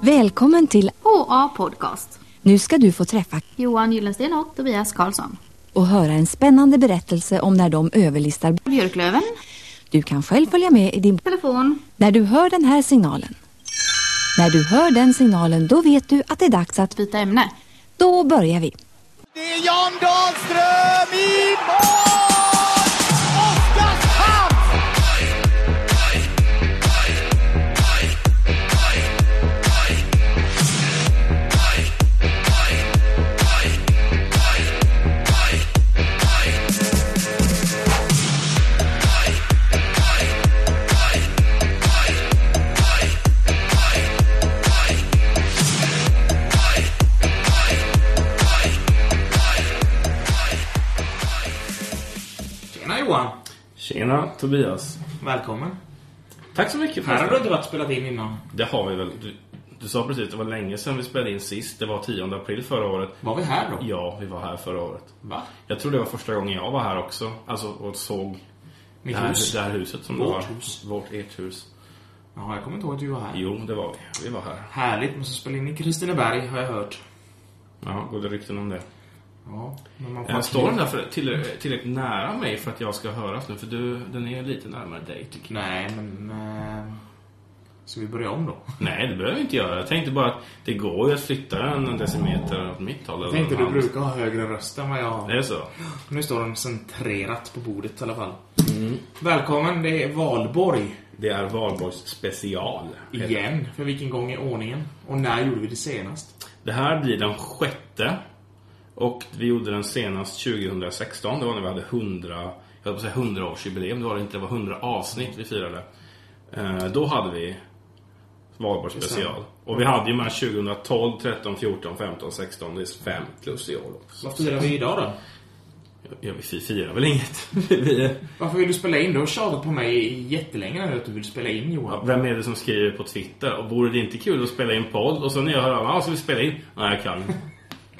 Välkommen till HA Podcast. Nu ska du få träffa Johan Gyllensten och Tobias Karlsson. och höra en spännande berättelse om när de överlistar. Björklöven, Du kan själv följa med i din... telefon. När du hör den här signalen. När du hör den signalen, då vet du att det är dags att... Byta ämne. Då börjar vi. Det är Jan Dahlström i mål! Oskarshamn! Tjena Johan! Tjena Tobias. Välkommen! Tack så mycket Här har du det. inte varit och spelat in innan. Det har vi väl. Du, du sa precis att det var länge sedan vi spelade in sist. Det var 10 april förra året. Var vi här då? Ja, vi var här förra året. Va? Jag tror det var första gången jag var här också. Alltså och såg det Mitt här, hus? det här huset som Vårt det var. hus. Vårt ert hus. Ja, jag kommer inte ihåg att du var här. Jo, det var vi. Vi var här. Härligt, måste spela in i Kristineberg har jag hört. Ja, goda rykten om det. Ja, men man Eh, Står den där för, till, tillräckligt nära mig för att jag ska höras nu? För du, den är lite närmare dig tycker jag. Nej, men... Eh... Ska vi börja om då? Nej, det behöver vi inte göra. Jag tänkte bara att det går ju att flytta den en decimeter åt mitt håll. Jag eller tänkte åt du hans. brukar ha högre röst än vad jag Är har. det så? Nu står den centrerat på bordet i alla fall. Mm. Välkommen, det är valborg. Det är valborgs special. Igen. För vilken gång i ordningen? Och när gjorde vi det senast? Det här blir den sjätte. Och vi gjorde den senast 2016. Det var när vi hade 100, jag höll på att säga 100 årsjubileum. Det var det inte. Det var 100 avsnitt vi firade. Eh, då hade vi valborgs special. Och vi hade ju mellan 2012, 13, 14, 15, 16. Det är fem plus i år. då. Vad firar vi idag då? Ja, vi fi- firar väl inget. Vi- Varför vill du spela in? Du har tjatat på mig jättelänge nu att du vill spela in Ja, Johan. Vem är det som skriver på Twitter? Och vore det inte kul att spela in podd? Och så när jag hör av mig, "Ah, ska vi spela in? Nej, jag kan inte.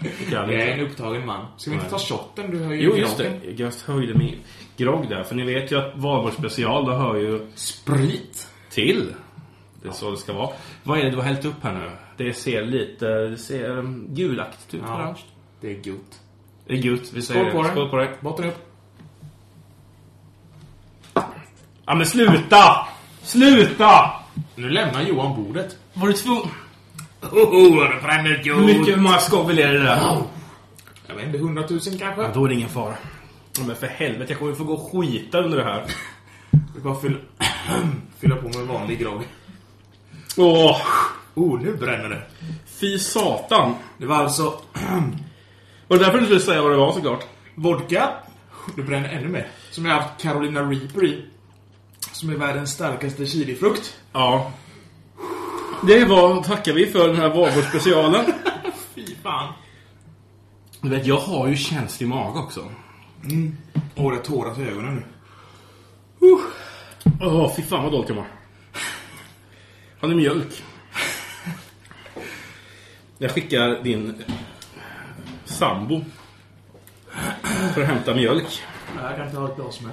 Jag kan Jag inte. är en upptagen man. Ska vi inte ta shotten? Du har ju Jo, just det. gratis. Jag höjde min grogg där. För ni vet ju att valborgsspecial, det hör ju Sprit! till. Det är så det ska vara. Vad är det du har hällt upp här nu? Det ser lite det ser um, gulaktigt ut. Ja, orange. det är gott. Det är gult. Vi säger Skål på det. dig. Skål på dig. Botten upp. Ja, men sluta! Sluta! Nu lämnar Johan bordet. Var du tvungen... Oho, det bränner Hur mycket, hur många skovel är det där? Jag vet inte, hundratusen Ja, kanske? då är det ingen fara. Ja, men för helvete, jag kommer ju få gå och skita under det här. Vi bara fylla, fylla på med vanlig grogg. Åh, Oh, nu bränner det. fy satan. Det var alltså Var det därför du skulle säga vad det var såklart? vodka. Det bränner ännu mer. Som jag har haft Carolina Reaper i. Som är världens starkaste chilifrukt. Ja. Det var, tackar vi för den här valborgsspecialen. Fy fan. Du vet, jag har ju känslig mage också. Åh, det har tårar i ögonen nu. Åh, fy fan vad dåligt jag mår. Har du mjölk? Jag skickar din sambo för att hämta mjölk. Nej, jag kan inte ha ett glas med.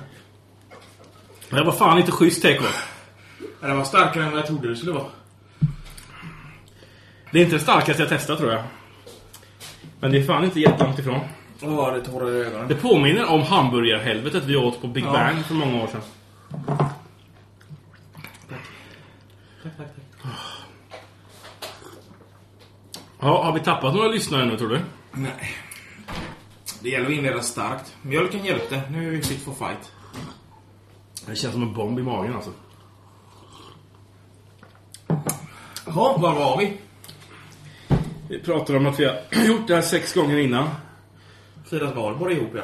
Det här var fan inte schysst, TK. Ja, Det var starkare än vad jag trodde det skulle vara. Det är inte det starkaste jag testat, tror jag. Men det är fan inte jättelångt ifrån. Åh, det tårar i ögonen. Det påminner om hamburgarhelvetet vi åt på Big Ja. Bang för många år sedan. Ja, har vi tappat några lyssnare nu tror du? Nej. Det gäller att inleda starkt. Mjölken hjälpte. Nu är vi fit for fight. Det känns som en bomb i magen alltså. Jaha, var var vi? Vi pratar om att vi har gjort det här sex gånger innan. Firat valborg ihop, ja.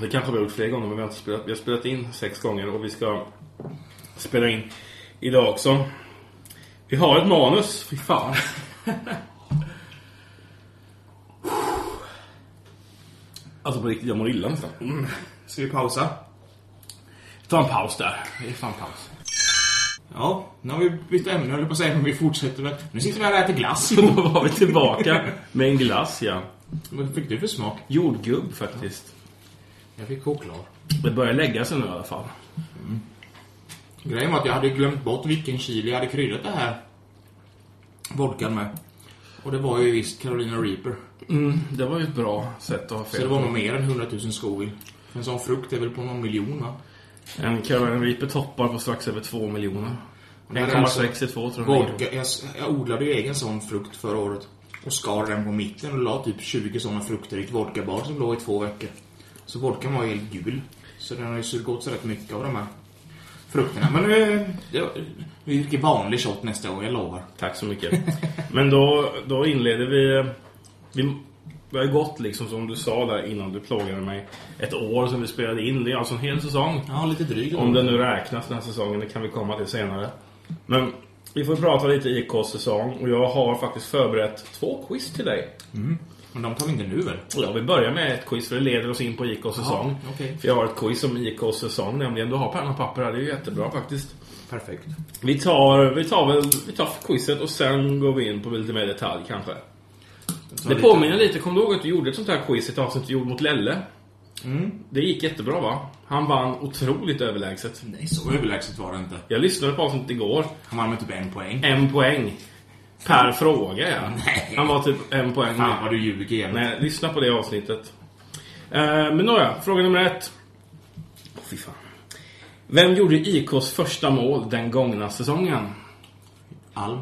Det kanske vi har gjort fler gånger men vi har, inte spelat, vi har spelat in sex gånger och vi ska spela in idag också. Vi har ett manus, fy fan. Alltså på riktigt, jag mår illa nästan. Mm. Ska vi pausa? Ta en paus där. Det är fan paus. Ja, nu har vi bytt ämne höll jag på att säga, men vi fortsätter väl. Nu sitter vi här och äter glass. Så då var vi tillbaka med en glass ja. Vad fick du för smak? Jordgubb faktiskt. Jag fick choklad. Det börjar lägga sig nu i alla fall. Grejen var att jag hade glömt bort vilken chili jag hade kryddat det här. vodkan med. Och det var ju visst Carolina Reaper. Mm, det var ju ett bra sätt att ha Så det fel var nog på. mer än 100 000 Scoville. En sån frukt är väl på någon miljon va? En Carolina Reaper toppar på strax över 2 miljoner. här är 1,62 tror jag. Vodka, jag, s- jag odlade ju egen sån frukt förra året. Och skar den på mitten och la typ 20 såna frukter i ett vodkabad som låg i två veckor. Så vodkan var helt gul. Så den har ju sugit åt sig rätt mycket av de här frukterna. Men nu... det- Vi dricker vanlig shot nästa gång, jag lovar. Tack så mycket. Men då, då inleder vi... Vi, vi har ju gått, liksom som du sa där innan du plågade mig, ett år som vi spelade in. Det är alltså en hel säsong. Ja, lite dryg. Om det nu räknas den här säsongen, det kan vi komma till senare. Men vi får prata lite IKs säsong och jag har faktiskt förberett två quiz till dig. Men de tar vi inte nu väl? Och jag vill börja med ett quiz för det leder oss in på IKs säsong. Ja, okej. För jag har ett quiz om IKs säsong nämligen. Du har penna och papper här, det är ju jättebra faktiskt. Perfekt. Vi tar, vi tar, väl, vi tar quizet och sen går vi in på lite mer detalj kanske. Det påminner lite, kom du ihåg att du gjorde ett sånt här quiz i ett avsnitt du gjorde mot Lelle? Mm. Det gick jättebra va? Han vann otroligt överlägset. Nej, så överlägset var det inte. Jag lyssnade på avsnittet igår. Han vann med typ en poäng. En poäng. Per fråga ja. Han var typ en poäng. Fan vad du ljuger igen. Nej, lyssna på det avsnittet. Eh, men nåja, fråga nummer ett. Åh, fy fan. Vem gjorde IKs första mål den gångna säsongen? Alm.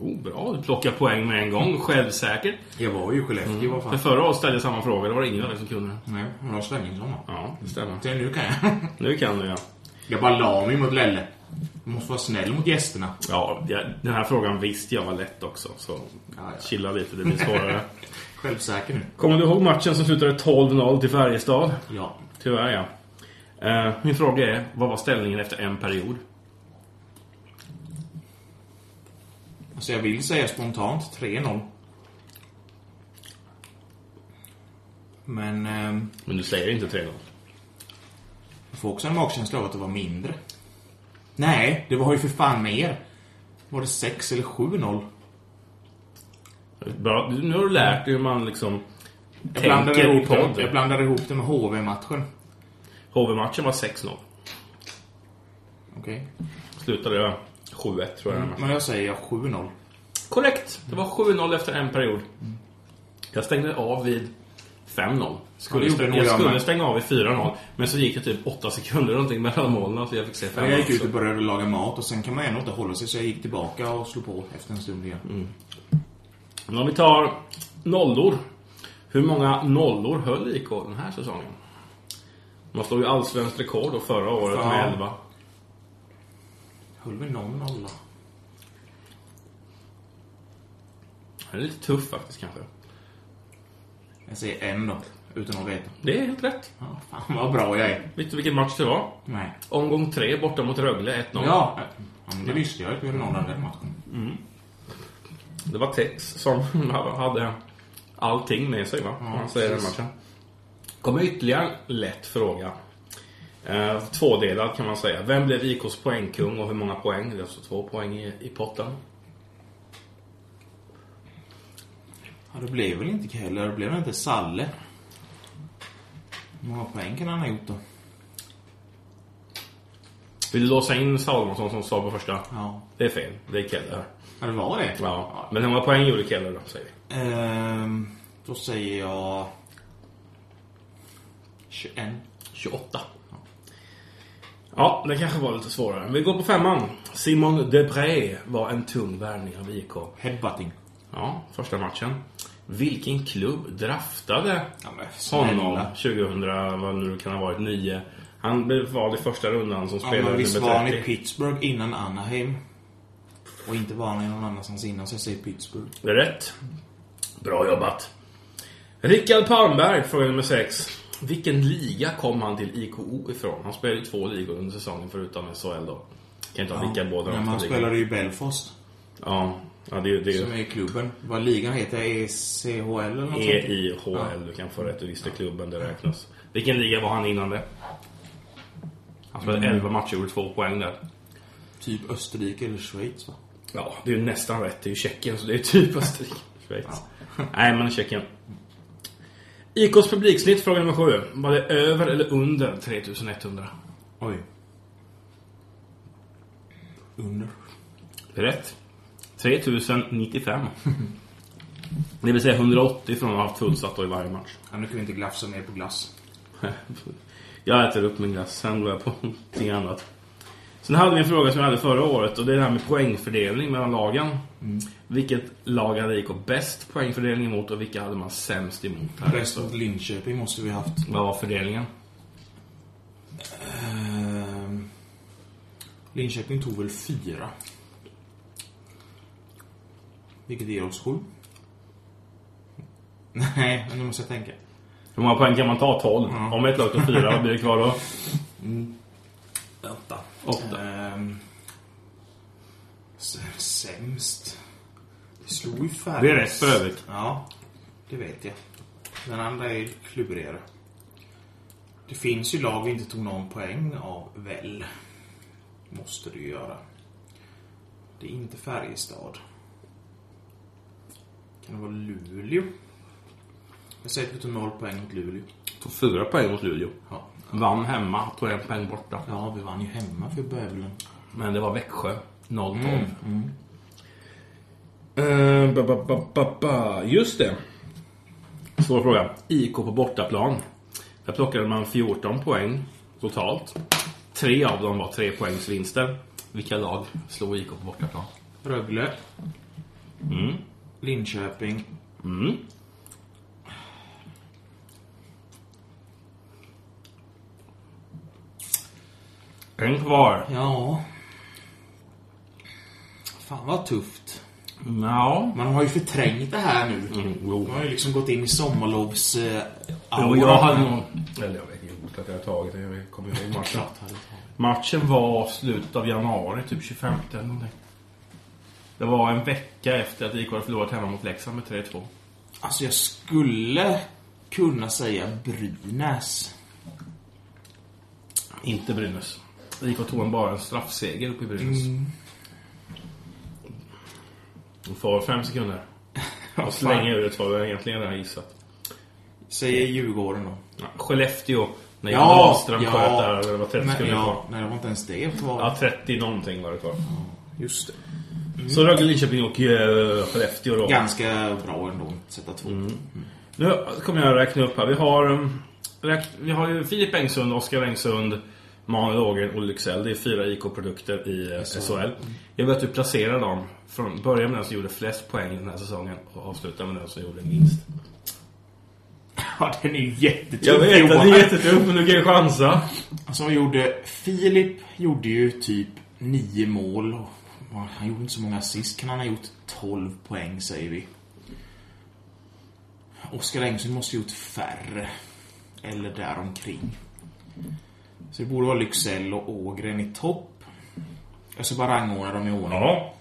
Oh, bra, du plockar poäng med en gång. Självsäkert. Jag var ju i Skellefteå, vad För fan. förra året ställde jag samma fråga, det var det ingen av er som kunde den. Nej, Lars Svenningsson va? Ja, det stämmer. Det nu kan jag. Nu kan du ja. Jag bara la mig mot Lelle. Jag måste vara snäll mot gästerna. Ja, jag- den här frågan visste jag var lätt också. Så ja. chilla lite, det blir svårare. Självsäker nu. Kommer du ihåg matchen som slutade 12-0 till Färjestad? Ja. Tyvärr ja. Eh, min fråga är, vad var ställningen efter en period? Alltså jag vill säga spontant 3-0. Men ehm, Men du säger inte 3-0. jag får också en magkänsla av att det var mindre. Nej, det var ju för fan mer. Var det 6 eller 7-0? Bra. Nu har du lärt dig hur man liksom Jag blandade, tänker i ihop det, jag podd. blandade ihop det med HV-matchen. HV-matchen var 6-0. Okej. Slutade jag 7-1 tror jag. Men jag säger 7-0. Korrekt! Det var 7-0 efter en period. Jag stängde av vid 5-0. Skulle Ja, det gjorde stäng- nog jag jag skulle med. stänga av vid 4-0. Men så gick det typ 8 sekunder någonting mellan målen så jag fick se 5-0. Jag gick ut också. och började laga mat och sen kan man ändå inte hålla sig så jag gick tillbaka och slog på efter en stund igen. Mm. Men om vi tar nollor. Hur många nollor höll IK den här säsongen? Man slog ju allsvenskt rekord då förra året Ja. med 11. Höll vi någon nolla? Det är lite tuff faktiskt kanske. Jag säger en då, utan att veta. Det är helt rätt. Ja, fan vad bra jag är. Vet du vilken match det var? Nej. Omgång 3 borta mot Rögle 1-0. Ja, ja men det visste jag att vi hade någon av den matchen. Det var Tex som hade allting med sig va? Om man säger den precis. matchen. Kommer ytterligare en lätt fråga. Eh, tvådelad kan man säga. Vem blev IKs poängkung och hur många poäng? Det är alltså två poäng i, i potten. Ja, det blev väl inte heller, det blev väl inte Salle. Hur många poäng kan han ha gjort då? Vill du låsa in Salomonsson som svar på första? Ja. Det är fel. Det är Keller. Ja, det var det? Ja. Men hur många poäng gjorde Keller då? Säger vi. Ehm, då säger jag... 21. 28. Ja, det kanske var lite svårare. Vi går på femman. Simon Debré var en tung värvning av IK. Headbutting. Ja, första matchen. Vilken klubb draftade Ja, men honom snälla. 2000, vad nu det kan ha varit, 9? Han blev vald i första rundan som Ja, spelare men visst var han nummer i 30. Pittsburgh innan Anaheim? Och inte var han i någon annanstans innan, så jag säger Pittsburgh. Det är rätt. Bra jobbat. Rickard Palmberg, fråga nummer 6. Vilken liga kom han till IKO ifrån? Han spelade i två ligor under säsongen förutom SHL då. Kan inte ha Rickard båda Nej, men han två ligorna. spelade ju i Belfast, Ja, ja det, är- det som är är i klubben. Vad ligan heter, ECHL eller något E sånt. EIHL. Du kan få rätt. Du visste klubben, det räknas. Vilken liga var han innan det? Han spelade 11 matcher och gjorde två poäng där. Typ Österrike eller Schweiz va? Ja, det är ju nästan rätt. Det är ju Tjeckien, så det är typ Österrike. Schweiz. Nej, men Tjeckien. IKs publiksnitt, fråga nummer sju. Var det över eller under 3100? Oj. Under. Rätt. 3095. Det vill säga 180 från att ha haft fullsatt då i varje match. Ja, nu kan vi inte glafsa mer på glass. Jag äter upp min glass, sen går jag på någonting annat. Sen hade vi en fråga som jag hade förra året och det är det här med poängfördelning mellan lagen. Vilket lag hade IK bäst poängfördelning emot och vilka hade man sämst emot? Här? Bäst mot Linköping måste vi haft. Vad var fördelningen? Ehm, Linköping tog väl fyra. Vilket ger oss sju. Nej, men nu måste jag tänka. Hur många poäng kan man ta? 12. Ja. Om ett lag tar 4, vad blir det kvar då? Åtta. 8. Ehm, s- sämst. Det slog ju Färjestad. Det är rätt för övrigt. Ja, det vet jag. Den andra är klurigare. Det finns ju lag vi inte tog någon poäng av, väl? Måste du göra. Det är inte Färjestad. Kan det vara Luleå? Jag säger att vi tog noll poäng mot Luleå. Tog 4 poäng mot Luleå. Ja. Vann hemma, tog en poäng borta. ja, vi vann ju hemma för bövelen. Men det var Växjö. 0-12. mm. Eh, ba, ba, ba, ba, ba. Just det. Svår fråga. IK på bortaplan. Där plockade man 14 poäng totalt. Tre av dem var tre poängsvinster. Vilka lag slog IK på bortaplan? Rögle. Mm. Linköping. En kvar. Ja. Fan vad tufft. Ja. Man har ju förträngt det här nu. Mm, jo. Man har ju liksom gått in i sommarlovs... Eh, Jo, auran. jag hade nog... Eller jag vet inte att jag har tagit det. Jag kommer ihåg matchen. Matchen var slutet av januari, typ 25 eller någonting. Det var en vecka efter att IK hade förlorat hemma mot Leksand med 3-2. Alltså jag skulle kunna säga Brynäs. Inte Brynäs. Mm. IK tog en bara en straffseger uppe i Brynäs. Du får fem sekunder. Och slänga ur ett vad jag egentligen redan gissat. Säger Djurgården då. Ja, Skellefteå. När Jan Dahlström sköt där och det var 30 Men, sekunder kvar. ja, Nej, det var inte ens det kvar. Ja, 30 någonting var det kvar. Just det. Mm. Så Rögle, Linköping och eh, Skellefteå då. Ganska bra ändå att sätta två. Mm. Nu kommer jag räkna upp här. Vi har, um, räk, vi har ju Filip Engsund, Oskar Engsund, Manuel Ågren och Lycksell. Det är fyra IK-produkter i eh, SHL. Jag vill att du placerar dem. Från början med den som gjorde flest poäng den här säsongen och avsluta med den som gjorde minst. Ja, den är ju jättetuff Jag vet att Johan. det är jättetufft, men du kan ju chansa. Alltså vad gjorde... Filip gjorde ju typ nio mål. och Han gjorde inte så många assist. Kan han ha gjort 12 poäng, säger vi. Oskar Engsund måste ha gjort färre. Eller däromkring. Så det borde vara Lycksell och Ågren i topp. Jag ska bara rangordna dem i ordning. Ja.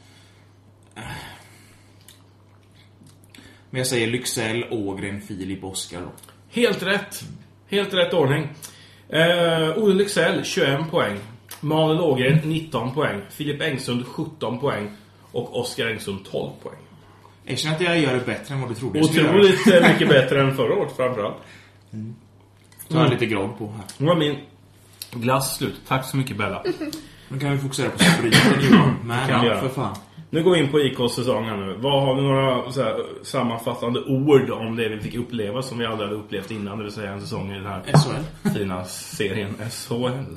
Men jag säger Lycksell, Ågren, Filip, Oskar då. Helt rätt. Helt rätt ordning. Eh, Olle Lycksell 21 poäng. Manuel Ågren 19 poäng. Filip Engsund 17 poäng. Och Oskar Engsund 12 poäng. Erkänn att jag gör det bättre än vad du trodde jag skulle göra. Otroligt eh, mycket bättre än förra året framförallt. Tar jag lite grad på här. Nu var min glass slut. Tack så mycket Bella. Nu kan vi fokusera på spriten Johan. Men Kan vi ja, göra. för fan. Nu går vi in på IKs säsong här nu. Vad har vi några så här, sammanfattande ord om det vi fick uppleva som vi aldrig hade upplevt innan? Det vill säga en säsong i den här SHL. fina serien SHL.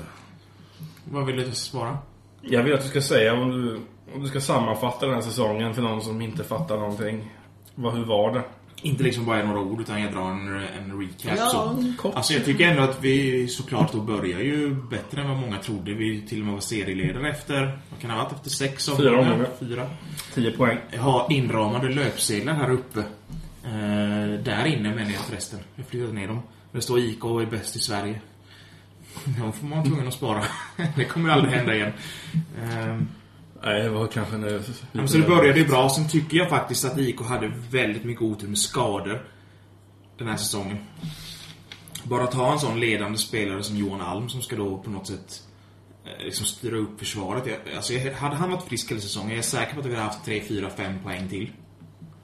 Vad vill du svara? Jag vill att du ska säga om du, om du ska sammanfatta den här säsongen för någon som inte fattar någonting. Vad, hur var det? Inte liksom bara några ord utan jag drar en, en recap Ja, så. en kort. Alltså jag tycker ändå att vi såklart då börjar ju bättre än vad många trodde. Vi till och med var serieledare efter, vad kan det ha varit, efter sex Fyra omgångar? omgångar. Fyra. 10 poäng. Jag har inramade löpsedlar här uppe. Eh, där inne menar jag förresten. Jag flyttade ner dem. Det står IK är bäst i Sverige. De får man tvungen att spara. det kommer aldrig hända igen. Ehm, Nej, det var kanske en... Ja, men så det Mm. började ju bra, sen tycker jag faktiskt att IK hade väldigt mycket otur med skador den här säsongen. Bara ta en sån ledande spelare som Johan Alm som ska då på något sätt eh, liksom styra upp försvaret. Jag, alltså, jag, hade han varit frisk hela säsongen, jag är säker på att vi hade haft 3, 4, 5 poäng till.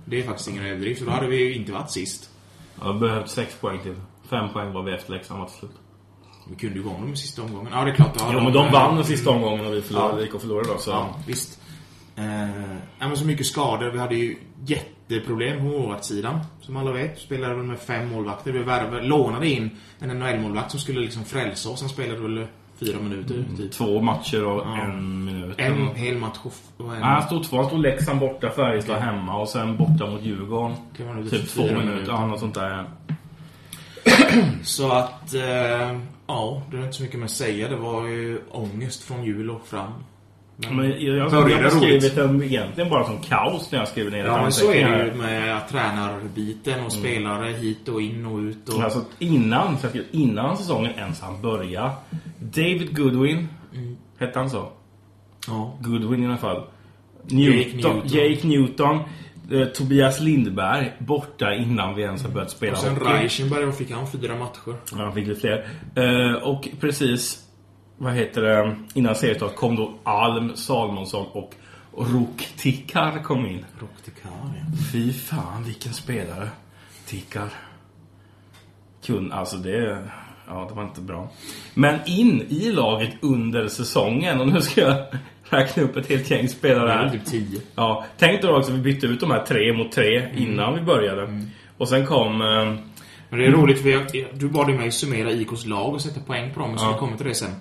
Det är faktiskt ingen överdrift, och då hade vi ju inte varit sist. Jag har behövt 6 poäng till. 5 poäng var vi efter Leksand var till slut. Vi kunde ju gå om dem i sista omgången. Ja, det är klart. då hade Ja, men de vann den sista omgången och vi förlorade. IK förlorade då, så... Ja, visst. Eh, ja, men så mycket skador. Vi hade ju jätteproblem på målvaktssidan. Som alla vet spelade vi med fem målvakter. Vi värvade, lånade in en NHL-målvakt som skulle liksom frälsa oss. Han spelade väl fyra minuter. Typ. Mm, Två matcher och Ja. en minut. En hel match och f- och en... Nej, han stod två. Han stod Leksand borta, Färjestad hemma och sen borta mot Djurgården. Kan man Typ två fyra minuter. minuter. Ja, något sånt där. Så att, eh, ja, det är inte så mycket mer att säga. Det var ju ångest från jul och fram. Men jag, jag, Började jag har roligt. skrivit den egentligen bara som kaos när jag skriver ner Ja, men så är det ju med att tränarbiten och Mm. spelare hit och in och ut. Och, Alltså innan, så jag skrev, innan säsongen ens han börja David Goodwin, Mm. hette han så? ja. Goodwin i alla fall. Jake Newton, Newton. Jake Newton. eh, Tobias Lindberg borta innan vi ens har börjat spela Och sen hockey. Reichenberg, vad fick han? Fyra matcher. Ja, han fick lite fler. Eh, och precis, vad heter det, innan seriestart kom då Alm, Salmonsson och Ruk Tikar kom in. Rock till Kari. Fy fan vilken spelare. Tikar. Kun, alltså det... Ja, det var inte bra. Men in i laget under säsongen. Och nu ska jag räkna upp ett helt gäng spelare Det är väl här. typ tio. Ja, tänk då också att vi bytte ut de här tre mot tre innan vi började. Och sen kom... eh, Men det är roligt för jag, du bad ju mig summera IKs lag och sätta poäng på dem. Men så Ja. vi kommer till det sen.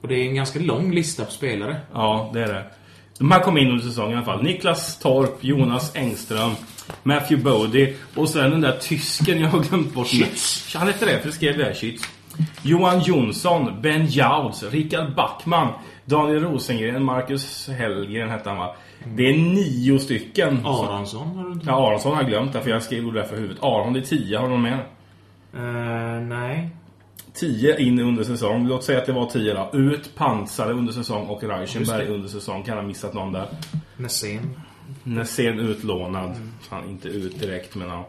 Och det är en ganska lång lista på spelare. Ja, det är det. De här kom in under säsongen i alla fall. Niklas Torp, Jonas Engström, Matthew Bodie och sen den där tysken jag har glömt bort. Schütz. Han hette det, för det skrev jag. Schütz. Johan Jonsson, Ben Jauds, Rickard Backman, Daniel Rosengren, Marcus Hellgren hette han va? Det är nio stycken. Aronsson har du inte? Ja, Aronsson har jag glömt därför jag skrev det där för huvudet. Aron, det är tio. Har du någon mer? Eh, nej. 10 in under säsong. Låt säga att det var 10 då. Ut, Pansare under säsong och Reichenberg Just under säsong. Kan ha missat någon där. Nässén. Nässén utlånad. Fan, inte ut direkt, men ja.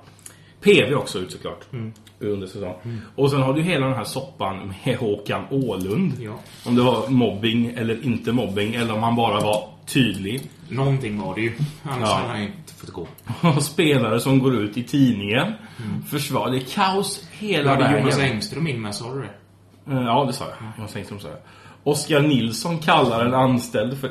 PV också ut såklart. Mm. Under säsong. Och sen har du hela den här soppan med Håkan Ålund. Ja. Om det var mobbing eller inte mobbing, eller om han bara var tydlig. Någonting var det ju. Annars Ja. hade han ju inte fått gå. Och Spelare som går ut i tidningen. Mm. Försvar. Det är kaos Då hela hade vägen. Jonas Engström in med, sa du det? Eh, Ja, det sa jag. Mm. Jonas Engström sa jag. Oskar Nilsson kallar en anställd för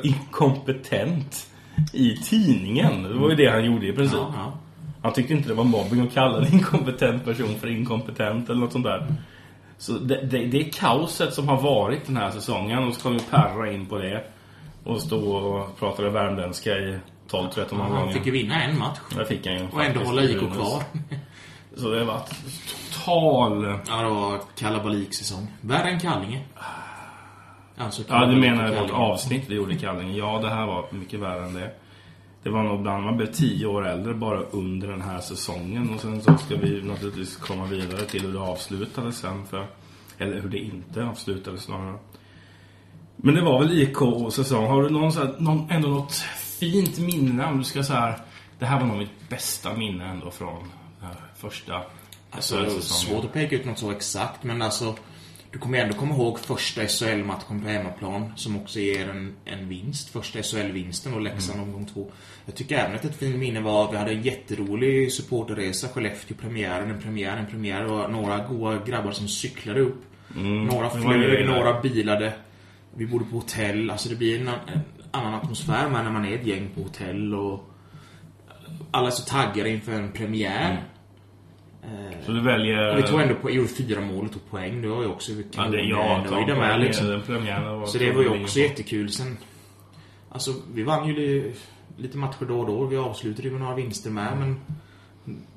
inkompetent i tidningen. Det var ju det han gjorde i princip. Ja, ja. Han tyckte inte det var mobbing att kalla en inkompetent person för inkompetent eller något sånt där. Så det, det, det är kaoset som har varit den här säsongen och så kom ju Perra in på det. Och stod och pratade värmländska i 12-13 Ja, Han omgångar. fick ju vinna en match. Där fick han ju. Och ändå faktiskt hålla IK minus. kvar. Så det har varit total... eh, Ja, det var kalabaliksäsong. Värre än Kallinge. Alltså, Ah. Ja, du kalabalik menar och vårt Kallinge. avsnitt vi gjorde i Kallinge. Ja, det här var mycket värre än det. Det var nog bland man blev tio år äldre bara under den här säsongen. Och sen så ska vi naturligtvis komma vidare till hur det avslutades sen. För, eller hur det inte avslutades snarare. Men det var väl IK och säsong. Har du någon, så här, någon, ändå något fint minne? Om du ska så här, det här var nog mitt bästa minne ändå från den här första Alltså, det är svårt att peka ut något så exakt, men alltså... Du kommer ändå komma ihåg första SHL-matchen på hemmaplan som också ger en, en vinst. Första SHL-vinsten och Leksand Mm. omgång två. Jag tycker även att ett fint minne var att vi hade en jätterolig supporterresa. Skellefteå-premiären, en premiär, en premiär. Det var några goa grabbar som cyklade upp. några Mm. det var en grej flög, där. några bilade. Vi bodde på hotell. Alltså det blir en, en annan atmosfär med när man är ett gäng på hotell och... Alla är så taggade inför en premiär. Mm. Så du väljer... Ja, Vi tog ändå på, gjorde fyra mål och tog poäng. Det var ju också vi Eh, Ja, kan det, ja, ja, nöjda med. Liksom. den premiären var Så det var ju också jättekul. Sen, alltså, vi vann ju li- lite matcher då och då. Vi avslutade ju med några vinster med, men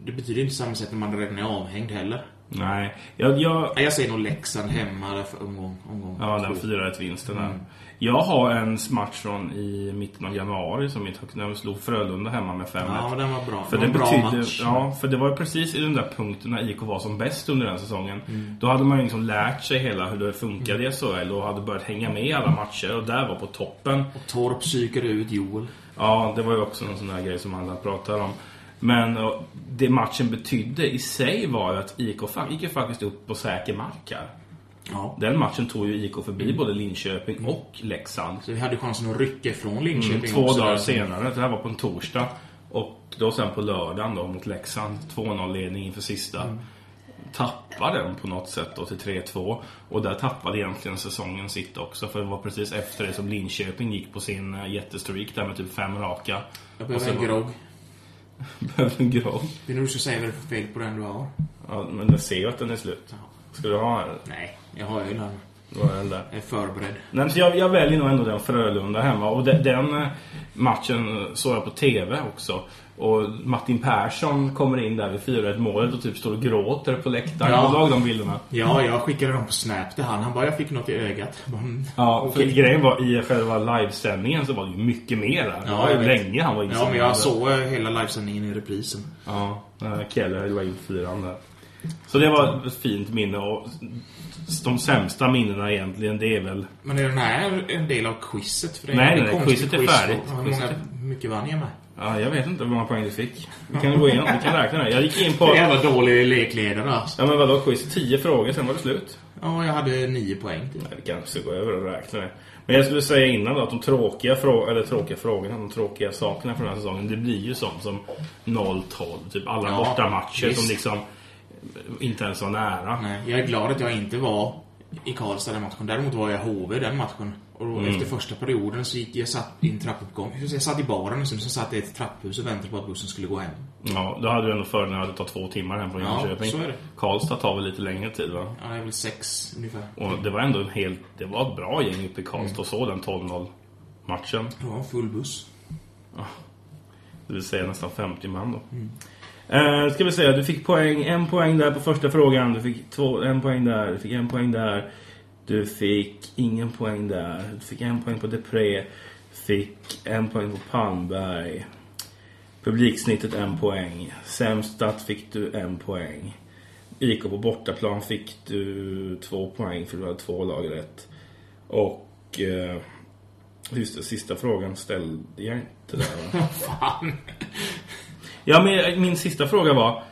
det betyder ju inte samma sätt när man redan är avhängd heller. Nej, jag, jag, Nej, Jag säger nog Leksand hemma där för omgång, omgång ja, den två. 4-1 vinsten Mm. där. Jag har en match från i mitten av januari som mitt när vi slog Frölunda hemma med 5-1. Ja, men den var bra. För det det, var en bra betydde, match. ja, för det var ju precis i den där punkten när IK var som bäst under den säsongen. Mm. Då hade man ju liksom lärt sig hela hur det funkade i SHL och hade börjat hänga med i alla matcher och där var på toppen. Torp psykade ut Joel. Ja, det var ju också någon sån där grej som alla pratar om. Men och, det matchen betydde i sig var ju att IK fa- gick ju faktiskt upp på säker mark här. Ja. Den matchen tog ju IK förbi både Linköping och Leksand. Så vi hade chansen att rycka från Linköping Mm, två också dagar där. senare, det här var på en torsdag. Och då sen på lördagen då mot Leksand. 2-0-ledning inför sista. tappar den på något sätt då till 3-2. Och där tappade egentligen säsongen sitt också. För det var precis efter det som Linköping gick på sin eh, jättestreak där med typ fem raka. Jag Och behöver sen en var- grogg. Behöver en grogg. Det är nu du ska säga vad det är för fel på den du har. Ja, men jag ser ju att den är slut. Ska du ha en? Nej, jag har öl här. Vad är den där? Jag är förberedd. Nej, men så jag, jag väljer nog ändå den Frölunda hemma. Och de, den eh, matchen eh, såg jag på TV också. Och Martin Persson kommer in där vid 4-1 målet och typ står och gråter på läktaren. Ja. Kommer du ihåg de bilderna? Ja, jag skickade dem på Snap till han. Han bara, jag fick något i ögat. Jag bara, mm. Ja, för Okej. grejen var i själva livesändningen så var det ju mycket mer där. Det Ja, var ju jag vet. länge han var Ja, instängd. men jag såg eh, hela livesändningen i reprisen. Ja, eh, Keller la in fyran där. Så det var ett fint minne och de sämsta minnena egentligen det är väl... Men är den här en del av quizet? För det Nej, en nej, konstig quizet är quiz. färdigt. Ja, Hur Quizet många, är- hur mycket vann jag med? Ja, jag vet inte hur många poäng du fick. Vi kan gå igenom, vi kan räkna det. Jag gick in på... Jävla dålig lekledare alltså. Ja men vadå quiz? 10 frågor, sen var det slut. Ja, jag hade nio poäng typ. till. Nej, Vi kanske går över och räknar det. Men jag skulle säga innan då att de tråkiga, frå- eller tråkiga frågorna, de tråkiga sakerna från den här säsongen, det blir ju sånt som 0-12. Typ alla Ja, bortamatcher som visst. liksom inte ens var nära. Nej, jag är glad att jag inte var i Karlstad den matchen. Däremot var jag i HV den matchen. Och Mm. då, efter första perioden så gick jag satt i en trappuppgång. Så jag satt i baren och sen så satt jag i ett trapphus och väntade på att bussen skulle gå hem. Ja, då hade du ändå fördelen att det tar två timmar hem från Ja, Jönköping. så är det. Karlstad tar väl lite längre tid va? Ja, det är väl sex ungefär. Och det var ändå en helt, det var ett bra gäng uppe i Mm. Karlstad och så den 12-0 matchen. Det var en full buss. Det vill säga nästan 50 man då. Eh, ska vi säga, du fick poäng, en poäng där på första frågan. Du fick två, en poäng där, du fick en poäng där. Du fick ingen poäng där. Du fick en poäng på Depré. Fick en poäng på Palmberg. Publiksnittet en poäng. Sämstat fick du en poäng. IK på bortaplan fick du två poäng för du hade två lag rätt. Och... Eh, just det, sista frågan ställde jag inte där va? Fan! Ja, men min sista fråga var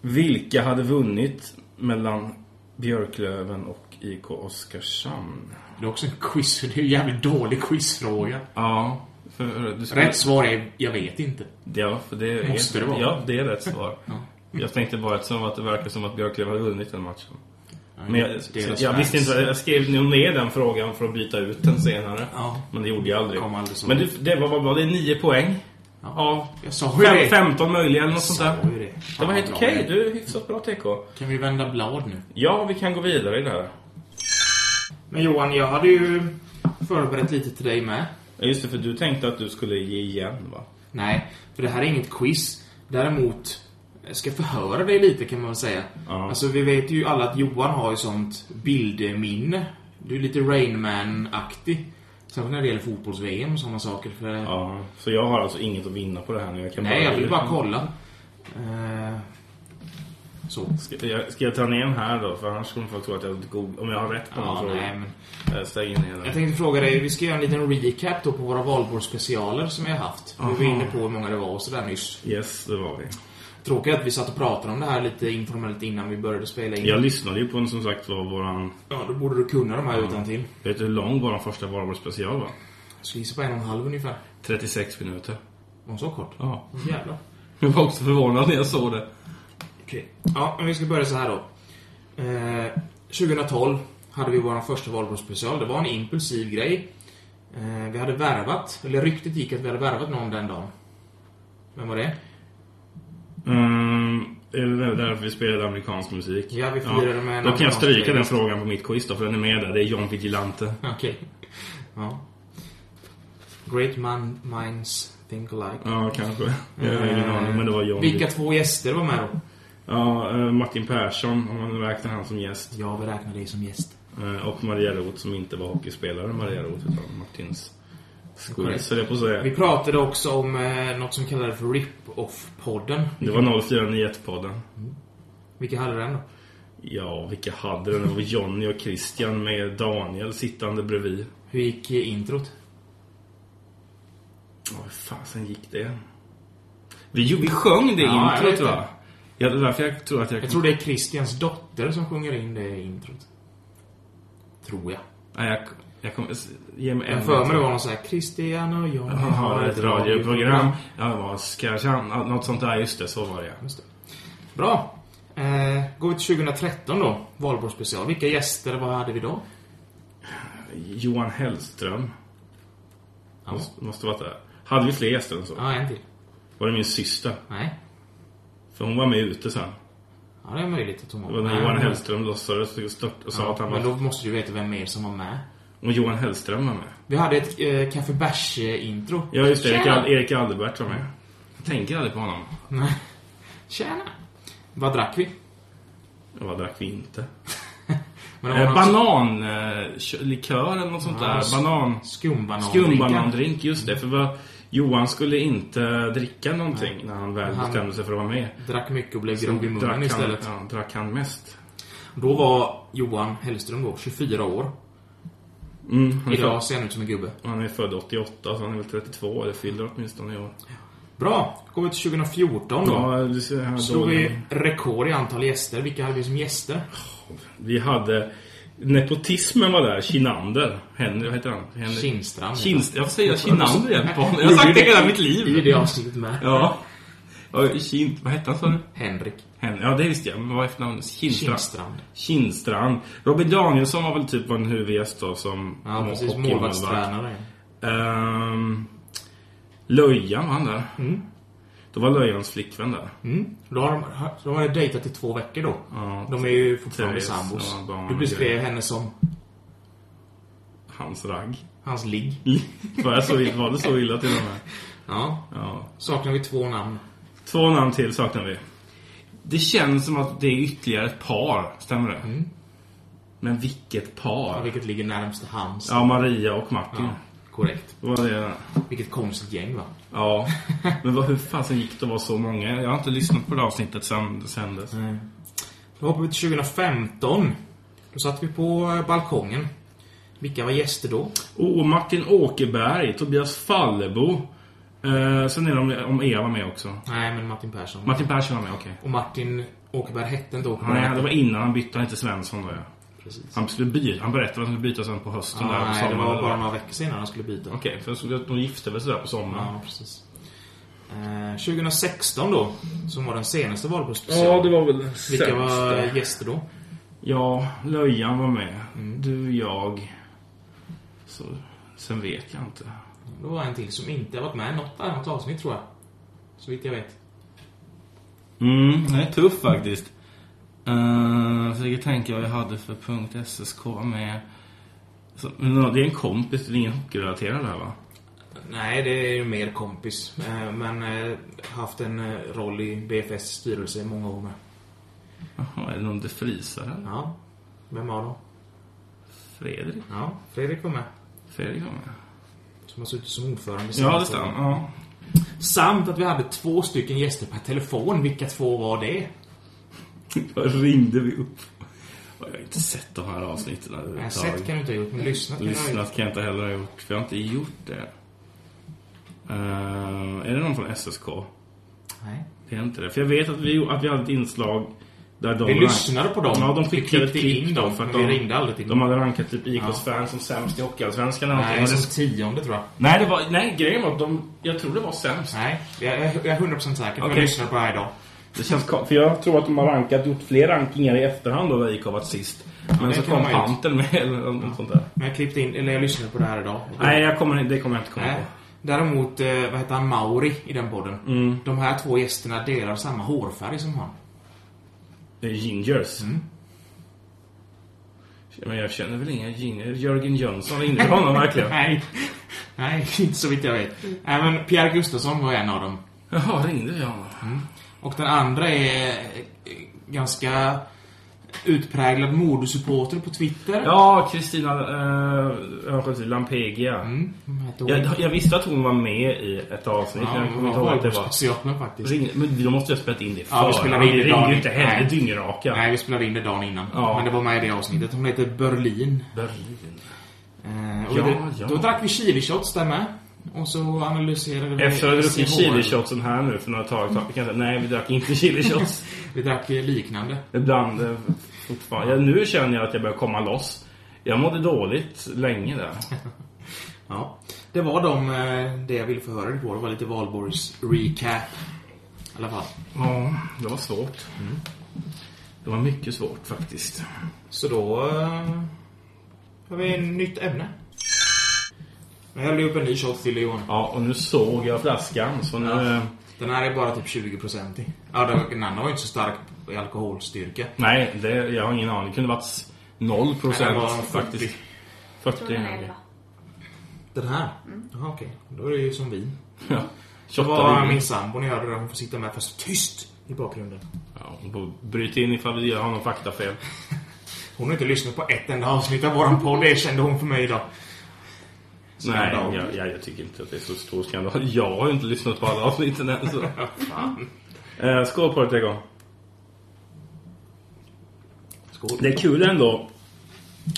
Vilka hade vunnit mellan Björklöven och IK Oskarshamn? Det är också en quiz. Det är en jävligt dålig quizfråga. Ja, för du skulle... Rätt svar är jag vet inte. Ja, för det är... Måste det vara? Ja, det är rätt svar. Jag tänkte bara som att det verkar som att Björklöven hade vunnit den matchen. Men jag, Deras jag visste fans. inte, jag skrev nog ner den frågan för att byta ut den senare. Ja. Men det gjorde jag aldrig. Kom aldrig så Men långt. du, det var, vad var det? Nio poäng? Ja. Ja. Jag sa ju Fem, det. 15 möjliga eller något sånt sa där. ju det. Det var Fan, helt vad okej. bra det är. Du är hyfsat bra TK. Kan vi vända blad nu? Ja, vi kan gå vidare i det här. Men Johan, jag hade ju förberett lite till dig med. Ja, Just det, för du tänkte att du skulle ge igen va? Nej, för det här är inget quiz. Däremot jag ska förhöra dig lite kan man väl säga. Ja. Alltså vi vet ju alla att Johan har ju sånt bildminne. Du är lite Rain Man-aktig. Särskilt när det gäller fotbolls-VM och sådana saker. För... Ja, så jag har alltså inget att vinna på det här nu. Jag kan Nej, jag vill bara kolla. Eh, Så. Ska jag, ska jag ta ner den här då? För annars kommer folk tro att jag har ett god... Om jag har rätt på någon Ja, fråga. nej, men... Jag stänger ner Jag den. tänkte fråga dig, vi ska göra en liten recap då på våra valborgsspecialer som vi har haft. Vi var inne på hur många det var och sådär nyss. Yes, det var vi. Tråkigt att vi satt och pratade om det här lite informellt innan vi började spela in. Jag lyssnade ju på en som sagt var våran... Ja, då borde du kunna de här utan till. Vet du hur lång våran första valborgsspecial var? Jag skulle gissa på en och en halv ungefär. 36 minuter. Var den så kort? Ja. Åh, Jävlar. Jag var också förvånad när jag såg det. Okej. Ja, men vi ska börja så här då. Eh, 2012 hade vi vår första valborgsspecial. Det var en impulsiv grej. Eh, vi hade värvat, eller ryktet gick att vi hade värvat någon den dagen. Vem var det? Mm, är det därför vi spelade amerikansk musik? Ja, vi firade med en Då kan jag amerikansk stryka den playlist. frågan på mitt quiz då, för den är med där. Det är John Vigilante. Okej. Ja. Great man, minds think alike. Ja, kanske. Jag har ingen aning, men det var John. Eh, Vilka två gäster var med då? Ja, eh, Martin Persson, om man räknar han som gäst. Jag vill räkna dig som gäst. Eh, Och Maria Roth som inte var hockeyspelare Maria Roth, utan Martins Korrekt. skurris, höll jag på att Vi säga. pratade också om eh, något som kallades för Rip-Off-podden. Det var 0491-podden. Vilka hade den då? Ja, vilka hade den? Det var Jonny och Christian med Daniel sittande bredvid. Hur gick eh, introt? Ja, hur fasen gick det? Vi, jo, vi sjöng det Ja, jag introt, vet va? Ja, det var därför jag tror att jag... Jag tror det är Christians dotter som sjunger in det introt. Tror jag. Nej, jag, Mm, jag kommer... Ge mig en... Jag för mig det var någon sån här Christian och jag Jag har ett radioprogram. Ja, det var Oskarshamn. Ja, Något sånt där, just det. Så var det ja. Just det. Bra. Eh, Går vi till 2013 då, Valborgs special. Vilka gäster, vad hade vi då? Johan Hellström. Ja. Måste, måste varit där. Hade vi fler gäster än så? Ja, en till. Var det min syster? Nej. För hon var med ute sen. Ja, det är möjligt att hon Det var när Johan Hellström låtsades och stört- och sa att Ja, han men var... då måste du veta vem mer som var med. Och Johan Hellström var med. Vi hade ett eh, Café Bärs-intro. Ja, just det. Erik, Tjena! Al- Erik Aldebert var med. Jag tänker aldrig på honom. Nej. Tjena! Vad drack vi? Ja, Vad drack vi inte? Men det var Eh, någon Bananlikör eller något sånt Ja, s- där. Banan... Skumbanan. Skumbanandrink, just det. För vad, Johan skulle inte dricka någonting när han väl Han- bestämde sig för att vara med. Drack mycket och blev Så grov i drack munnen han- istället. Ja, drack han mest. Då var Johan Hellström då 24 år. Mm, han, är Idag ser han ut som en gubbe. född, han är född 88, så han är väl 32 eller fyller åtminstone i år. Bra! Går vi till 2014 då. Ja, du ser här Slog dåliga- vi rekord i antal gäster. Vilka hade vi som gäster? Vi hade... Nepotismen var där. Kinander. Henry, vad heter han? Henry. Kindstrand. Kinst, jag får säga Kinander igen på honom. Jag har sagt det hela mitt Alltså, I liv. det avsnittet med. Ja. ja Kin, vad hette han sa du? Henrik. Hen- Ja, det visste jag. Men vad var efternamnet? Kinstrand. Kindstrand. Kinstrand. Robin Danielsson var väl typ en huvudgäst då som Ja, må- precis. hockeymålvakt. Målvaktstränare. Ehm, Löjan var han där. Då var Löjans flickvän där. Mm. Då har de, de har ju dejtat i två veckor då. Ja. de är ju fortfarande Therese, sambos. ja, barn Du och beskrev grejer. henne som Hans ragg. hans ligg. var, jag så, ill- var det så illa till och med? Ja. Ja. Saknar vi två namn. Två namn till saknar vi. Det känns som att det är ytterligare ett par, stämmer det? Men vilket Mm. Ja, par? vilket ligger närmast till hands. Ja, Maria och Martin. Korrekt. Då Var det, Vilket konstigt gäng va? ja. Men vad, hur fasen gick det att vara så många? Jag har inte lyssnat på det avsnittet sen det sändes. Då hoppar vi till 2015. Då satt vi på eh, balkongen. Vilka var gäster då? Oh, Martin Åkerberg, Tobias Fallebo. Eh, sen är det om, om Eva var med också. Nej, men Martin Persson. Martin Persson var med, okej. och Martin Åkerberg hette inte Åkerberg. Nej, det var innan han bytte, han hette Svensson då ja. Precis. Han, skulle byta, han berättade att han skulle byta sen på hösten där Ja, på Ah, nej, det sommaren. var bara eller- några veckor senare han skulle byta. Okej, för jag såg att de gifte väl sådär på sommaren. Ja, precis. Eh, 2016 då, som var den senaste valborgsspecialen. Ja, det var väl den Vilka var sämsta. gäster då? Ja, Löjan var med. Mm. Du, jag. Så, sen vet jag inte. Det var en till som inte har varit med i något annat avsnitt tror jag. Så vitt jag vet. Mm, den är tuff faktiskt. Uh, försöker tänka vad jag hade för punkt SSK med. Så, men det är en kompis, det är ingen hockeyrelaterad här va? Nej, det är ju mer kompis. Eh, Men eh, haft en eh, roll i BFS styrelse i många år med. Jaha, är det någon defrisare? Ja. Vem var de? Fredrik? Ja, Fredrik var med. Fredrik var med. Som har suttit som ordförande i Ja, senaste det året. stämmer. Ja. Samt att vi hade två stycken gäster per telefon. Vilka två var det? Vad ringde vi upp? Jag har inte sett de här avsnitten Nej, sett kan du inte ha gjort, men lyssnat kan du ha gjort. Lyssnat kan jag inte heller ha gjort, för jag har inte gjort det. Eh, är det någon från SSK? Nej. Det är inte det. För jag vet att vi, att vi hade ett inslag där de... Vi rank- lyssnade på dem. Ja, de Vi skickade klippte ett klipp in då, dem, för att men vi de- ringde aldrig till De dem. hade rankat typ IKs fans som sämst i Hockeyallsvenskan. eller Nej, någonting. som tionde tror jag. nej, det var, nej, grejen var att de... Jag tror det var sämst. Nej, jag jag- jag är 100% säker. Jag Okej. lyssnar på det här idag. Det känns kon- För jag tror att de har rankat, gjort fler rankingar i efterhand då där IK har varit sist. Men det så kan kom man ju. Panten med eller något sånt där. Men jag klippte in, eller jag lyssnade på det här idag. Nej, jag kommer, det kommer jag inte komma Nej. ihåg. Däremot, eh, vad heter han, Mauri i den podden. Mm. De här två gästerna delar samma hårfärg som han. Det är Gingers. Mm. Men jag känner väl inga Gingers. Jörgen Jönsson, ringde du honom verkligen? Nej, nej, inte så vitt jag vet. Nej, men Pierre Gustafsson var en av dem. Jaha, ringde jag honom? Och den andra är eh, ganska utpräglad modesupporter på Twitter. Ja, Kristina äh, Lampegia. Mm, vad heter hon? Jag, jag visste att hon var med i ett avsnitt. Ja, men hon jag kommer inte var ihåg att det var... valborgsspecialen faktiskt. Ring, men då måste jag ha spelat in det Ja, vi förr. spelar in det det ringde dagen- ju inte heller Nej. dyngraka. Nej, vi spelade in det dagen innan. Ja. Men det var med i det avsnittet. Hon heter Berlin. Berlin. Eh, och Ja, det, ja. Då drack vi chilishots där med. Och så analyserade vi... Efter att vi druckit SCHR. chilishotsen här nu för några tag tag- vi kan säga, Nej, vi drack inte chilishots. Vi drack eh, liknande. Ibland eh, fortfarande. Ja, nu känner jag att jag börjar komma loss. Jag mådde dåligt länge där. Ja. Det var de, eh, det jag ville få höra dig på. Det var lite Valborgs recap. I alla fall. Mm. Ja, det var svårt. Det var mycket svårt faktiskt. Så då eh, har vi ett nytt ämne. Jag häller upp en ny shot till Johan. Ja, och nu såg jag flaskan så nu... eh, Ja. Den här är bara typ 20% i. Ja, den- den andra var ju inte så stark i alkoholstyrka. Nej, det, jag har ingen aning. Det kunde varit 0 Nej, det procent var 40. faktiskt. 40. Den här? Jaha, okej. Då är det ju som vin. Ja. Det var Tjottare. min sambo när jag hörde det. Hon får sitta med fast tyst i bakgrunden. Ja, och bryt in ifall jag har någon faktafel. Hon har inte lyssnat på ett enda avsnitt av våran podd. Det kände hon för mig idag. Nej, Skandal. jag, jag, jag tycker inte att det är så stor skandal. Jag har ju inte lyssnat på alla avsnitten än. Så. eh, skål på det Tegon. Skål. Det är kul ändå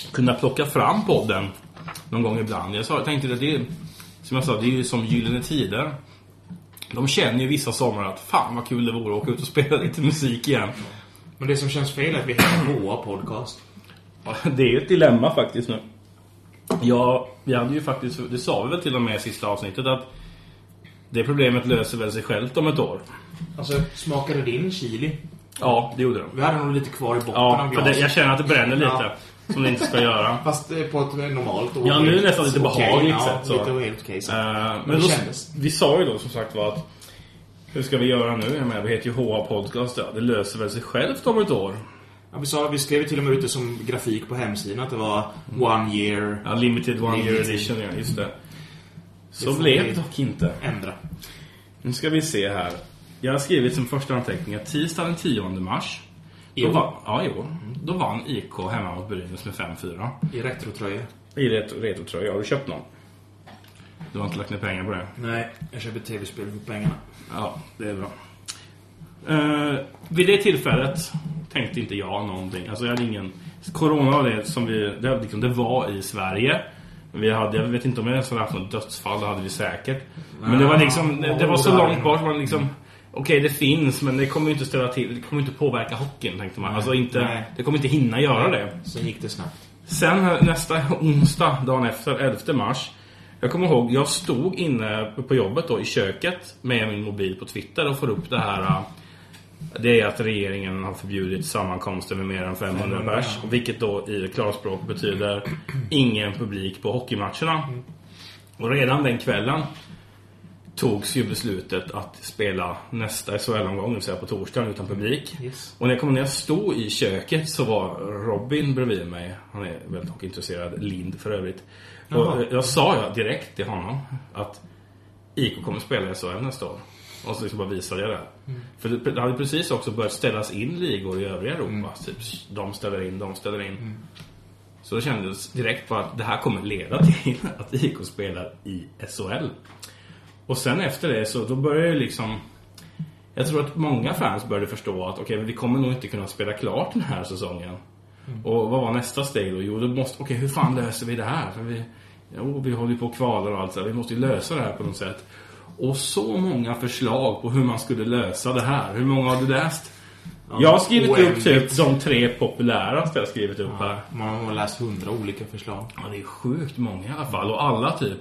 att kunna plocka fram podden någon gång ibland. Jag, sa, jag tänkte att det är, som jag sa, det är ju som Gyllene Tider. De känner ju vissa somrar att fan vad kul det vore att åka ut och spela lite musik igen. Men det som känns fel är att vi heter Moa Podcast. Ja, Det är ju ett dilemma faktiskt nu. Ja, vi hade ju faktiskt, det sa vi väl till och med i sista avsnittet att det problemet löser väl sig självt om ett år. Alltså, smakade din chili? Ja, det gjorde det. Vi hade nog lite kvar i botten av Ja, för glaset. det, jag känner att det bränner lite. Ja. Som det inte ska göra. Fast eh, på ett normalt och Ja, nu är det helt nästan lite okej. behagligt ja, sätt, så. Lite och helt okej. så. Eh, det men då, kändes. vi sa ju då som sagt var att hur ska vi göra nu? Jag menar, vi heter ju HA Podcast. Ja. Det löser väl sig självt om ett år. ja, vi, sa, vi skrev ju till och med ut det som grafik på hemsidan att det var one year. Ja, limited one year Limited. edition, ja, just det. Så Det får blev vi- det dock inte. Ändra. Nu ska vi se här. Jag har skrivit som första anteckning att tisdag den 10 mars. I Då år. vann, ja, i år. Mm. Då vann IK hemma mot Brynäs med 5-4. I retrotröja. I ret- retrotröja. Har du köpt någon? Du har inte lagt ner pengar på det? Nej, jag köper tv-spel för pengarna. Ja, det är bra. Eh, vid det tillfället tänkte inte jag någonting. Alltså jag hade ingen... Corona var det som vi... Det, hade liksom, det var i Sverige. Vi hade, jag vet inte om vi ens hade haft något dödsfall, det hade vi säkert. Men det var liksom... Det, det var så långt bort. Man liksom, Okej, det finns, men det kommer ju inte ställa till... Det kommer inte påverka hockeyn, tänkte man. Alltså inte, Nej. det kommer inte hinna göra det. Sen gick det snabbt. Sen nästa onsdag, dagen efter, 11 mars. Jag kommer ihåg, jag stod inne på jobbet då i köket med min mobil på Twitter och får upp det här. äh, Det är att regeringen har förbjudit sammankomster med mer än 500 pers. Vilket då i klarspråk betyder ingen publik på hockeymatcherna. Och redan den kvällen togs ju beslutet att spela nästa SHL-omgång, det vill säga på torsdagen, utan publik. Yes. Och när jag, kom, när jag stod i köket så var Robin bredvid mig, han är väldigt hockeyintresserad, Lind för övrigt. Och Jaha. jag sa jag direkt till honom att IK kommer spela i SHL nästa år. Och så liksom bara visade jag det. Mm. För det det hade precis också börjat ställas in ligor i övriga Europa. Mm. Typ, de ställer in, de ställer in. Så det kändes direkt på att det här kommer leda till att IK spelar i SHL. Och sen efter det så då började jag liksom... Jag tror att många fans började förstå att okej, men vi kommer nog inte kunna spela klart den här säsongen. Och vad var nästa steg då? Jo, då måste... Okej, hur fan löser vi det här? För vi, jo, vi håller ju på och kvalar och allt så här. Vi måste ju lösa det här på något sätt. Och så många förslag på hur man skulle lösa det här. Hur många har du läst? jag har skrivit upp oändligt. typ de tre populäraste jag har skrivit upp här. Man har läst hundra olika förslag. Ja, det är sjukt många i alla fall. Och alla typ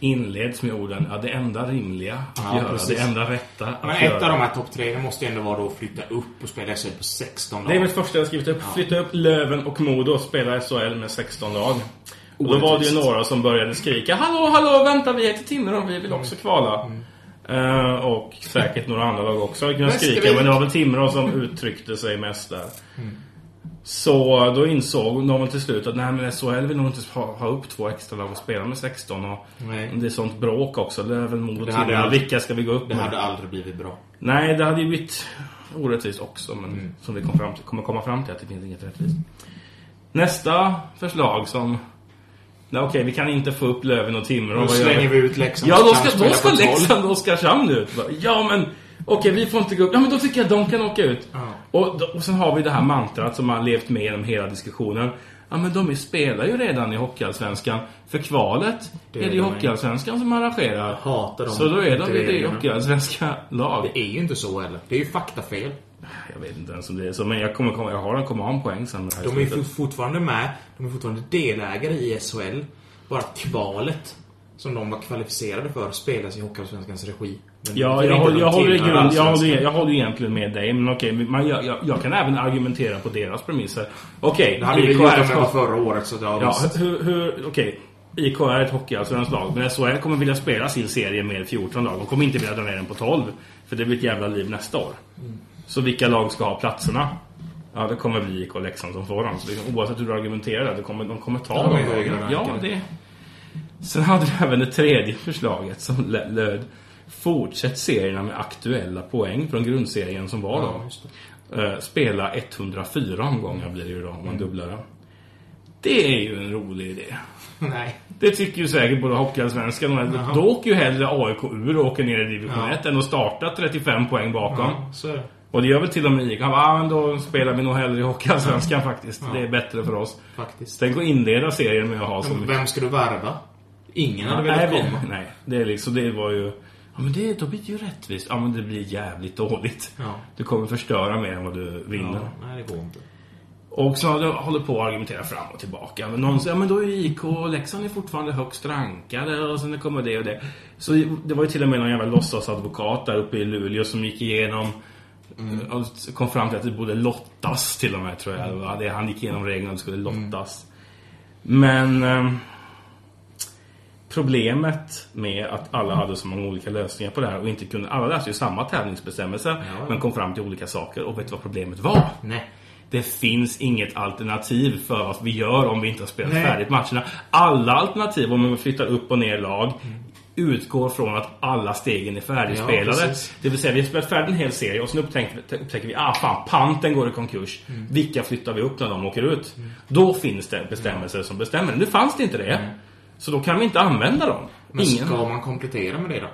inleds med orden ja, det enda rimliga att Ja, göra, precis. det enda rätta att Men göra. ett av de här topp tre det måste ju ändå vara då att flytta upp och spela SHL på 16 Det är dagar. mitt första jag har skrivit upp. Flytta upp Löven och Modo och spela SHL med 16 lag. Och då var det ju Orättvist. några som började skrika Hallå, hallå, vänta, vi heter Timrå och vi vill också kvala. Eh, och säkert några andra lag också hade kunnat Mm. Men ska skrika, vi- Mm. men det var väl Timrå som uttryckte sig mest där. Så då insåg någon till slut att nej men SHL vill nog inte ha, ha upp två extra lag och spela med 16 och Nej. det är sånt bråk också. Löven, Modo, Det hade Timrå. aldrig- Vilka ska vi gå upp Det med? hade aldrig blivit bra. Nej, det hade ju blivit orättvist också, men Mm. som vi kom fram till, kommer komma fram till att det finns inget rättvist. Nästa förslag som... Nej, okej, vi kan inte få upp Löven och Timrå. Då Vad gör slänger vi ut Leksand. Ja, då ska, Spela då på ska tolv. Leksand och Oskarshamn ut. Bara, Ja, men okej, vi får inte gå upp. Ja, men då tycker jag de kan åka ut. Ja. Och, då- och sen har vi det här mantrat som har levt med genom hela diskussionen. Ja, men de är, spelar ju redan i Hockeyallsvenskan. För kvalet är är det ju de. Hockeyallsvenskan som arrangerar. Jag hatar de Så då är de ju det i reglerna. Hockeyallsvenska lag. Det är ju inte så heller. Det är ju faktafel. Jag vet inte ens om det är så, men jag, kommer, komma- jag har en komma om poäng sen. här De är ju slutet. fort- fortfarande med. De är fortfarande delägare i SHL. Bara kvalet som de var kvalificerade för spelas i Hockeyallsvenskans regi. Den Ja, den jag, inte håller- de jag, håller, tillhör grund, jag, håller, allsvenskan. jag håller egentligen med dig, men okej. man, jag, jag, jag kan även argumentera på deras premisser. Okej, Det hade vi IK gjort är ett om det var hockey- förra året, så det har Ja, visst. hur, hur, okej. IK är ett hockeyallsvenskt lag, men SHL kommer vilja spela sin serie med 14 lag. De kommer inte vilja dra ner den på 12, för det blir ett jävla liv nästa år. Mm. Så vilka lag ska ha platserna? Ja, det kommer bli IK och Leksand som får dem. Så liksom, oavsett hur du argumenterar, där, det kommer, de kommer ta Ja, de är dem. högre rankade. Ja, det. Sen hade du även det tredje förslaget som lö- löd Fortsätt serierna med aktuella poäng från grundserien som var då. Ja, just Eh, Spela 104 omgångar blir det ju då om man dubblar den. Det är ju en rolig idé. Nej. Det tycker ju säkert både Hockeyallsvenskan och Jaha. Då åker ju hellre AIK ur och åker ner i division Ja. 1 än att starta 35 poäng bakom. Ja, så är det. Och det gör väl till och med IK. Ja, men då spelar vi nog hellre i Hockeyallsvenskan faktiskt. Det är bättre för oss. Faktiskt. Tänk att inleda serien med att ha så Men mycket Vem ska du värva? Ingen hade nej, velat vi- komma. nej, det är liksom, det var ju... Ja men det, då blir det ju rättvist. Ja men det blir jävligt dåligt. Ja. Du kommer förstöra mer än vad du vinner. Ja, nej, det går inte. Och så har du håller på att argumentera fram och tillbaka. Men någon säger, ja men då är ju IK och Leksand är fortfarande högst rankade och sen det kommer det och det. Så det var ju till och med någon jävla låtsasadvokat där uppe i Luleå som gick igenom eh, och kom fram till att det borde lottas till och med tror jag. Va? Det- Han gick igenom reglerna och det skulle lottas. Men ehm, problemet med att alla hade så många olika lösningar på det här och inte kunde... Alla läste ju samma tävlingsbestämmelser Ja. men kom fram till olika saker och vet du vad problemet var? Nej. Det finns inget alternativ för vad vi gör om vi inte har spelat Nej. färdigt matcherna. Alla alternativ, om man flyttar upp och ner lag, utgår från att alla stegen är Ja, färdigspelade. precis. det vill säga, vi har spelat färdigt en hel serie och sen upptäcker, upptäcker vi ah fan, panten går i konkurs. Mm. Vilka flyttar vi upp när de åker ut? Då finns det bestämmelser som bestämmer. Nu fanns det inte det. Så då kan vi inte använda dem. Mm. Men Ingen. ska man komplettera med det då?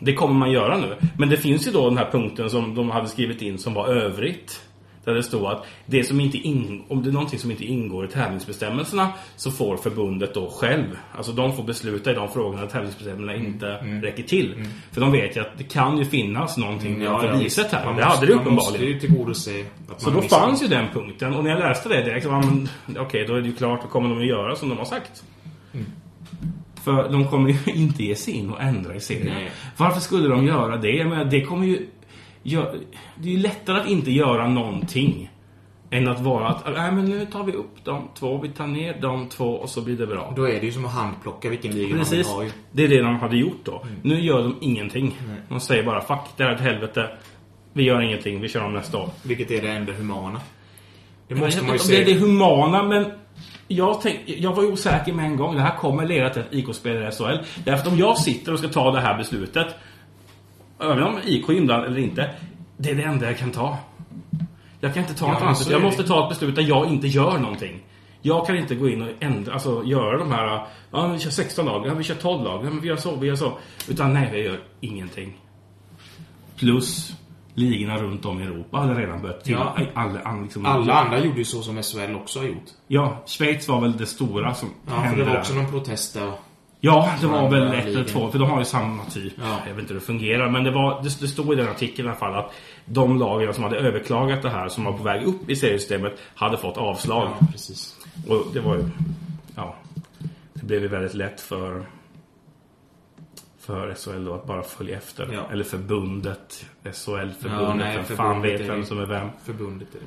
Det kommer man göra nu. Men det finns ju då den här punkten som de hade skrivit in som var övrigt. Där det stod att det som inte in, om det är någonting som inte ingår i tävlingsbestämmelserna så får förbundet då själv. Alltså de får besluta i de frågorna där tävlingsbestämmelserna Mm, inte räcker till. För de vet ju att det kan ju finnas någonting Mm, vi har inte visat här. Man det hade måste- det Man måste ju uppenbarligen. tillgodose att Så man då missar. fanns ju den punkten. Och när jag läste det direkt så var men okej, då är det ju klart. Då kommer de att göra som de har sagt. Mm. För de kommer ju inte ge sig in och ändra i serien. Nej. Varför skulle de göra det? Jag menar, det kommer ju... gör- det är ju lättare att inte göra någonting. Än att vara att, nej men nu tar vi upp de två, vi tar ner de två och så blir det bra. Då är det ju som att handplocka vilken liga Precis. man vill ha ju. Det är det de hade gjort då. Mm. Nu gör de ingenting. De säger bara, fuck det här är ett helvete. Vi gör ingenting, vi kör om nästa år. Vilket är det enda humana. Det Jag vet måste man ju inte om Det är det se. humana, men jag, tänk, jag var ju osäker med en gång. Det här kommer leda till att IK spelar i SHL. Därför att om jag sitter och ska ta det här beslutet, även om IK är inblandad eller inte, det är det enda jag kan ta. Jag kan inte ta Ja, något men annat så beslut. är Jag det. måste ta ett beslut där jag inte gör någonting. Jag kan inte gå in och ändra, alltså göra de här, ja vi kör 16 lag, ja, vi kör 12 lag, ja, men vi gör så, vi gör så. Utan nej, jag gör ingenting. Plus ligorna runt om i Europa hade redan börjat till. Ja. Alla, alla, liksom, Alla andra gjorde ju så som SHL också har gjort. Ja, Schweiz var väl det stora som Ja, för hände det var där. också någon protest där. Ja, det var väl Andra ett eller ligan. två, för de har ju samma typ. Ja. Jag vet inte hur det fungerar, men det, var, det, det stod i den artikeln i alla fall att de lagen som hade överklagat det här, som var på väg upp i seriesystemet, hade fått avslag. Ja, precis. Och det var ju... Ja. Det blev ju väldigt lätt för för SHL då att bara följa efter. Ja. Eller förbundet. SHL-förbundet. Ja, nej, vem fan förbundet vet är vem det. som är vem. Förbundet är det.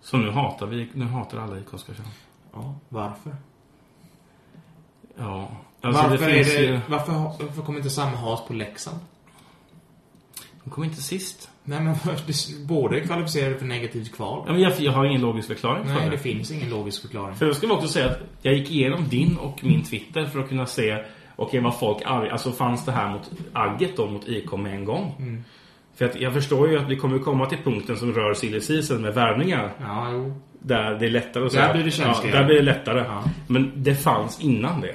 Så nu hatar vi... Nu hatar alla IK Oskarshamn. Ja, varför? Ja. Alltså, varför, det finns är det, ju... varför, ha- varför kommer inte samma hat på Leksand? De kom inte sist. Nej men det- båda är kvalificerade för negativt kval. Ja, men jag, jag har ingen logisk förklaring för Nej, det. det finns ingen logisk förklaring. För jag skulle också säga att jag gick igenom din och min Twitter för att kunna se okej vad folk arg, Alltså fanns det här mot agget då mot IK med en gång? Mm. För att jag förstår ju att vi kommer komma till punkten som rör silly season med värvningar. Ja, jo. Där det är lättare att Där blir det känsligare. ja, Där blir det lättare. Ja. Men det fanns innan det.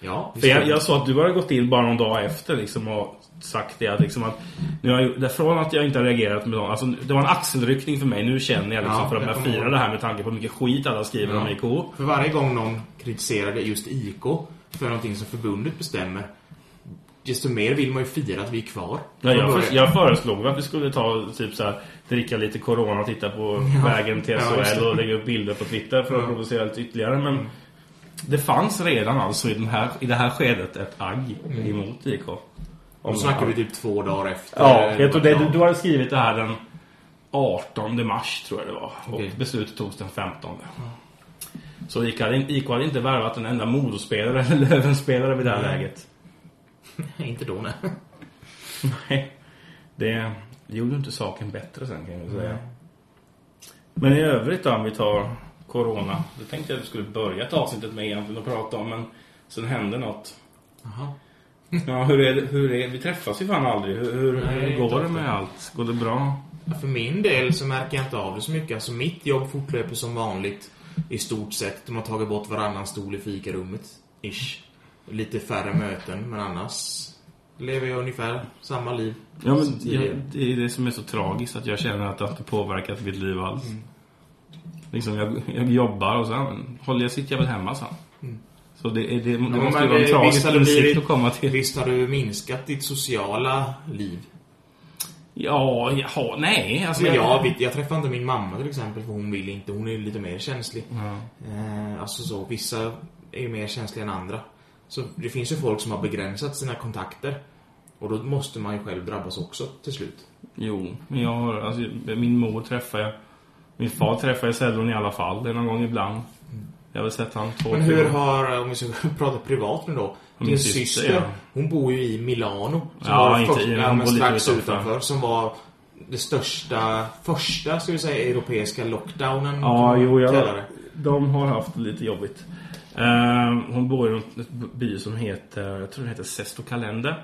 Ja, För visst är jag, det. jag sa att du hade gått in bara någon dag efter liksom, och sagt det att, liksom, att nu har jag, från att jag inte har reagerat med någon, alltså, det var en axelryckning för mig. Nu känner jag liksom, Ja, för att jag jag kommer firar ihåg. det här med tanke på hur mycket skit alla skriver om IK. För varje gång någon kritiserade just IK för någonting som förbundet bestämmer, desto mer vill man ju fira att vi är kvar. Ja, Från jag, början. förs- jag föreslog att vi skulle ta typ så här, dricka lite corona och titta på vägen till Ja, just SHL det. och lägga upp bilder på Twitter för att provocera lite ytterligare. Men Det fanns redan alltså i, den här, i det här skedet ett agg emot IK. Då Mm. snackar vi typ två dagar efter. Ja, jag tror det, du, du hade skrivit det här den 18 mars tror jag det var. Och Okej. beslutet togs den 15. Så IK hade, in- IK hade inte värvat en enda Modospelare eller Lövenspelare vid det här läget. Inte då, nej. Nej. Det gjorde inte saken bättre sen kan jag säga. Men i övrigt då, om vi tar Corona. Det tänkte jag att vi skulle börja ett avsnittet med egentligen och prata om, men sen hände något. Jaha. Ja, hur är det, hur är, vi träffas ju fan aldrig. Hur, hur, Nej, hur går det inte med allt? Går det bra? För min del så märker jag inte av det så mycket. Alltså mitt jobb fortlöper som vanligt. I stort sett. De har tagit bort varannan stol i fikarummet. Ish. Lite färre möten, men annars lever jag ungefär samma liv. Ja, som men tidigare. jag, det är det som är så tragiskt att jag känner att det har inte påverkat mitt liv alls. Mm. Liksom, jag, jag jobbar och sen håller jag, sitter jag väl hemma sen. Så det, är, det, det Mm. men måste ju det- vara en visst tragisk hade det insikt blivit- att komma till. Visst har du minskat ditt sociala liv? Ja, jaha, nej. Alltså, Men jag- jag, vet- jag träffar inte min mamma till exempel för hon vill inte. Hon är lite mer känslig. Eh, alltså så, vissa är ju mer känsliga än andra. Så det finns ju folk som har begränsat sina kontakter. Och då måste man ju själv drabbas också till slut. Jo, men jag har, alltså, min mor träffar jag. Min far träffar jag sällan i alla fall. Det är någon gång ibland. Jag har väl sett han två, Mm. Men tre hur gånger. har, om vi ska prata privat nu då. Min Din syster, syster, Mm, ja. hon bor ju i Milano. som Ja, var inte först- i, ja, hon men bor lite strax utanför. utanför. Som var det största, första ska vi säga, europeiska lockdownen. kan Ja, man jo, kalla jag, det. de har haft det lite jobbigt. Ehm, hon bor i en ett by som heter, jag tror den heter Sestokalende.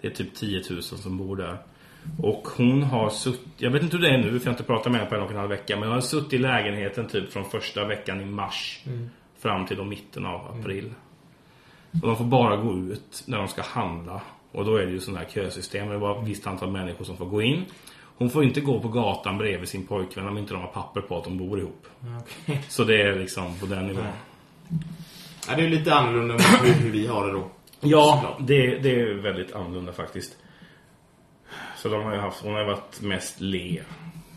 Det är typ 10 000 som bor där. Och hon har suttit, jag vet inte hur det är nu för jag har inte pratat med henne på en och en halv vecka. Men hon har suttit i lägenheten typ från första veckan i mars fram till då mitten av april. Och de får bara gå ut när de ska handla. Och då är det ju sådana här kösystem. Det är bara ett visst antal människor som får gå in. Hon får inte gå på gatan bredvid sin pojkvän om inte de har papper på att de bor ihop. Okej. Så det är liksom på den nivån. Ja, det är lite annorlunda mot hur hur vi har det då. Ja, det, det är väldigt annorlunda faktiskt. Så de har ju haft, hon har ju varit mest le,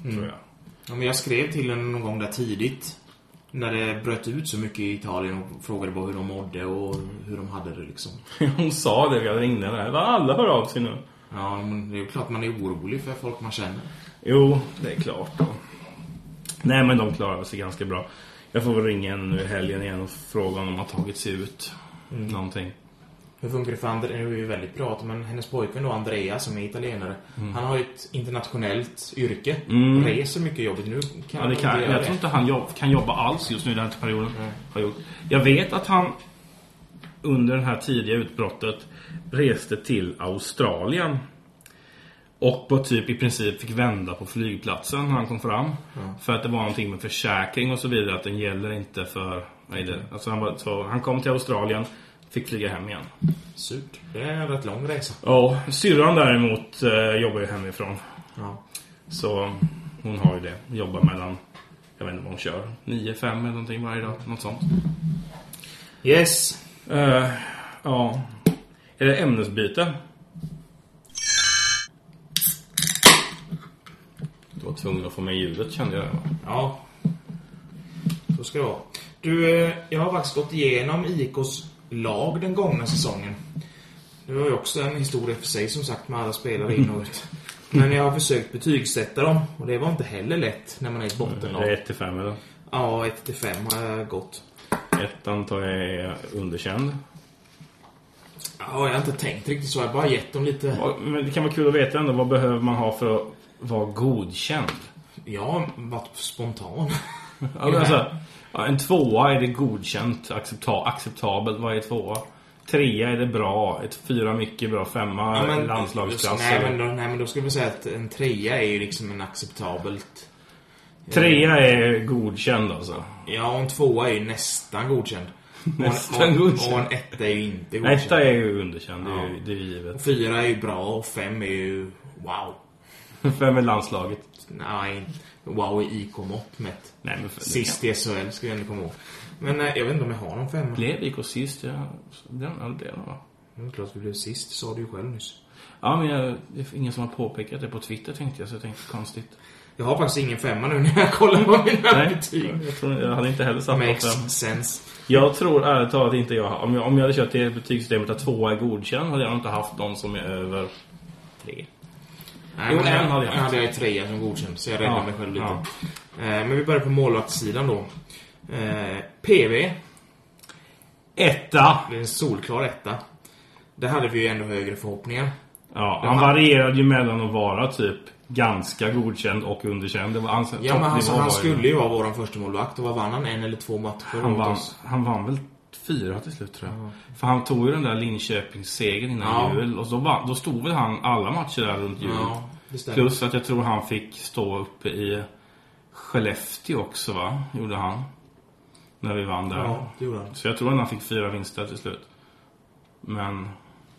tror jag. Ja, men jag skrev till henne någon gång där tidigt. När det bröt ut så mycket i Italien och frågade bara hur de mådde och hur de hade det liksom. Hon sa det, jag ringde henne. Va, Alla hör av sig nu. Ja, men det är ju klart man är orolig för folk man känner. Jo, det är klart då. Nej, men de klarar sig ganska bra. Jag får väl ringa henne nu i helgen igen och fråga om de har tagit sig ut. Någonting. Hur funkar det för Andrea? Nu är vi väldigt bra, men hennes pojkvän då, Andrea, som är italienare. Han har ju ett internationellt yrke. Mm. Reser mycket i jobbet. Nu kan Ja, det han kan, inte göra jag tror inte han jobb, kan jobba alls just nu i den här perioden. Har gjort. Jag vet att han under det här tidiga utbrottet reste till Australien. Och på typ i princip fick vända på flygplatsen när han kom fram. För att det var någonting med försäkring och så vidare. Att den gäller inte för... Vad är det? Alltså han, var, så, han kom till Australien, fick flyga hem igen. Surt. Det är en rätt lång resa. Ja, syrran däremot eh, jobbar ju hemifrån. Ja. Så hon har ju det. Jobbar mellan, jag vet inte vad hon kör, 9-5 eller någonting varje dag. Något sånt. Yes! Eh, ja. Är det ämnesbyte? Du var tvungen att få med ljudet kände jag. Ja. Så ska det vara. Du, eh, jag har faktiskt gått igenom IKs lag den gångna säsongen. Det var ju också en historia för sig som sagt med alla spelare in och ut. Men jag har försökt betygsätta dem och det var inte heller lätt när man är i ett Är det bottenlag. 1 till 5 eller? Ja, 1 till 5 har jag gått. Ettan tar jag är underkänd. Ja, jag har inte tänkt riktigt så. Jag har bara gett dem lite... Och- Men det kan vara kul att veta ändå. Vad behöver man ha för att vara godkänd? Jag har varit spontan. Ja, men Alltså, ja, en tvåa är det godkänt, accepta acceptabelt. Vad är tvåa? Trea är det bra. Ett fyra mycket bra. Femma Ja, men- landslagsklass. Nej eller- men, då, nej, men då skulle jag säga att en trea är ju liksom en acceptabelt... Trea är godkänd alltså. Ja, och en tvåa är ju nästan godkänd. Nästan och en, och, godkänd. Och en etta är ju inte godkänd. Etta är ju underkänd. Det är ju, det är ju givet. Fyra är ju bra och fem är ju wow. Fem är landslaget. Nej, wow är IK-mått mätt. Nej, men för- Sist i SHL ska jag ändå komma ihåg. Men eh, jag vet inte om jag har någon femma. Blev IK sist? Ja, det ja, det blev de, va? Det är klart vi blev sist, sa du ju själv nyss. Ja, men jag, det är ingen som har påpekat det på Twitter tänkte jag, så jag tänkte konstigt. Jag har faktiskt ingen femma nu när jag kollar på mina Nej, betyg. jag, tror, jag hade inte heller satt något Makes fem. sense. Jag tror ärligt talat inte jag... Om jag, om jag hade kört det betygssystemet att tvåa är godkänd hade jag nog inte haft någon som är över tre. Nej, Jo, men en jag- hade jag jag. haft. hade jag trea som godkänd, så jag räddade Ja, mig själv lite. ja. Eh, men vi börjar på målvaktssidan då. Eh, PV, Etta! det är en solklar etta. Där hade vi ju ändå högre förhoppningar. Ja, Ja, han han- varierade ju mellan att vara typ ganska godkänd och underkänd. Det var hans Ja, men toppnivå alltså, han var ju- skulle ju vara vår förstemålvakt och vad vann han? En eller två matcher Han mot vann, oss? han vann väl fyra till slut tror jag. För han tog ju den där Linköpingssegern innan Ja. jul. Och så vann, då stod väl han alla matcher där runt jul. Ja, det stämmer. Plus att jag tror han fick stå uppe i Skellefteå också va? Gjorde han. När vi vann där. Ja, det gjorde han. Så jag tror att han fick fyra vinster till slut. Men...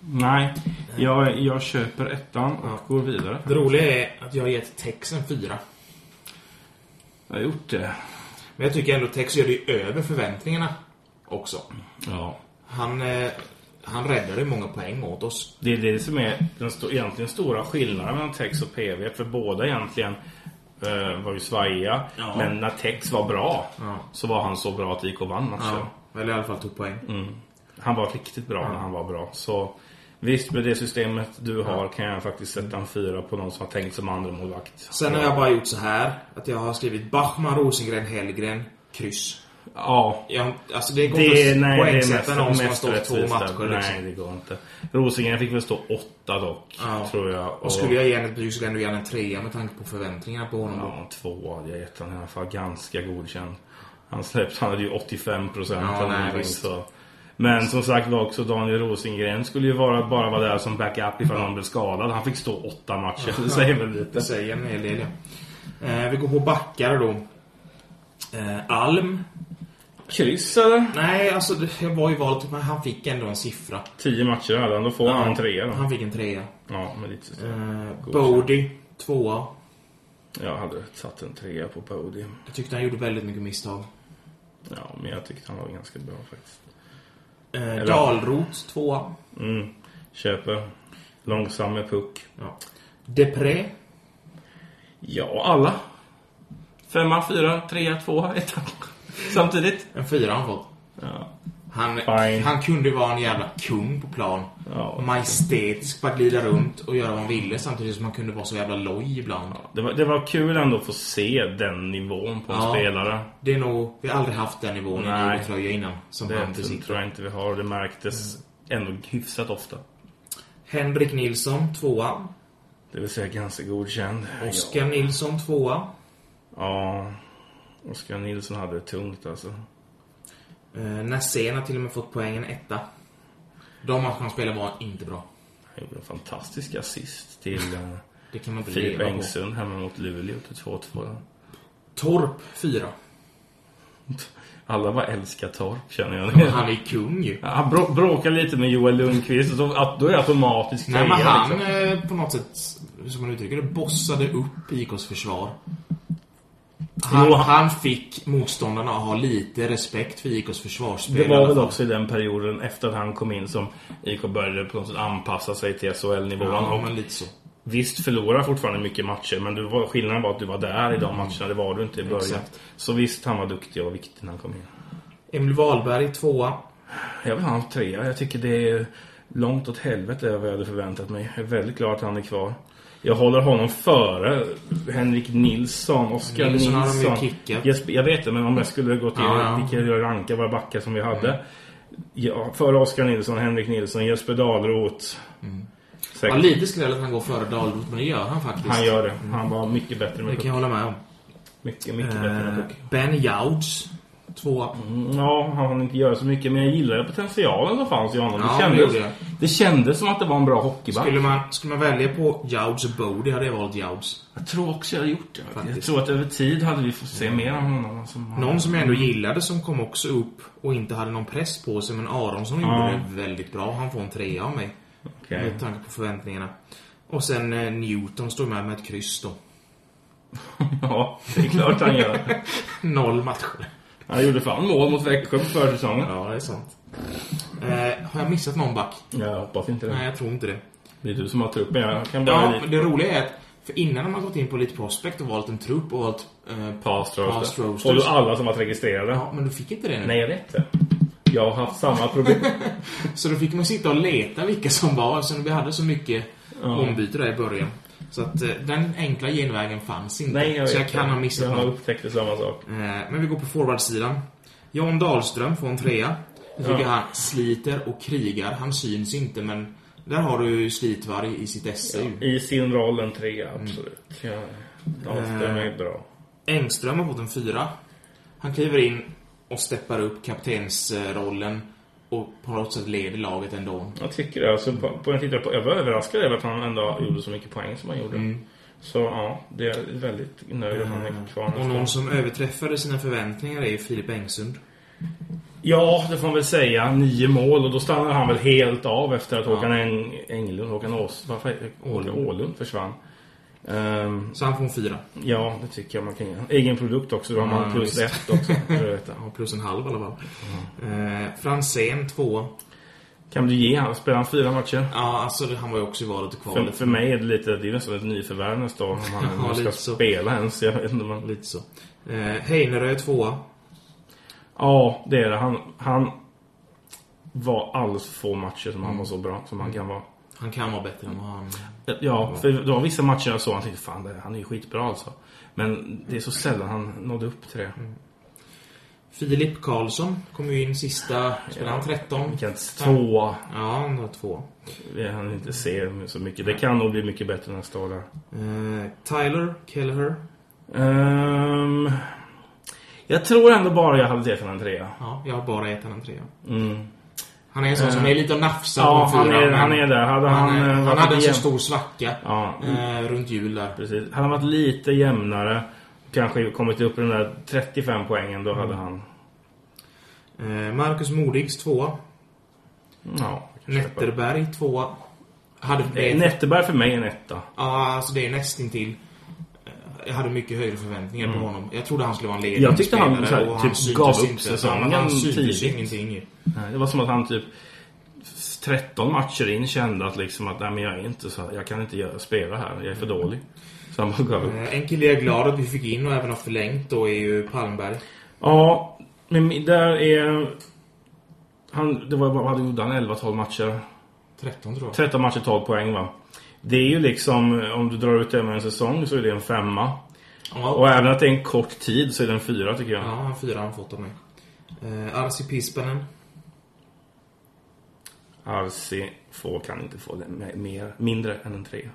Nej. Jag, jag köper ettan och Ja. går vidare. Det roliga är att jag har gett Tex en fyra. Jag har gjort det. Men jag tycker ändå Tex gör det ju över förväntningarna också. Ja. Han, eh, han räddade ju många poäng åt oss. Det är det som är den sto- egentligen stora skillnaden mellan Tex och PV. För båda egentligen eh, var ju svajiga. Ja. Men när Tex var bra Ja. så var han så bra att IK vann matchen. Eller i alla fall tog poäng. Mm. Han var riktigt bra när han var bra. Så visst, med det systemet du har kan jag faktiskt sätta en fyra på någon som har tänkt som andra målvakt. Sen har jag bara gjort så här att jag har skrivit Bachman, Rosengren, Hellgren, kryss. Ja. Jag, alltså det går inte Det, att nej, det är mest, poängsätta någon som har mest stått två rättvist där. matcher. Nej, Liksom. det går inte. Rosengren fick väl stå åtta dock, Ja. tror jag. Och skulle jag ge henne ett betyg så skulle jag ändå ge henne en trea med tanke på förväntningarna på honom. då. Ja, två hade jag gett honom i alla fall. Ganska godkänd. Han släppte, han hade ju 85 procent Ja, eller nej, någonting. visst. Så. Men som sagt var också Daniel Rosengren skulle ju vara, bara vara där som backup ifall någon blev skadad. Han fick stå åtta matcher. Det säger väl lite. Det säger en hel del, ja. eh, Vi går på backar då. Eh, Alm. Kryss eller? Nej, alltså det jag var ju valet, men han fick ändå en siffra. Tio matcher hade han. Då får han en trea då. Han fick en trea. Ja, med ditt system. Eh, Bodie, tvåa. Jag hade satt en trea på Bodie. Jag tyckte han gjorde väldigt mycket misstag. Ja, men jag tyckte han var ganska bra faktiskt. Eh, Dahlroth, tvåa. Mm. Köper. Långsam med puck. Ja. Depré, Ja, alla. Femma, fyra, trea, tvåa, etta. Samtidigt. en fyra har han fått. Ja. Han, Fine. han kunde ju vara en jävla kung på plan. Ja. Majestätisk, bara glida runt och göra vad han ville samtidigt som han kunde vara så jävla loj ibland. Det, var, det var kul ändå att få se den nivån på en Ja. spelare. Det är nog, vi har aldrig haft den nivån i Nej. en tröja innan. Som Det han tror- besitter. tror jag inte vi har. Det märktes ändå hyfsat ofta. Henrik Nilsson, tvåa. Det vill säga ganska godkänd. Oskar Nilsson, tvåa. Ja. Oskar Nilsson hade det tungt alltså. Eh, Nässén har till och med fått poängen etta. De matcher han spelade var inte bra. Han gjorde en fantastisk assist till eh, Det kan man inte Filip leva på. Engsund hemma mot Luleå till 2-2. Torp, fyra. Alla bara älskar Torp känner jag. Men Han är kung ju. Ja, Han brå- bråkar lite med Joel Lundqvist och så, att, då är det automatiskt Nej, men trea, han liksom. eh, på något sätt, som man uttrycker det, bossade upp IKs försvar. Han, Jo, han- han fick motståndarna att ha lite respekt för IKs försvarsspel. Det i alla var väl fall. också i den perioden efter att han kom in som IK började på något sätt anpassa sig till SHL-nivån. Ja, och men lite så. visst förlorar fortfarande mycket matcher men du var, skillnaden var att du var där i de matcherna. Det var du inte i början. Exakt. Så visst, han var duktig och viktig när han kom in. Emil Wahlberg, tvåa. Jag vill ha en trea. Jag tycker det är långt åt helvete över vad jag hade förväntat mig. Jag är väldigt glad att han är kvar. Jag håller honom före Henrik Nilsson, Oskar Nilsson Nilsson. har de ju kickat. Jag, sp- jag vet det, men om jag skulle gå till Ja, ja. Mm. vilka jag rankar våra backar som vi hade. Ja, före Oskar Nilsson, Henrik Nilsson, Jesper Dahlroth. Mm. Ja, Säkert. lite skräll att han går före Dahlroth, men det gör han faktiskt. Han gör det. Han var mycket bättre Det med kan puck. jag hålla med om. Mycket, mycket bättre med Eh, puck. ben Jouds, tvåa. Ja, han hann inte göra så mycket, men jag gillade potentialen som fanns i honom. Ja, det, det kändes, gjorde jag. det kändes som att det var en bra hockeyback. Skulle man, skulle man välja på Jouds och Bodie hade jag valt Jouds. Jag tror också jag hade gjort det. Faktiskt. Jag tror att över tid hade vi fått se mer av honom. Alltså, Någon som jag ändå gillade som kom också upp och inte hade någon press på sig, men Aronsson Ja. gjorde det väldigt bra. Han får en trea av mig. Okej. Med tanke på förväntningarna. Och sen eh, Newton står med med ett kryss då. ja, det är klart han gör. Noll matcher. Han gjorde fan mål mot Växjö på försäsongen. Ja, det är sant. Eh, har jag missat någon back? Jag hoppas inte det. Nej, jag tror inte det. Det är du som har truppen. Jag kan bara... Ja, men det roliga är att För innan har man gått in på lite prospect och valt en trupp och valt... Eh, Past Past roasters. roasters. Och då alla som varit registrerade. ja, men du fick inte det nu. Nej, jag vet det. Jag har haft samma problem. Så då fick man sitta och leta vilka som var eftersom vi hade så mycket Ja. ombyte där i början. Så att eh, den enkla genvägen fanns inte. Nej, jag så jag vet kan det. ha missat Jag har något. upptäckt samma sak. Eh, Men vi går på forwardsidan. Jon Dahlström får en trea. Jag tycker Ja. han sliter och krigar. Han syns inte men där har du ju Slitvarg i sitt esse. ju. I sin roll en trea, absolut. Mm. Ja. Eh. Dahlström är bra. Engström har fått en fyra. Han kliver in och steppar upp kaptensrollen och på något sätt leder laget ändå. Jag tycker det. Alltså, på, på en tittare på, jag var överraskad över att han ändå gjorde så mycket poäng som han gjorde. Så ja, det är väldigt nöjd att han är kvar Mm. Och nästa år. någon som överträffade sina förväntningar är Filip Engsund. Ja, det får man väl säga. Nio mål och då stannar han väl helt av efter att Håkan Eng, Englund, Håkan Ås, varför, heter- Ålund. Ålund försvann. Ehm, Så han får en fyra. ja, det tycker jag man kan göra. Egen produkt också, då har man Ja, plus ett också. för att veta. Ja, plus en halv i alla fall. Mm. Eh, Franzén två. Kan du ge han, spelar han fyra matcher? Ja, alltså det- han var ju också i valet och För, kvalet. för mig är det lite, det är nästan ett nyförvärv nästa år om han Ja, nu ska lite så. spela ens. Jag vet inte om han... Lite så. Eh, Heinerö tvåa. Ja, det är det. Han, han var alldeles för få matcher som han var så bra som han kan vara. Han kan vara bättre än vad han... Ja, för det var vissa matcher jag såg han tyckte fan, det, han är ju skitbra alltså. Men det är så sällan han nådde upp till det. Filip Karlsson kom ju in sista... Spelade han 13? Vilken tvåa Ja, han var två. han inte ser så mycket. Det kan nog bli mycket bättre nästa år där. Eh, Tyler Kelleher. Ehm, jag tror ändå bara jag hade gett honom en trea. Ja, jag har bara gett honom en trea. Mm. Eh, Han är en sån som är lite och nafsar Ja, på en han fyra, är, men han är där. Hade han, Han, eh, han, varit hade en så jäm- stor svacka Ja, eh, runt jul där. precis. Hade han varit lite jämnare, kanske kommit upp i de där 35 poängen, då hade han... Eh, Marcus Modigs tvåa. Ja, kanske köpa. Netterberg tvåa. Hade Eh, det, Netterberg för mig är en etta. ja, alltså det är nästintill. Eh, Jag hade mycket högre förväntningar på honom. Jag trodde han skulle vara en ledande Mm. Jag tyckte han spelare så här, och typ syntes gav upp inte. säsongen Han syntes tidigt. ju ingenting ju. Nej, Det var som att han typ 13 matcher in kände att liksom att nej men jag är inte så jag kan inte göra, spela här, jag är för dålig. Så han bara gav upp. Eh, En kille jag är glad att vi fick in och även har förlängt då är ju Palmberg. Ja, men där är... Han, det var, vad hade gjort han? 11-12 matcher? 13 tror jag. 13 matcher, 12 poäng va? Det är ju liksom, om du drar ut det med en säsong så är det en femma. Ja, Och även att det är en kort tid så är det en fyra tycker jag. ja han fyra har han fått av mig. Eh, Arsi Pispanen. Arsi får, kan inte få det me- mer, mindre än en tre.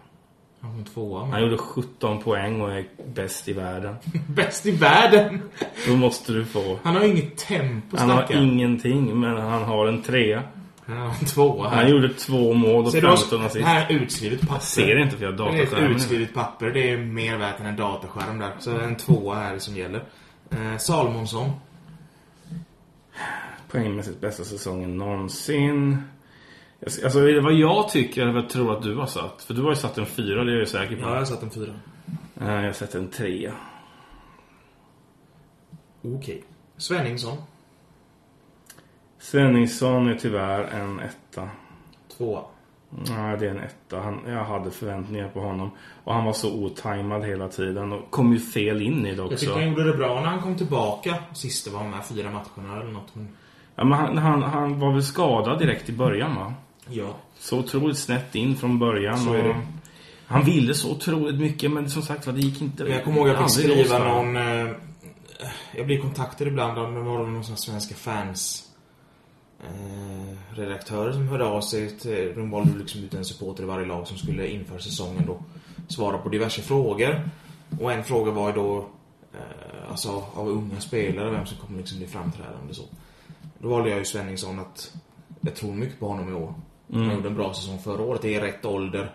Han kom tvåa. men- Han gjorde 17 poäng och är bäst i världen. Bäst i världen! Då måste du få... Han har ju inget tempo Han har stackaren. ingenting, men han har en trea. Han har en tvåa här. Han gjorde två mål och Ser du oss- 15 det assist. här är utskrivet papper. Ser inte för jag har Det är ett dataskärmen. utskrivet papper. Det är mer värt än en dataskärm där. Så en tvåa är det som gäller. Eh, Salmonsson. Poängmässigt bästa säsongen någonsin. Jag- Alltså är det vad jag tycker eller vad jag tror att du har satt? För du har ju satt en fyra, det är jag ju säker på. Ja, jag har satt en fyra. Eh, Jag har satt en trea. Okej. Svenningsson. Svenningsson är tyvärr en etta. Tvåa. Nej, det är en etta. Han, jag hade förväntningar på honom. Och han var så otajmad hela tiden och kom ju fel in i det Jag också. tyckte han gjorde det bra när han kom tillbaka. Sista var han med fyra matcherna eller något. Men... Ja, men han, han, han var väl skadad direkt i början va? Ja. Så otroligt snett in från början. Så är det. Och han ville så otroligt mycket men som sagt var, det gick inte. Men jag kommer ihåg att jag fick aldrig loss skriva där. någon... Eh, jag blir kontaktad ibland av det var någon sån här svenska fans eh, redaktörer som hörde av sig. Till, de valde liksom ut en supporter i varje lag som skulle inför säsongen då svara på diverse frågor. Och en fråga var ju då eh, alltså av unga spelare, vem som kommer liksom bli framträdande så. Då valde jag ju Svenningsson att jag tror mycket på honom i år. Han gjorde en bra säsong förra året, det är rätt ålder.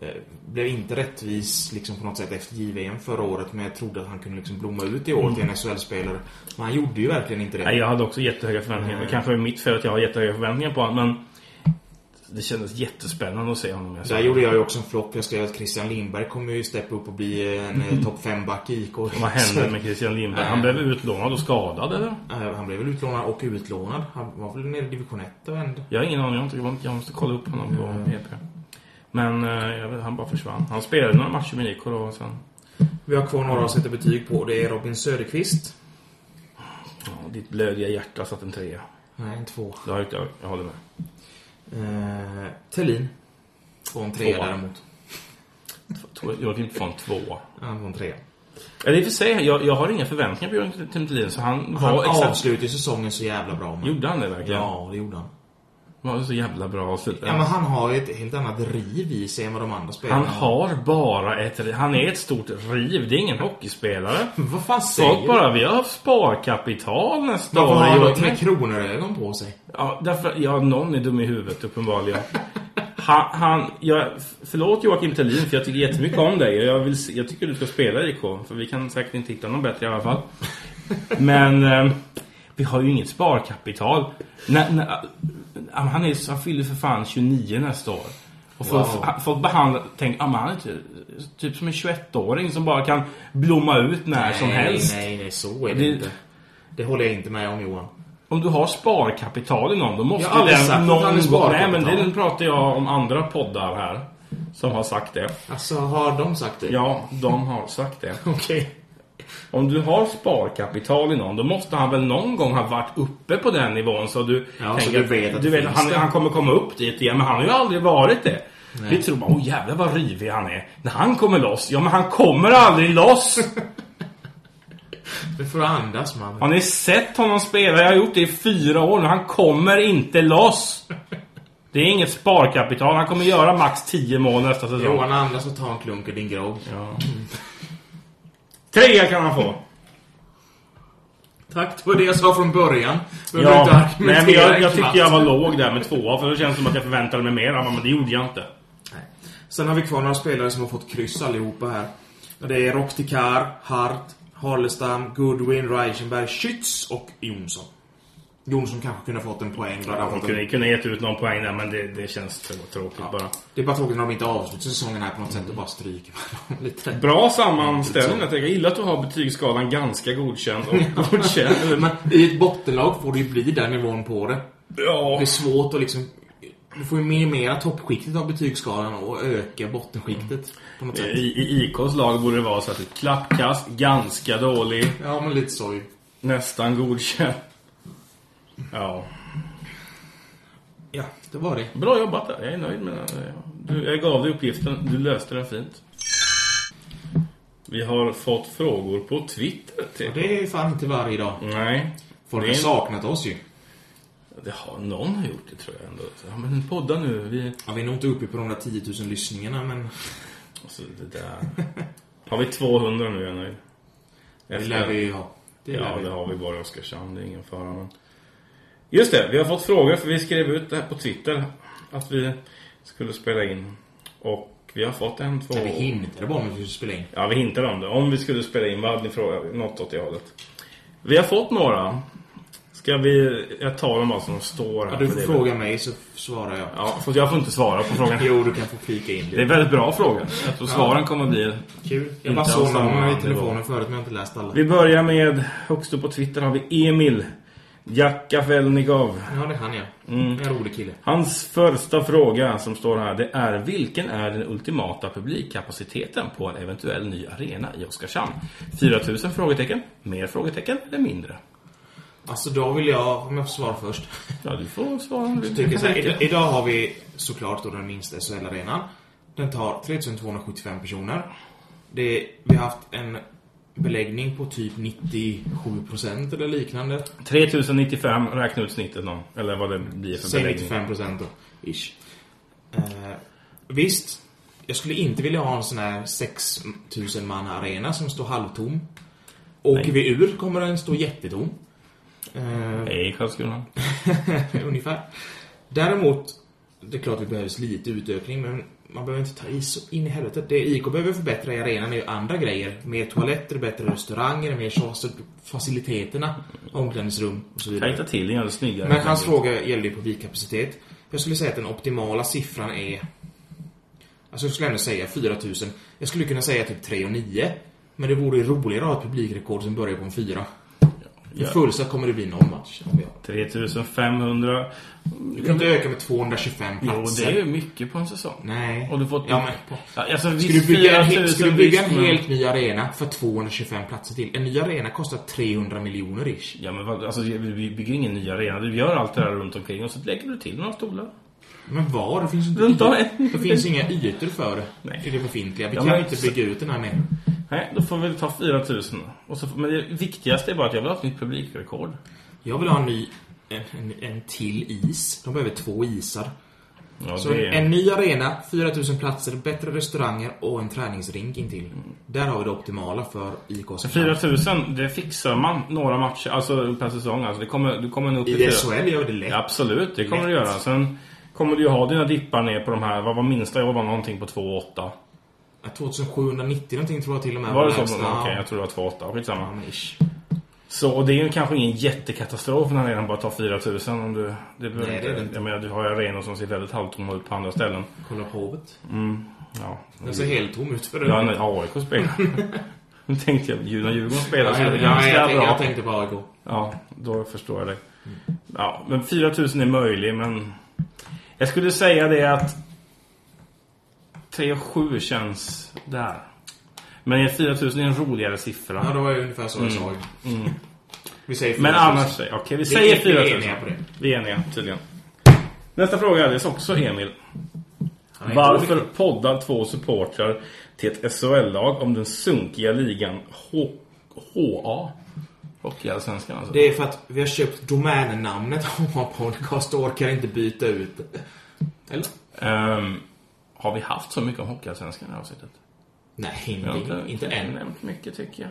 Eh, Blev inte rättvis liksom på något sätt efter JVM förra året men jag trodde att han kunde liksom blomma ut i år till en SHL-spelare. Men han gjorde ju verkligen inte det. Nej, jag hade också jättehöga förväntningar. Det kanske är mitt fel att jag har jättehöga förväntningar på honom men det kändes jättespännande att se honom. Jag Så Där gjorde jag ju också en flopp. Jag skrev att Christian Lindberg kommer ju steppa upp och bli en eh, topp 5-back i IK. Vad hände med Christian Lindberg? Han blev utlånad och skadad eller? Eh, Han blev väl utlånad och utlånad. Han var väl nere i division 1 och vände. Jag har ingen aning. Jag har inte- Jag måste kolla upp honom på PP. Men eh, jag vet, han bara försvann. Han spelade några matcher med Niko då och sen... Vi har kvar några att sätta betyg på. Det är Robin Söderqvist. Ja, ditt blödiga hjärta satt en trea. Nej, en två. Det har jag, inte- jag håller med. Eh, Thelin. På en trea Tvåa. däremot. Två- Jag kan inte få en tvåa. Han på en trea. Eller i och för sig, jag, jag har inga förväntningar på Jörgen Timtelin så han Han var ja, exakt... avslutade ju säsongen så jävla bra. Men... Gjorde han det verkligen? Ja, det gjorde han. Var det så jävla bra avslut? Ja, men han har ju ett helt annat riv i sig än vad de andra spelarna Han har bara ett riv. Han är ett stort riv. Det är ingen hockeyspelare. Vad fan säger Folk du? bara, vi har sparkapital nästa Varför har han år. något med kronorögon på sig? Ja, därför, ja, någon är dum i huvudet uppenbarligen. Han, han, jag, förlåt Joakim Thelin, för jag tycker jättemycket om dig. Jag, vill, se- jag tycker du ska spela i IK, för vi kan säkert inte hitta någon bättre i alla fall. Men eh, vi har ju inget sparkapital. När, när, ja, men han, är, så- han fyller för fan 29 nästa år. Och folk, Wow. han- folk behandlar, tänker, ja, men han är typ, typ som en 21-åring som bara kan blomma ut när som helst. Nej, nej, så är det, Det- inte. Det håller jag inte med om Johan. Om du har sparkapital i någon, då måste Jag har aldrig den sagt att han är någon gång... Nej, sparkapital. men det nu pratar jag om andra poddar här. Som har sagt det. Alltså, har de sagt det? Ja, de har sagt det. Okej. Om du har sparkapital i någon, då måste han väl någon gång ha varit uppe på den nivån så du Ja, så du vet att du det vet, finns han, det. han kommer komma upp dit igen, men han har ju aldrig varit det. Vi tror bara, åh jävlar vad rivig han är. När han kommer loss, ja men han kommer aldrig loss! Nu får du andas man. Har ni sett honom spela? Jag har gjort det i fyra år nu. Han kommer inte loss! Det är inget sparkapital. Han kommer göra max 10 mål nästa säsong. Johan andas och ta en klunk i din grogg. Ja. Trea kan han få! Tack, det var det jag sa från början. Du behöver inte Ja. argumentera Nej, men jag, en jag kvart. tyckte jag var låg där med tvåa, för det känns som att jag förväntade mig mer av honom, men det gjorde jag inte. Nej. Sen har vi kvar några spelare som har fått kryss allihopa här. Och det är Roktikar, Hart, Harlestam, Goodwin, Reichenberg, Schütz och Jonsson. Jonsson kanske kunde ha fått en poäng. då hade han De fått en... kunde, kunde gett ut någon poäng där, men det, det känns tr- tråkigt bara. Det är bara tråkigt när de inte avslutar säsongen här på något sätt och bara stryker man dem lite. Bra sammanställning. Jag tycker- jag gillar att du har betygsskalan ganska godkänd och godkänd. Eh, Men i ett bottenlag får det ju bli den nivån på det. Ja. Det är svårt att liksom... Du får ju minimera toppskiktet av betygsskalan och öka bottenskiktet. På något sätt. Eh, I, I IKs lag borde det vara så att ett klappkast, ganska dålig, Ja, men lite så ju. nästan godkänd. Ja. Ja, det var det. Bra jobbat där. Jag är nöjd med den. här. Du, jag gav dig uppgiften. Du löste den fint. Vi har fått frågor på Twitter. Till. Det är fan inte varje dag. Nej. Folk Det har är- saknat oss ju. Det har någon har gjort det tror jag ändå. Ja, men podda nu. Vi... Ja, vi är nog inte uppe på de där 10 000 lyssningarna, men Alltså, det där. Har vi 200 nu? Jag är nöjd. det lär vi ju ha. Det lär Ja, vi. det har vi bara i Oskarshamn. Det är ingen fara. Men... Just det, vi har fått frågor för vi skrev ut det här på Twitter. Att vi skulle spela in. Och vi har fått en, två... Nej, vi hinner inte. Det var om vi skulle spela in. Ja, vi hintade om det. Om vi skulle spela in, vad hade ni frågat? Något åt det hållet. Vi har fått några. Ska vi... Jag tar dem bara som de står här. Ja, du för får det är- fråga mig så svarar jag. Ja, för jag får inte svara på frågan. Jo, du kan få flika in Det är det. väldigt bra fråga. Jag tror svaren kommer bli... Kul. Jag Inte bara såg alls samma någon i nivå. telefonen förut, men jag har inte läst alla. Vi börjar med... Högst upp på Twitter har vi Emil Jakafelnikov. Ja, det är han ja. Mm. En rolig kille. Hans första fråga som står här det är vilken är den ultimata publikkapaciteten på en eventuell ny arena i Oskarshamn? 4000 frågetecken, mer frågetecken eller mindre? Alltså, då vill jag... Om jag får svara först. Ja, du får svara om du Jag tycker så här, tänker. i- idag har vi såklart då den minsta SHL-arenan. Den tar 3275 personer. Det, vi har haft en beläggning på typ 97% eller liknande. 3095, räkna ut snittet någon. Eller vad det blir för Säg beläggning. 95 procent då. Ish. Eh, visst, jag skulle inte vilja ha en sån här 6000 man arena som står halvtom. Åker Nej. vi ur kommer den stå jättetom. Eh, Hej Karlskrona. ungefär. Däremot, det är klart vi behövs lite utökning, men man behöver inte ta i så in i helvete. Det IK behöver förbättra i arenan är ju andra grejer. Mer toaletter, bättre restauranger, mer tjafs- faciliteterna, omklädningsrum och så vidare. Tajta till, gör det snyggare. Men hans fråga gällde ju publikkapacitet. Jag skulle säga att den optimala siffran är... Alltså jag skulle ändå säga 4000. Jag skulle kunna säga typ 3 och 9. Men det vore ju roligare att ha ett publikrekord som börjar på en 4. I Fursa kommer det bli noll match. Om vi har. 3500. Du kan inte öka med 225 Jo, platser. det är ju mycket på en säsong. Nej. Och du fått... Ja, men- Ja, alltså, visst, Ska du bygga, en, he- 4000 ska du bygga en visst, men- helt ny arena för 225 platser till? En ny arena kostar 300 miljoner ish. Ja, men vad, alltså, vi vi bygger ingen ny arena. Du gör allt det här runt omkring och så lägger du till några stolar. Men var? Det finns inte Runt om ytor. en. Det finns inga ytor för det. Nej. I det befintliga. Vi Ja, kan ju men- inte bygga ut den här mer. Nej, då får vi ta 4000. Och så, men det viktigaste är bara att jag vill ha ett nytt publikrekord. Jag vill ha en ny... En, en, en till is. De behöver två isar. Ja, Så det är... en ny arena, 4000 platser, bättre restauranger och en träningsrink intill. Där har vi det optimala för IKs. Så 4000, det fixar man några matcher alltså per säsong. Alltså, det kommer, du kommer nog upp I fyra- SHL gör vi det lätt. Ja, absolut, det kommer Lätt. du göra. Sen kommer du ju ha dina dippar ner på de här. Vad var minsta jag var någonting på 2,8. 2790 någonting tror jag till och med. Var det så? lägsta. Okej, jag tror det var 2,8. Skitsamma. Ja, men ish. Så och det är ju kanske ingen jättekatastrof när arenan bara tar 4000 om du... Det behöver Nej, inte- det är det inte. Jag menar, du har ju arenor som ser väldigt halvtomma ut på andra ställen. Kolla på Hovet. Ja, Den ser helt tom ut för det. Mm. ja när AIK spelar. Nu tänkte jag, ju när Djurgården spelar så är det jag, jag, ganska jag, Mm. bra. jag tänkte på AIK. Ja, då förstår jag dig. Ja, men 4000 är möjlig, men... Jag skulle säga det att... 3 och 7 känns där. Men 4000 är en roligare siffra. Ja, det var ju ungefär så jag sa. ju. Vi säger Mm. Men 4000. annars, okej vi Vi- säger vi är 4000. eniga på det. Vi är eniga, tydligen. Nästa fråga är också Emil. Han är Varför dålig. poddar två supportrar till ett SHL-lag om den sunkiga ligan H- HA? Hockeyallsvenskan alltså. Det är för att vi har köpt domännamnet av podcast och orkar inte byta ut det. Eller? Ehm, har vi haft så mycket om Hockeyallsvenskan i det här avsnittet? Nej, Vi har inte, inte än. nämnt mycket tycker jag.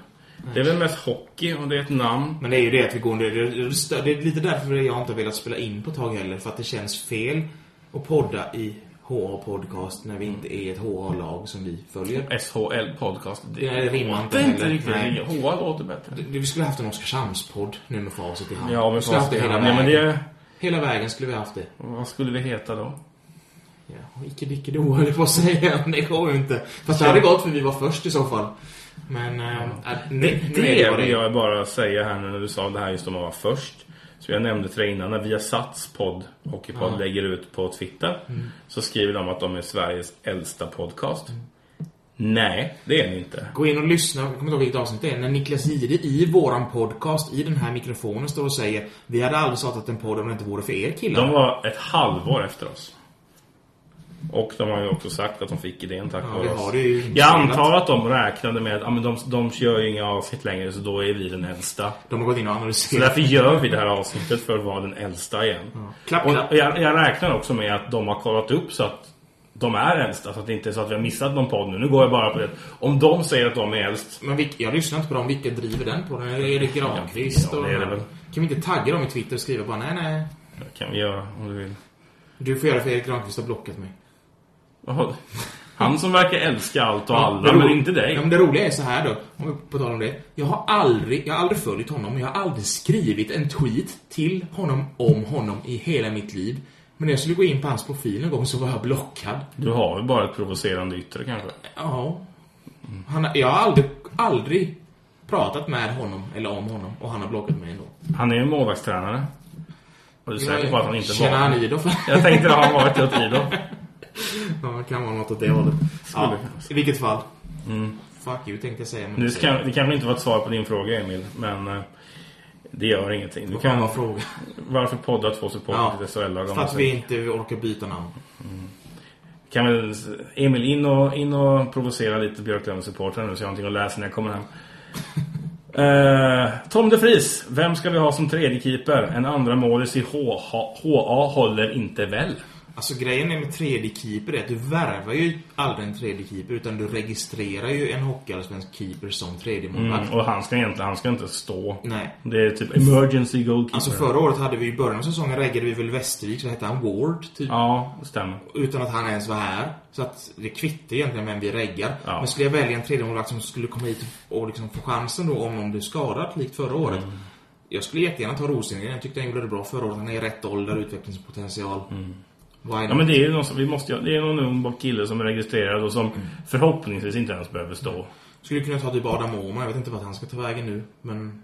Det är väl mest hockey och det är ett namn. Men det är ju det att vi går under... det- det stö- Det är lite därför jag inte har velat spela in på ett tag heller. För att det känns fel att podda i HA Podcast när vi Mm. inte är ett HA-lag som vi följer. SHL Podcast. Det rimmar inte Det är inte heller. riktigt. Nej. HA låter bättre. Det- Vi skulle haft en Oskarshamnspodd nu med facit i hand. Ja, men vi skulle haft det hela Nej, vägen. men det... Hela vägen skulle vi haft det. Vad skulle vi heta då? Ja, icke dicke do höll jag på att säga. men Det går ju inte. Fast det hade gått för vi var först i så fall. Men... Äh, äh, nu, nu är Det vad vill det är. jag bara säga här nu när du sa det här just om att vara först. Så jag nämnde till dig innan, när Viasats podd, Hockeypodd, lägger ut på Twitter. Mm. Så skriver de att de är Sveriges äldsta podcast. Nej, det är ni inte. Gå in och lyssna, jag kommer inte ihåg vilket avsnitt det är, när Niklas Jihde i våran podcast, i den här mikrofonen, står och säger Vi hade aldrig startat en podd om det inte vore för er killar. De var ett halvår efter oss. Och de har ju också sagt att de fick idén tack Ja, vare vi oss. har det ju jag inspelat. antar att de räknade med att ah, men de, de kör ju inga avsnitt längre så då är vi den äldsta. De har gått in och Så analyserat. därför gör vi det här avsnittet för att vara den äldsta igen. Klapp, och klapp. Jag, jag räknar också med att de har kollat upp så att de är äldsta. Så att det inte är så att vi har missat någon podd nu. Nu går jag bara på det. Om de säger att de är äldst. Men vilk, jag lyssnar inte på dem. Vilka driver den på? Den är Erik Granqvist Ja, och... det är det väl. Kan vi inte tagga dem i Twitter och skriva bara nej, nej. Det kan vi göra om du vill. Du får göra för Erik Granqvist har blockat mig. Jaha. Han som verkar älska allt och alla, det men ro- inte Ja, dig. men det roliga är så här då, om vi på tal om det. Jag har aldrig, jag har aldrig följt honom, men jag har aldrig skrivit en tweet till honom om honom i hela mitt liv. Men när jag skulle gå in på hans profil en gång så var jag blockad. Du har väl bara ett provocerande yttre kanske? Ja. Han, har- jag har aldrig, aldrig pratat med honom eller om honom och han har blockat mig ändå. Han är ju målvaktstränare. Och du är säker på att han inte var Känner han i då? Jag tänkte att han varit det åt Ido. Ja, det kan vara något åt det hållet. Ja, I vilket fall. Fuck you tänkte jag säga. Men Det, kan, det kanske inte var ett svar på din fråga Emil, men eh, det gör ingenting. Du Vad kan kan, vara fråga? varför poddar två supportrar till SHL-lag? om för att det? vi inte orkar byta namn. Kan väl Emil in och, in och provocera lite Björklöven-supportrar nu så jag har någonting att läsa när jag kommer hem. Eh, Tom de Vries, vem ska vi ha som tredje keeper? En andra målis i HA, HA håller inte väl? Alltså grejen är med 3D-keeper är att du värvar ju aldrig en 3D-keeper utan du registrerar ju en hockeyallsvensk keeper som 3D-målvakt. Mm, och han ska egentligen han ska inte stå. Nej. Det är typ emergency goalkeeper. Alltså förra året hade vi i början av säsongen reggade vi väl Västervik så hette han Ward typ. Ja, det stämmer. Utan att han ens var här. Så att det kvittar egentligen vem vi reggar. Ja. Men skulle jag välja en 3D-målvakt som skulle komma hit och liksom få chansen då om någon blev skadad likt förra året. Mm. Jag skulle jättegärna ta Rosengren. Jag tyckte han gjorde det bra förra året. Han är i rätt ålder, utvecklingspotential. Why not? Mm. Ja, men det är ju någon, som- vi måste, ju- det är någon ung kille som är registrerad och Mm. som förhoppningsvis inte ens behöver stå. Skulle kunna ta typ Adam Åhman. Jag vet inte vart han ska ta vägen nu. Men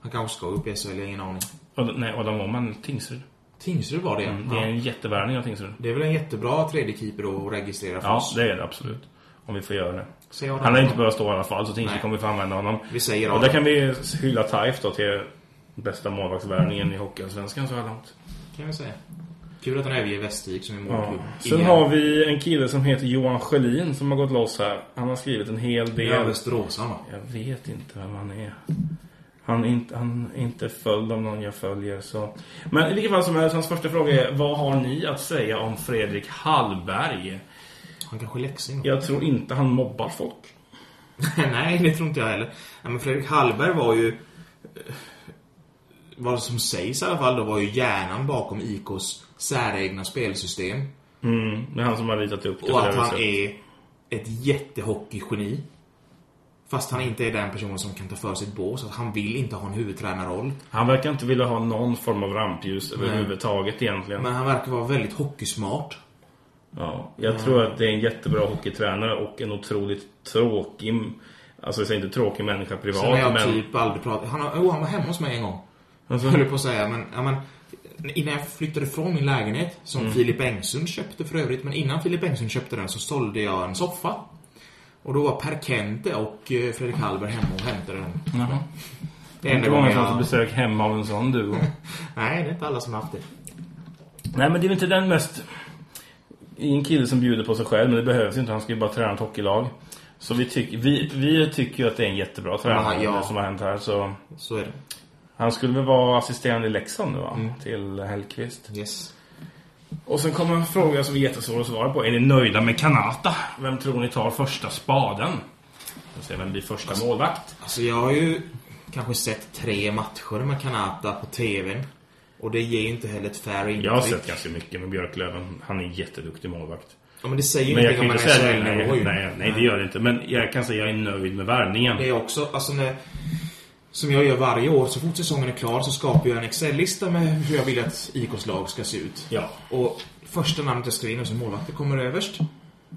Han kanske ska upp i SHL, jag har ingen aning. Ad, nej, Adam Åhman, Tingsryd. Tingsryd var det, Mm, Det är ja. en jättevärvning av Tingsryd. det är väl en jättebra tredje keeper att registrera för Ja, oss. det är det absolut. Om vi får göra det. Säg Adam Han har inte Åhman. behövt stå i alla fall, så Tingsryd Nej. kommer vi få använda honom. Vi säger Och Adam. där kan vi hylla Taif då till bästa målvaktsvärvningen i Hockeyallsvenskan så här långt. Kan vi säga. Kul att han överger Västervik som är målklubb. Sen Igen. har vi en kille som heter Johan Sjölin som har gått loss här. Han har skrivit en hel del. Ja, Västeråsarna va? Jag vet inte vem han är. Han är inte, han är inte följd av någon jag följer. Så. Men i vilket fall som helst, hans första fråga är Vad har ni att säga om Fredrik Hallberg? Han kanske är leksing. Jag tror inte han mobbar folk. Nej, det tror inte jag heller. Nej, men Fredrik Hallberg var ju... eh, Vad som sägs i alla fall då var ju hjärnan bakom IKs säregna spelsystem. Mm, det är han som har ritat upp det. på Och det att här han viset. är ett jättehockeygeni. Fast han inte är den personen som kan ta för sig ett bås. Att han vill inte ha en huvudtränarroll. Han verkar inte vilja ha någon form av rampljus Nej. överhuvudtaget egentligen. Men han verkar vara väldigt hockeysmart. Ja, jag tror att det är en jättebra hockeytränare och en otroligt tråkig... Alltså jag säger inte tråkig människa Sen har privat jag men... typ aldrig pratat... Han, har- jo, han var hemma hos mig en gång. Alltså, Höll jag på att säga, men, ja, men innan jag flyttade från min lägenhet, som Mm. Filip Engsund köpte för övrigt, men innan Filip Engsund köpte den så sålde jag en soffa. Och då var Per Kente och eh, Fredrik Hallberg hemma och hämtade den. jaha. Det Det är är enda inte gången många som har jag... besök hemma av en sån duo. Nej, det är inte alla som har haft det. Nej men det är väl inte den mest... Det är En kille som bjuder på sig själv men det behövs ju inte. Han ska ju bara träna ett hockeylag. Så vi, tyck, vi, vi tycker ju att det är en jättebra tränare Ja, ja. som har hänt här så... Så är Han skulle väl vara assisterande i Leksand nu va? Mm. Till Hellqvist. det. Yes. Och sen kommer en fråga som är jättesvår att svara på. Är ni nöjda med Kanata? Vem tror ni tar första spaden? Jag säger vem blir första målvakt? Alltså jag har ju kanske sett tre matcher med Kanata på TVn. Och det ger ju inte heller ett fair intryck. Jag har sett ganska mycket med Björklöven. Han är en jätteduktig målvakt. Ja, men det säger ju Men jag ingenting kan om ju en inte säga nej, SHL-nivå nej, ju. nej, nej, det gör det inte. Men jag kan säga att jag är nöjd med värvningen. Det är också, alltså när, som jag gör varje år, så fort säsongen är klar så skapar jag en Excel-lista med hur jag vill att IKs lag ska se ut. Ja. Och första namnet jag skriver in som målvakt, det kommer överst.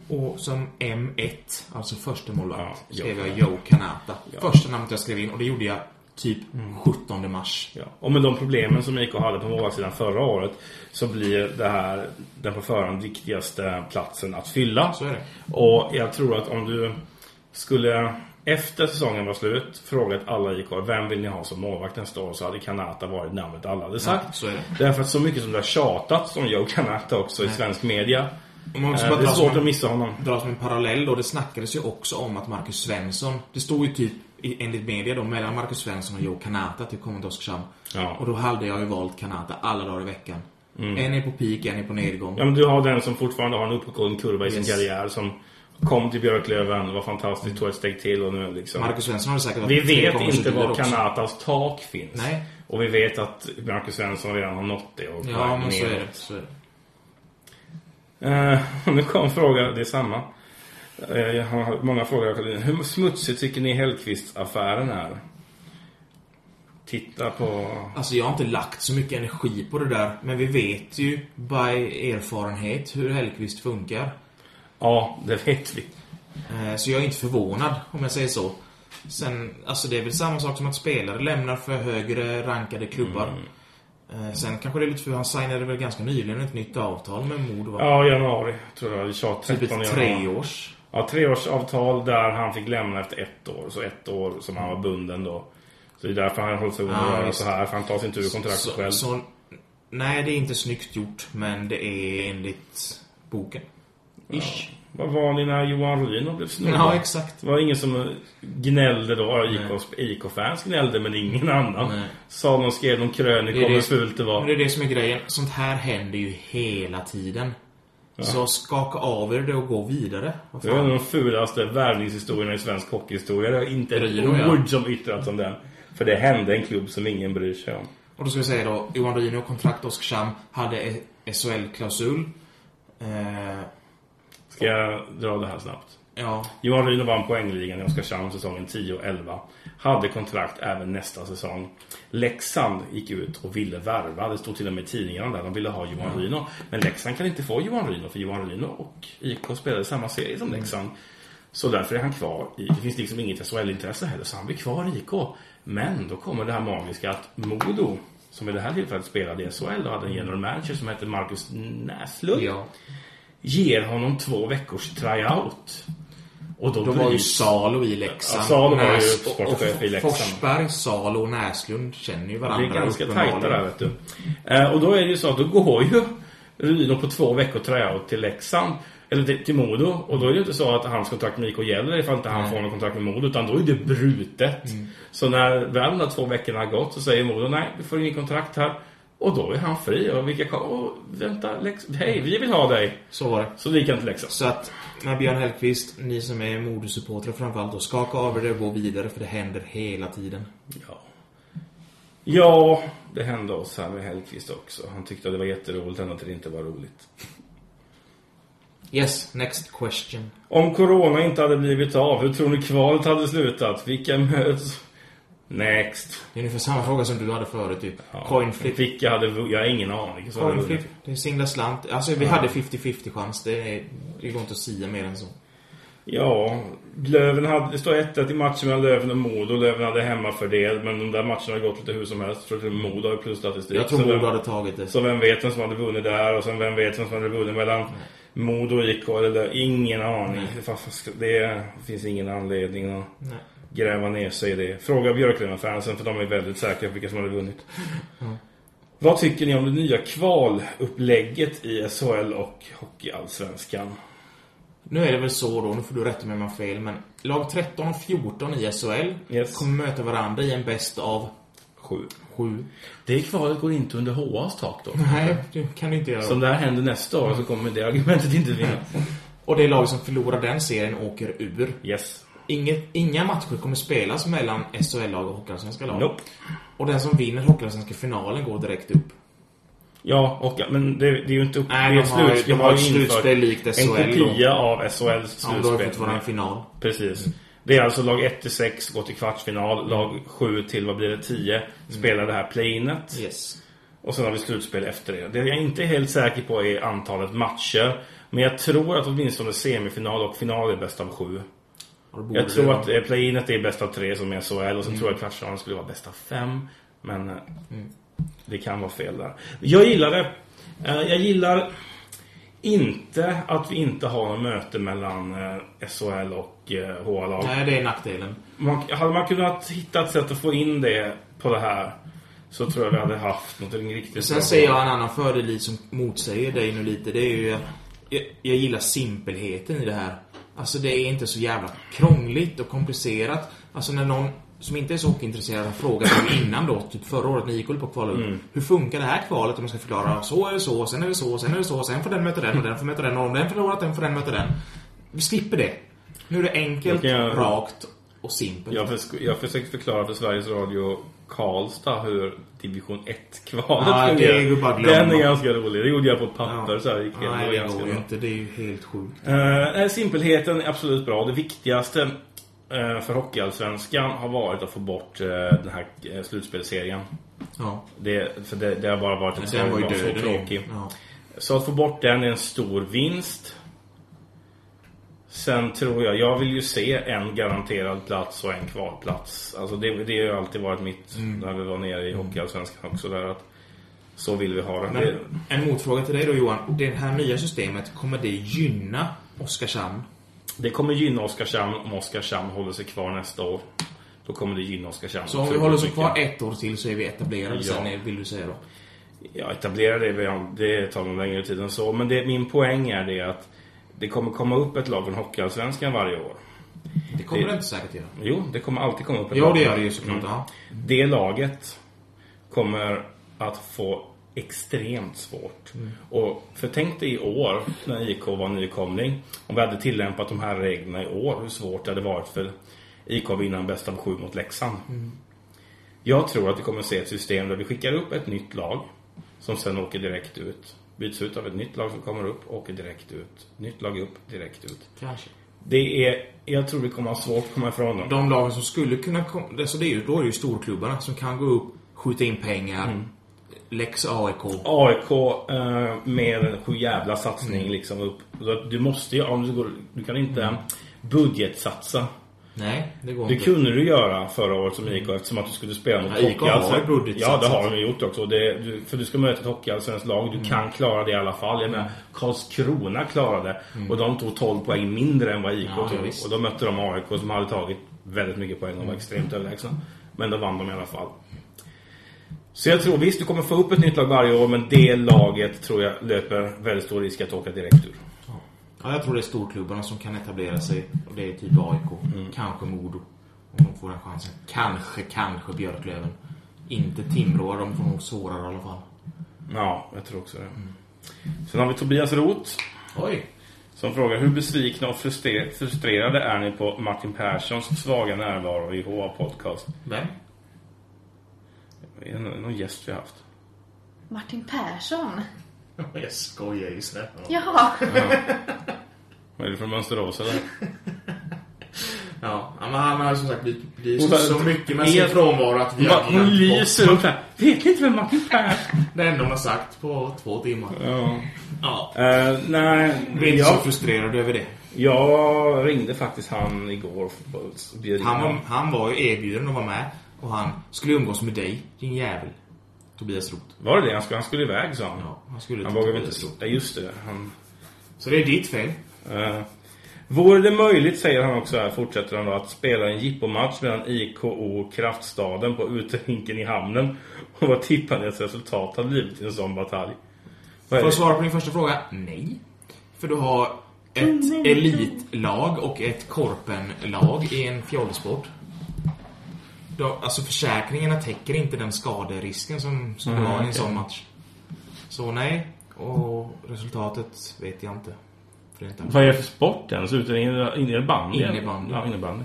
Och som M1, alltså första målvakt, Ja, skrev Joe jag Joe Kanata. Första namnet jag skrev in och det gjorde jag typ 17 mars. Ja. Och med de problemen som IK hade på målvaktssidan förra året så blir det här den på förhand viktigaste platsen att fylla. Så är det. Och jag tror att om du skulle efter säsongen var slut frågat alla IK vem vill ni ha som målvakt nästa år så hade Kanata varit namnet alla hade sagt. så är det. Därför att så mycket som det har tjatats om Joe Kanata också i svensk media. Om man eh, ska Det bara är dra svårt som att en, missa honom. dra som en parallell då, det snackades ju också om att Marcus Svensson, det stod ju typ i- enligt media då, mellan Marcus Svensson och Joe Kanata att det kommer till Oskarshamn. Ja. Mm. Och då hade jag ju valt Kanata alla dagar i veckan. En är på peak, en är på nedgång. Ja, men du har den som fortfarande har en uppåtgående kurva i sin Yes. Mm. karriär som kom till Björklöven, var fantastisk, tog ett steg till och nu liksom... Marcus Svensson har säkert varit Vi tre vet gånger så inte dyr var också. Kanatas tak finns. Nej. Och vi vet att Marcus Svensson redan har nått det. Och Ja, men så är det. Så är det. Eh, nu kom en fråga, det är samma. Eh, jag har många frågor. jag kollar in. Hur smutsig tycker ni Hellkvist-affären är? Titta på... Alltså jag har inte lagt så mycket energi på det där, men vi vet ju by erfarenhet hur Hellkvist funkar. Ja, det vet vi. Eh, Så jag är inte förvånad, om jag säger så. Sen, alltså det är väl samma sak som att spelare lämnar för högre rankade klubbar. Eh, Sen kanske det är lite för han signade väl ganska nyligen ett nytt avtal med Modo va? Ja, januari tror jag. Vi tjatar typ 13 ett januari. treårs. Ja, treårsavtal där han fick lämna efter ett år. Så ett år som han var bunden då. Så det är därför han håller sig under Ja, att göra visst. så här. För han tar sig inte ur kontraktet Så, själv. så, nej, det är inte snyggt gjort, men det är enligt boken. Ish. Vad var ni när Johan Rydin blev Ja, snubbad? exakt. Det var ingen som gnällde då. IK- IK-fans gnällde men ingen annan. Nej. Sa någon, skrev någon krönika om hur fult det men var. det är det som är grejen. Sånt här händer ju hela tiden. Så skaka av er det och gå vidare. Vad Det var en av fan? de fulaste värvningshistorierna i svensk hockeyhistoria. Det har inte ett Rydin och jag. ord som yttrats om den. För det hände en klubb som ingen bryr sig om. Och då ska vi säga då, Johan Rino, kontrakt Oskarshamn, hade E- SHL-klausul. Eh, Ska jag dra det här snabbt? ja, Johan Rydin vann poängligan i Oskarshamn säsongen 10-11. Hade kontrakt även nästa säsong. Leksand gick ut och ville värva. Det stod till och med i tidningarna där. De ville ha Johan Ryno. Men Leksand kan inte få Johan Ryno för Johan Ryno och IK spelade i samma serie som Leksand. Så därför är han kvar i... Det finns liksom inget SHL-intresse heller, så han blir kvar i IK. Men då kommer det här magiska att Modo, som i det här tillfället spelade i SHL och hade en general manager som hette Marcus Näslund, Ja. ger honom två veckors tryout. Och då De var ju bryts- Salo i Leksand. Ja, Salo var ju Näs- och- sportchef i Leksand. Forsberg, Salo och Näslund känner ju varandra. Det är ganska uppenbarligen. tajta där vet du. Eh, och då är det ju så att då går ju Ryno på två veckor tryout till Leksand. Eller till, till Modo. Och då är det ju inte så att hans kontrakt med IK gäller ifall inte han får någon kontrakt med Modo. Utan då är det brutet. Mm. Så när väl de där två veckorna har gått så säger Modo nej, du får ingen kontrakt här. Och då är han fri. Och vilka kom- Åh, vänta, Lex... Hej, vi vill ha dig! Så var det. Så det gick han till Leksand. Så att, när Björn Hellkvist, ni som är modesupportrar framförallt, då skaka av er och gå vidare för det händer hela tiden. Ja. ja, det hände oss här med Hellkvist också. Han tyckte att det var jätteroligt ända till det inte var roligt. Yes, next question. Om corona inte hade blivit av, hur tror ni kvalet hade slutat? Vilka möts? Next. Det är ungefär samma fråga som du hade förut typ. Ja. Coin flip. Vilka hade vu- Jag har ingen aning. Så Coin hade flip. vunnit. Det är singla slant. Alltså vi hade 50-50 chans. Det, är, det går inte att sia mer än så. Ja, Löven hade... Det står 1-1 i matchen mellan Löven och Modo. Löven hade hemmafördel, men de där matcherna har gått lite hur som helst. Jag tror att Modo har plusstatistik. Jag tror Så Modo vem- hade tagit det. Så vem vet vem som hade vunnit där och sen vem vet vem som hade vunnit mellan Modo och IK eller där. Ingen aning. Fan, fan, ska- Det finns ingen anledning att Nej. gräva ner sig i det. Fråga Björklöven-fansen för de är väldigt säkra på vilka som hade vunnit. Vad tycker ni om det nya kvalupplägget i SHL och Hockeyallsvenskan? Nu är det väl så då, nu får du rätta mig om jag har fel, men lag 13 och 14 i SHL Yes. kommer möta varandra i en bäst av Sju. 7. Det kvalet går inte under HAs tak då. Nej, det kan du inte göra. Som det här händer nästa år så kommer det argumentet inte vinna. Och det lag som förlorar den serien åker ur. Yes. Inget, inga matcher kommer spelas mellan SHL-lag och Hockeyallsvenska lag. Nope. Och den som vinner Hockeyallsvenska finalen går direkt upp. Ja, och, men det, det är ju inte upp- Nej, det är de ett har- slut- de har ett infört slutspel likt En SHL kopia av SHLs Ja, men då har det fått slutspel. vara en final. Precis. Det är alltså lag 1 till 6 går till kvartsfinal. Lag 7 till, vad blir det, 10 Mm. spelar det här planet. Yes. Och sen har vi slutspel efter det. Det jag inte är helt säker på är antalet matcher. Men jag tror att åtminstone semifinal och final är bäst av Och sju. Mm. då borde Jag tror det- att eh, playinet är bäst av tre som är SHL och sen tror jag kvartsfinalen skulle vara bäst av fem. Men eh, Mm. det kan vara fel där. Jag gillar det. Eh, Jag gillar inte att vi inte har något möte mellan eh, SHL och eh, HA-lag. Nej, det är nackdelen. Man, hade man kunnat hitta ett sätt att få in det på det här så tror jag vi hade haft något riktigt Sen ser jag en annan fördel i som motsäger dig nu lite. Det är ju... Jag, jag gillar simpelheten i det här. Alltså det är inte så jävla krångligt och komplicerat. Alltså när någon som inte är så hockeyintresserad har frågat mig innan då, typ förra året när gick väl på kvalet. Mm. Hur funkar det här kvalet om man ska förklara? Så är det så, sen är det så, sen är det så, sen får den möta den och den får möta den och om den förlorat den får den möta den. Vi slipper det. Nu är det enkelt, Då kan jag- rakt och simpelt. Jag, förs- jag försökte förklara för Sveriges Radio Karlstad hur division 1-kvalet Ja, Ah, det fungerar. är ju bara att glömma. Den är ganska rolig. Det gjorde jag på ett papper så här. Gick Ja, Nej, igenom. Det det var ganska går ju bra. inte. Det är ju helt sjukt. Eh, nej, simpelheten är absolut bra. Det viktigaste eh, för Hockeyallsvenskan har varit att få bort eh, den här eh, slutspelserien. Ja. Det, för det, det har bara varit en Den var ju så död. tråkig. Ja. Så att få bort den är en stor vinst. Sen tror jag, jag vill ju se en garanterad plats och en kvalplats. Alltså det, det har ju alltid varit mitt, Mm. när vi var nere i Hockeyallsvenskan också där att så vill vi ha det. Men det en motfråga till dig då Johan. Det här nya systemet, kommer det gynna Oskarshamn? det kommer gynna Oskarshamn om Oskarshamn håller sig kvar nästa år. Då kommer det gynna Oskarshamn. Så om vi otroligt håller oss mycket. kvar ett år till så är vi etablerade Ja. sen, är- vill du säga då? Ja, etablera det, väl, det tar nog längre tid än så. Men det, min poäng är det att det kommer komma upp ett lag från Hockeyallsvenskan varje år. Det kommer Det- det inte säkert göra. Jo, det kommer alltid komma upp ett Ja, lag. det gör det ju såklart. Ja. Det laget kommer att få extremt svårt. Mm. Och för tänk dig i år när IK var nykomling. Om vi hade tillämpat de här reglerna i år, hur svårt det hade varit för IK att vinna en bästa av sju mot Leksand. Mm. Jag tror att vi kommer se ett system där vi skickar upp ett nytt lag som sen åker direkt ut. Byts ut av ett nytt lag som kommer upp, åker direkt ut. Nytt lag upp, direkt ut. Kanske. Det är, jag tror vi kommer ha svårt att komma ifrån dem. De lagen som skulle kunna komma... Alltså det är ju, då är det ju storklubbarna som kan gå upp, skjuta in pengar. Mm. Lex E AIK. AIK eh, med en sju jävla satsning liksom upp. Så att Du måste ju, om du, går, du kan inte budgetsatsa. Nej, det går Det inte. kunde du göra förra året som IK eftersom att du skulle spela mot Ja, IK har Hockeyallsven- Ja, budgetsatsat. det har de gjort också. Det, du, för du ska möta ett Hockeyallsvenskt lag. Mm. Du kan klara det i alla fall. Jag menar, Karlskrona klarade och de tog 12 poäng mindre än vad IK Mm. Ja, tog. ja, visst. och då mötte de AIK som hade tagit väldigt mycket poäng och var extremt överlägsna. Men då vann de i alla fall. Så jag tror visst, du kommer få upp ett nytt lag varje år men det laget tror jag löper väldigt stor risk att åka direkt ur. Ja, jag tror det är storklubbarna som kan etablera sig. Och det är typ AIK. Kanske Modo. Om de får den chansen. Kanske, kanske Björklöven. Inte Timrå. De får nog svårare i alla fall. Ja, jag tror också det. Mm. Sen har vi Tobias Roth. Oj! Som frågar hur besvikna och frustre- frustrerade är ni på Martin Perssons svaga närvaro i HA Podcast? Vem? Är det någon någon gäst vi har haft? Martin Persson. Jag skojar ju snälla. Jaha. Är det från Mönsterås eller? Ja, men han har som sagt blivit Hon blivit har- så mycket med sin Helt- frånvaro att vi har Ma- Hon glömt lyser bort upp här. Vet ni inte vem Martin Persson Det enda hon har sagt på två timmar. ja. Ja. Eh, Nej, Jag är inte så jag, frustrerad över det. jag ringde faktiskt han igår. och bjöd in Han var, honom. han var ju erbjuden att vara med och han skulle umgås med dig, din jävel. Tobias Roth. Var det det? Han skulle, han skulle iväg sa han. Ja, han skulle han till vågade Tobias inte... Roth. Ja, just det. Han, Så det är ditt fel. Eh, Vore det möjligt, säger han också här, fortsätter han då, att spela en jippomatch mellan IKO och Kraftstaden på uterinken i hamnen? Och vad tippar ni att resultatet hade blivit i en sån batalj? Vad För är det? att svara på din första fråga, nej. För du har ett elitlag och ett korpenlag i en fjollsport. De, alltså försäkringarna täcker inte den skaderisken som skulle Mm, vara i en sån match. Så nej, och resultatet vet jag inte. För det är inte Vad är det för sport ens? Uteringen? Innebandy? Innebandy. Ja, innebandy.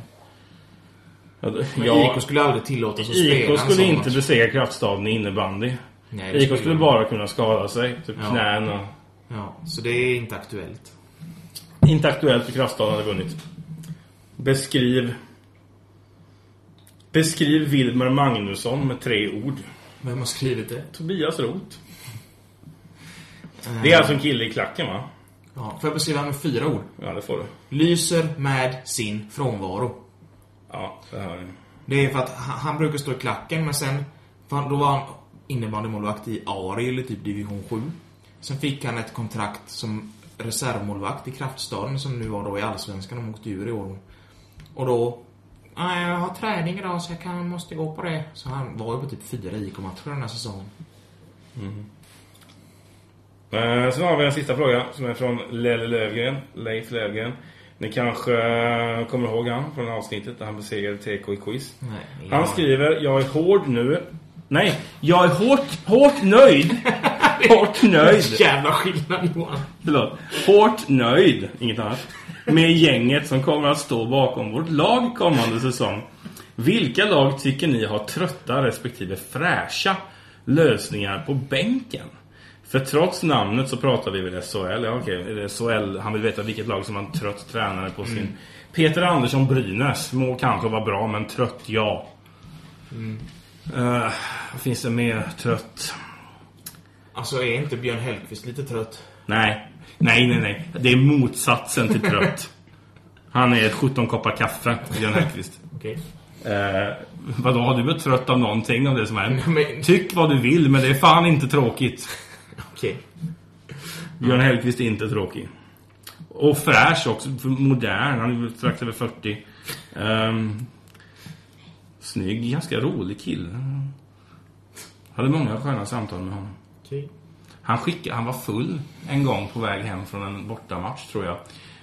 Ja, då- Men ja, IK skulle aldrig tillåtas att spela en IK sån skulle inte match. besegra Kraftstaden i innebandy. Nej, det IK skulle skulle de. bara kunna skada sig. Typ Ja. knän och... Ja, så det är inte aktuellt. Inte aktuellt för Kraftstaden hade vunnit. Beskriv... Beskriv Wilmer Magnusson med tre ord. Vem har skrivit det? Tobias Roth. Det är alltså en kille i klacken va? Eh, Ja, får jag beskriva med fyra ord? Ja, det får du. Lyser med sin frånvaro. Ja, det hör ni. Det är för att han, han brukar stå i klacken, men sen... för han- Då var han innebandymålvakt i Ari, eller typ division 7. Sen fick han ett kontrakt som reservmålvakt i Kraftstaden, som nu var då i Allsvenskan. De åkte ur i år. Och då... "Nej, Jag har träning idag, så jag kan, måste gå på det. Så han var ju på typ fyra IK-matcher den här säsongen. Eh, Sen har vi en sista fråga som är från Lelle Lövgren. Leif Lövgren. Ni kanske eh, kommer ihåg han från avsnittet där han besegrade TK i quiz. Nej, ingen Han aning. skriver Jag är hård nu. Nej, jag är hårt, hårt nöjd. hårt nöjd. Jävla skillnad, Johan! Förlåt. Hårt nöjd, inget annat, med gänget som kommer att stå bakom vårt lag kommande säsong. Vilka lag tycker ni har trötta respektive fräscha lösningar på bänken? För trots namnet så pratar vi väl SHL. Ja, okej, är det SHL. Han vill veta vilket lag som har en trött tränare på sin... Peter Andersson Brynäs må kanske vara bra, men trött, ja. Eh, vad finns det mer trött? Alltså, är inte Björn Hellkvist lite trött? Nej. Nej, nej, nej. Det är motsatsen till trött. Han är 17 koppar kaffe, Björn Hellkvist. Okej. Eh, vadå, har du blivit trött av någonting av det som hänt? Men- Tyck vad du vill, men det är fan inte tråkigt. Okej. Björn Hellkvist är inte tråkig. Och fräsch också. för Modern. Han är väl strax över 40. Um, snygg. Ganska rolig kille. Hade många sköna samtal med honom. Okej. Han, skickade, han var full en gång på väg hem från en bortamatch, tror jag.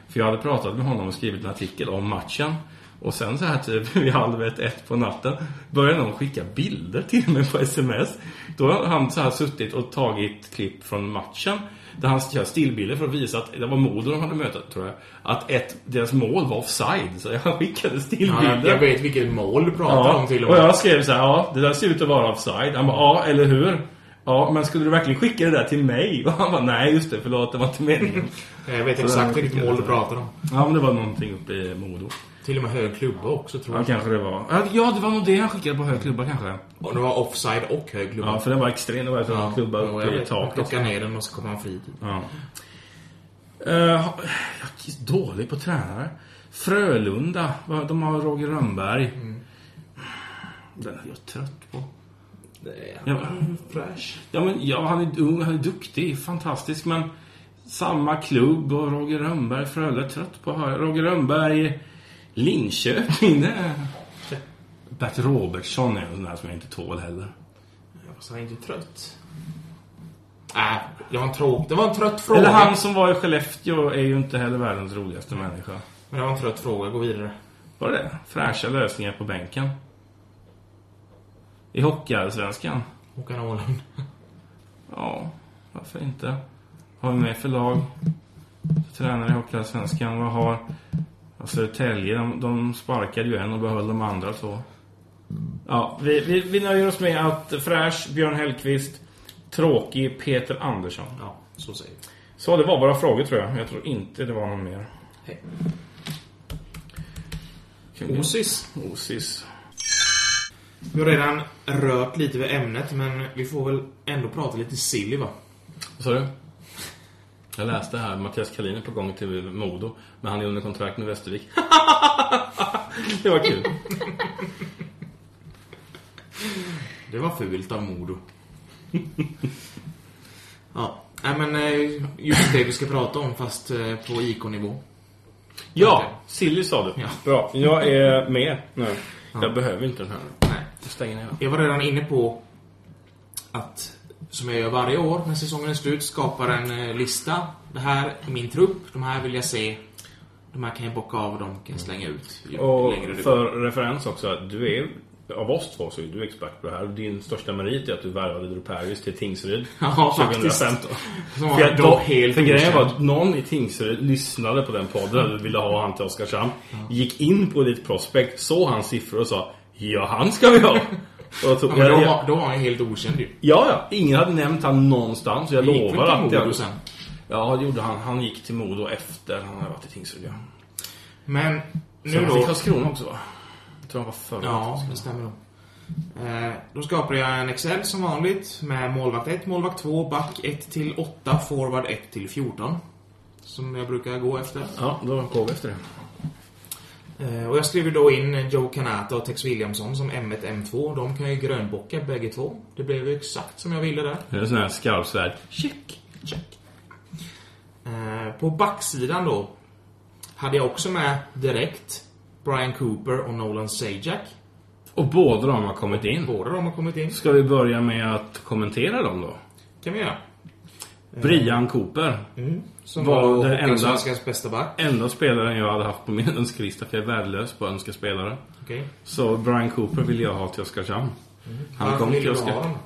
För jag hade pratat med honom och skrivit en artikel om matchen. Och sen så här typ vid halv ett, ett på natten började någon skicka bilder till mig på sms. Då har han så här suttit och tagit klipp från matchen. Där han gör stillbilder för att visa att det var Modo de hade mötet, tror jag. Att ett, deras mål var offside. Så jag skickade Ja, stillbilder. jag- jag vet vilket mål du pratar om till och och med. jag skrev så här, ja, det där ser ut att vara offside. Han bara, ja, eller hur? Ja, men skulle du verkligen skicka det där till mig? Och han bara, nej just det, förlåt, det var inte meningen. Jag vet där- exakt vilket mål du pratar om. ja, men det var någonting uppe i Modo. Till och med hög klubba också tror Ja, jag. kanske det var. Ja, Ja, det var nog det han skickade på hög klubba kanske. Och det var offside och hög klubba. Ja, för den var extrem. Det var ett ja, klubba och jag uppe i vet. Man taket. Plockar ner den och så kommer han fri. Ja. Eh, jag är dålig på tränare. Frölunda. va, De har Roger Rönnberg. Den är jag trött på. Ja. Flash. Ja, men, ja, han är ung, han är duktig, fantastisk, men samma klubb och Roger Rönnberg, Frölunda, är trött på att höra. Roger Rönnberg, Linköping, det är... Bert Robertsson är en sån där som jag inte tål heller. Fast han är inte trött. Äh, det var en tråk. Det var en trött fråga. Eller han som var i Skellefteå är ju inte heller världens roligaste människa. Men det var en trött fråga. Gå vidare. Var det det? Fräscha lösningar på bänken. I Hockeyallsvenskan? Håkan Åhlund. Ja, varför inte? Har vi med för lag? Tränare i Hockeyallsvenskan. Vad har... Ja, Södertälje, de, de sparkade ju en och behöll de andra två. Ja, vi, vi, vi nöjer oss med att Fräsch, Björn Hellqvist, Tråkig, Peter Andersson. Ja, så säger vi. Så det var våra frågor tror jag. Jag tror inte det var någon mer. Hej. Kan vi- Osis. Osis. Vi har redan rört lite vid ämnet, men vi får väl ändå prata lite silly, va? Vad sa du? Jag läste här, Mattias Kalin är på gång till Modo, men han är under kontrakt med Västervik. det var kul. Det var fult av Modo. ja. Nej, men eh, just det vi ska prata om, fast eh, på IK-nivå. Ja, Silly sa du. Ja. Bra, jag är med nu. Jag behöver inte den här. Nej. Jag stänger ner den. Jag var redan inne på att, som jag gör varje år när säsongen är slut, skapar en eh, lista. Det här är min trupp, de här vill jag se. De här kan jag bocka av och de kan jag slänga ut. ju Och längre det går. för referens också, att du är av oss två så är du expert på det här. Din största merit är att du värvade Drew Paris till Tingsryd Ja, faktiskt. 2015. Som För, jag, var då, helt för grejen okänd. var att någon i Tingsryd lyssnade på den podden Mm. och ville ha han till Oskarshamn. Gick in på ditt prospect, såg hans siffror och sa Ja, han ska vi ha! Och Ja, tog, jag, men då, ja, var, då var han ju helt okänd ju. ja, ingen hade nämnt han någonstans. Jag Det gick lovar väl till att Modo jag... sen. Ja, det gjorde han. Han gick till Modo efter han hade varit i Tingsryd. Ja. Men Sen nu han fick då. Karlskrona också va? Jag tror han var förra. Ja, det stämmer nog. Eh, Då skapar jag en Excel som vanligt med målvakt 1, målvakt 2, back 1 till 8, forward 1 till 14. Som jag brukar gå efter. Ja, då går vi efter det. Eh, Och jag skriver då in Joe Canata och Tex Williamson som M1, M2. De kan ju grönbocka bägge två. Det blev ju exakt som jag ville där. Det är en sån här skarpsvärd. Check, check. Eh, På backsidan då hade jag också med direkt Brian Cooper och Nolan Sajak. Och båda de har kommit in. Båda de har kommit in. Ska vi börja med att kommentera dem då? kan vi göra. Brian Cooper. Som Mm. Var var, den var enda- Hockeyallsvenskans bästa back. Enda spelaren jag hade haft på min önskelista, för jag är värdelös på att önska spelare. Okej. Så Brian Cooper ville jag ha till Oskarshamn. Mm. Han Varför kom vill till du ha Oskarshamn. dem?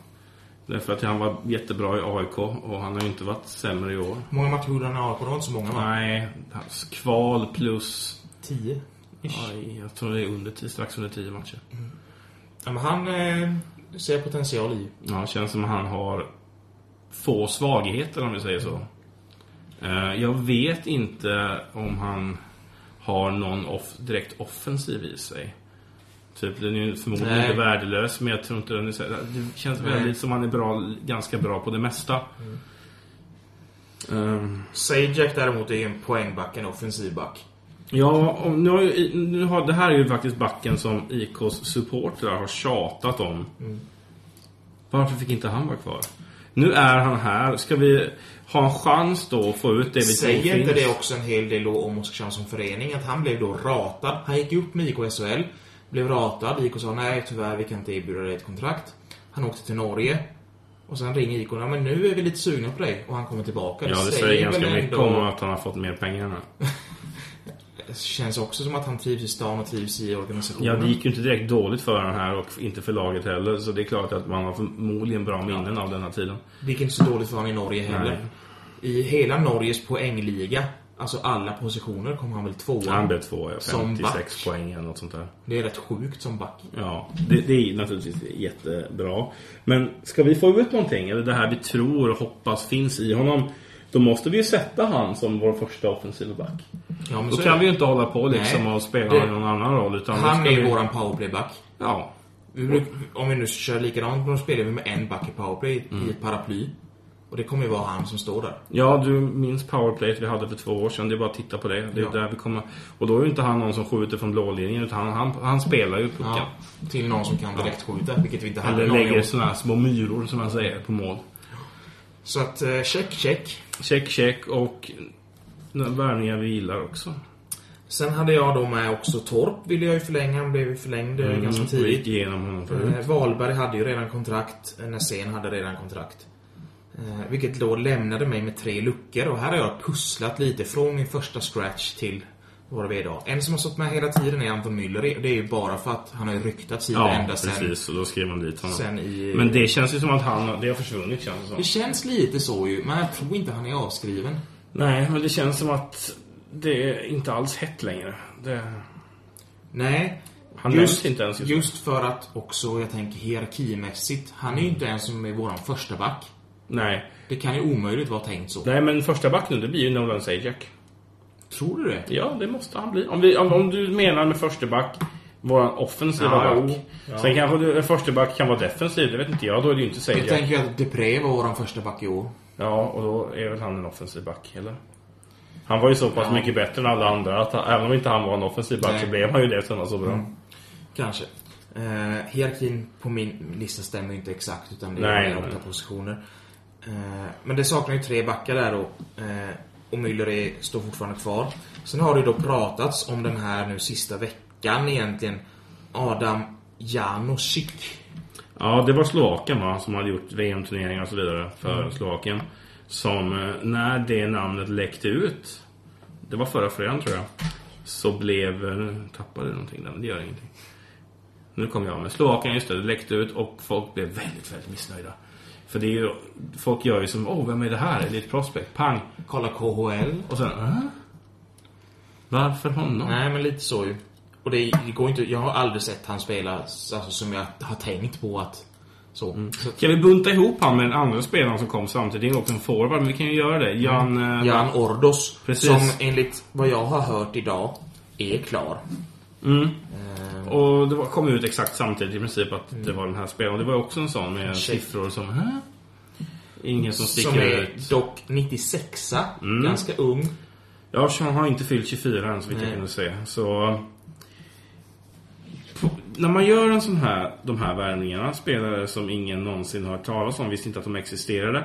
Därför att han var jättebra i AIK och han har ju inte varit sämre i år. Hur många matcher gjorde han i AIK? Det var inte så många va? Nej, hans kval plus... Tio. Ish. Aj, jag tror det är under, tio- strax under tio matcher. Ja, men han eh, ser potential i. Ja, det känns som att han har få svagheter om vi säger så. Eh, Jag vet inte om han har någon off direkt offensiv i sig. Typ, den är ju förmodligen Nej. inte värdelös, men jag tror inte den är så... Det känns Nej. väldigt som han är bra, ganska bra på det mesta. Ehm, Sajak däremot är ju en poängback, en offensiv back. Ja, och nu har, ju, nu har, det här är ju faktiskt backen som IKs supportrar har tjatat om. Mm. Varför fick inte han vara kvar? Nu är han här. Ska vi ha en chans då att få ut det vi Säger inte finns? det också en hel del då om Oskarshamn som förening? Att han blev då ratad. Han gick upp med IK SHL, blev ratad. IK sa nej, tyvärr, vi kan inte erbjuda dig ett kontrakt. Han åkte till Norge. Och sen ringer IK, ja, men nu är vi lite sugna på dig. Och han kommer tillbaka. Ja, det väl säger ganska mycket ändå- om att han har fått mer pengar nu. Det känns också som att han trivs i stan och trivs i organisationen. Ja, det gick ju inte direkt dåligt för honom här och inte för laget heller. Så det är klart att man har förmodligen bra minnen av denna tiden. Det gick inte så dåligt för honom i Norge heller. Nej. I hela Norges poängliga, alltså alla positioner, kom han väl tvåa. Han blev tvåa, ja, Som 56 poäng eller något sånt där. Det är rätt sjukt som back. Ja, det, det är naturligtvis jättebra. Men ska vi få ut någonting, eller det här vi tror och hoppas finns i honom, då måste vi ju sätta han som vår första offensiva back. Ja, men Då så är kan det. vi ju inte hålla på liksom Nej. och spela Det- i någon annan roll. Utan då Han ska är vi... ju våran powerplayback. Ja. Vi Mm. bruk, om vi nu kör likadant, då spelar vi med en back i powerplay i ett paraply. Och det kommer ju vara han som står där. Ja, du minns powerplayet vi hade för två år sedan. Det är bara att titta på det. Det är Ja. där vi kommer... Och då är ju inte han någon som skjuter från blålinjen, utan han, han, han spelar ju pucken. Ja, till någon som kan direkt skjuta, vilket vi inte hade Eller någon i lägger år. sådana här små myror, som man säger, på mål. Så att eh, check, check. Check, check och några värvningar vi gillar också. Sen hade jag då med också Torp, ville jag ju förlänga. Han blev ju förlängd eh, ganska Vi tidigt. Mm, gick igenom honom förut. Eh, Wahlberg hade ju redan kontrakt. eh, Nässén hade redan kontrakt. Eh, vilket då lämnade mig med tre luckor och här har jag pusslat lite från min första scratch till vad vi är idag. En som har stått med hela tiden är Anton Müller. Det är ju bara för att han har ju ryktats hit Ja, ända sen. precis. Och då skrev man dit honom. sen i... Men det känns ju som att han, det har försvunnit känns det som. Det känns lite så ju, men jag tror inte han är avskriven. Nej, men det känns som att det är inte alls hett längre. Det... Nej. Han nämns inte ens just nu. just för att också, jag tänker hierarkimässigt, han är ju inte ens som är våran första back. Nej. Det kan ju omöjligt vara tänkt så. Nej, men första back nu, det blir ju Nolan Sajak. Tror du det? Ja, det måste han bli. Om, vi, om, om du menar med första back våran offensiva Ja, back. jo. Ja. Sen kanske du, en första back kan vara defensiv, det vet inte jag. Då är det ju inte Jag Sajak. tänker ju att Depré var våran första back i år. Ja, och då är väl han en offensiv back, eller? Han var ju så pass mycket bättre än alla andra att han, även om inte han var en offensiv back Nej. så blev han ju det eftersom han var så bra. Kanske. Eh, hierarkin på min lista stämmer ju inte exakt utan det Nej, är nej. åtta positioner. Eh, men det saknar ju tre backar där då. Eh, och Müller är, står fortfarande kvar. Sen har det ju då pratats om den här nu sista veckan egentligen. Adam Janosik. Ja, det var Slovakien va, som hade gjort VM-turneringar och så vidare för Slovakien. Som eh, när det namnet läckte ut, det var förra fredagen tror jag, så blev... eh, Nu tappade jag någonting där, men det gör ingenting. Nu kom jag med Slovakien, just det, det läckte ut och folk blev väldigt, väldigt missnöjda. För det är ju, folk gör ju som, åh, vem är det här? Är det ett prospect? Pang! Kolla KHL. Och sen, äh? Varför honom? Nej, men lite så ju. Och det, det går inte, jag har aldrig sett han spela alltså, som jag har tänkt på att... Så. så Ska vi bunta ihop han med den andra spelaren som kom samtidigt? Det är också en forward, men vi kan ju göra det. Jan... eh, Mm. Jan Ordos, Precis. som enligt vad jag har hört idag, är klar. Och det var, kom ut exakt samtidigt i princip att det var den här spelaren. Det var också en sån med Mm. Shit. siffror som... Hä? Ingen som sticker Som ut. är dock 96 ganska ung. Ja, han har inte fyllt 24 än så vitt jag Nej. kunde se. Så... När man gör en sån här, de här värvningarna, spelare som ingen någonsin har hört talas om, visste inte att de existerade.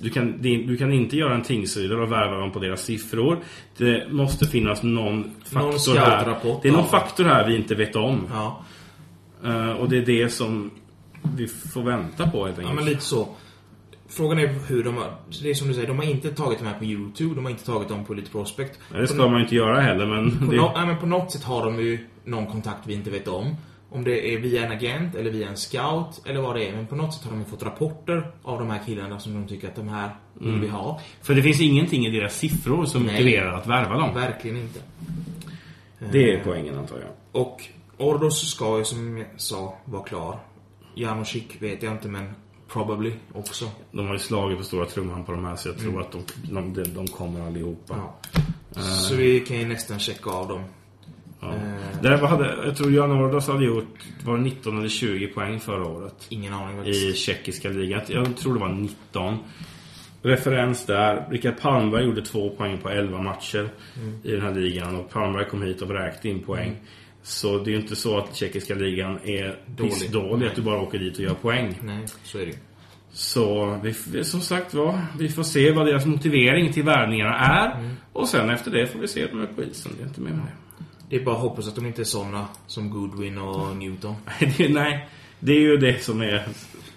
Du kan, det- du kan inte göra en Tingsrydare och värva dem på deras siffror. Det måste finnas någon faktor här. scoutrapport, Det är någon ja. faktor här vi inte vet om. Ja. Eh, och det är det som vi får vänta på helt ja, enkelt. men lite så. Frågan är hur de har... Det är som du säger, de har inte tagit dem här på YouTube, de har inte tagit dem på lite Prospect. Nej, det på, ska man ju inte göra heller, men... på, Det, nå- nej, men på något sätt har de ju någon kontakt vi inte vet om. Om det är via en agent eller via en scout eller vad det är. Men på något sätt har de ju fått rapporter av de här killarna som de tycker att de här vill vi ha. för det finns ingenting i deras siffror som Nej. motiverar att värva dem. Verkligen inte. Det är poängen, antar jag. Och Ordos ska ju som jag sa vara klar. Janosik vet jag inte men probably också. De har ju slagit på stora trumman på de här, så jag tror att de, de, de, de kommer allihopa. Mm. Ja. Eh. Så vi kan ju nästan checka av dem. Ja. eh. Där var- hade, jag tror Jan Ordos hade gjort var det 19 eller 20 poäng förra året. Ingen aning faktiskt. I tjeckiska ligan. Jag tror det var 19. Referens där. Rickard Palmberg gjorde två poäng på 11 matcher Mm. i den här ligan. Och Palmberg kom hit och vräkte in poäng. Så det är ju inte så att tjeckiska ligan är Dålig. pissdålig. Att du bara åker dit och gör poäng. Nej, så är det ju. Så vi, f- som sagt var, vi får se vad deras motivering till värvningarna är. Mm. Och sen efter det får vi se om de är på isen. Det är inte mer med det. Det är bara att hoppas att de inte är såna som Goodwin och Mm. Newton. Nej, det. Nej, det är ju det som är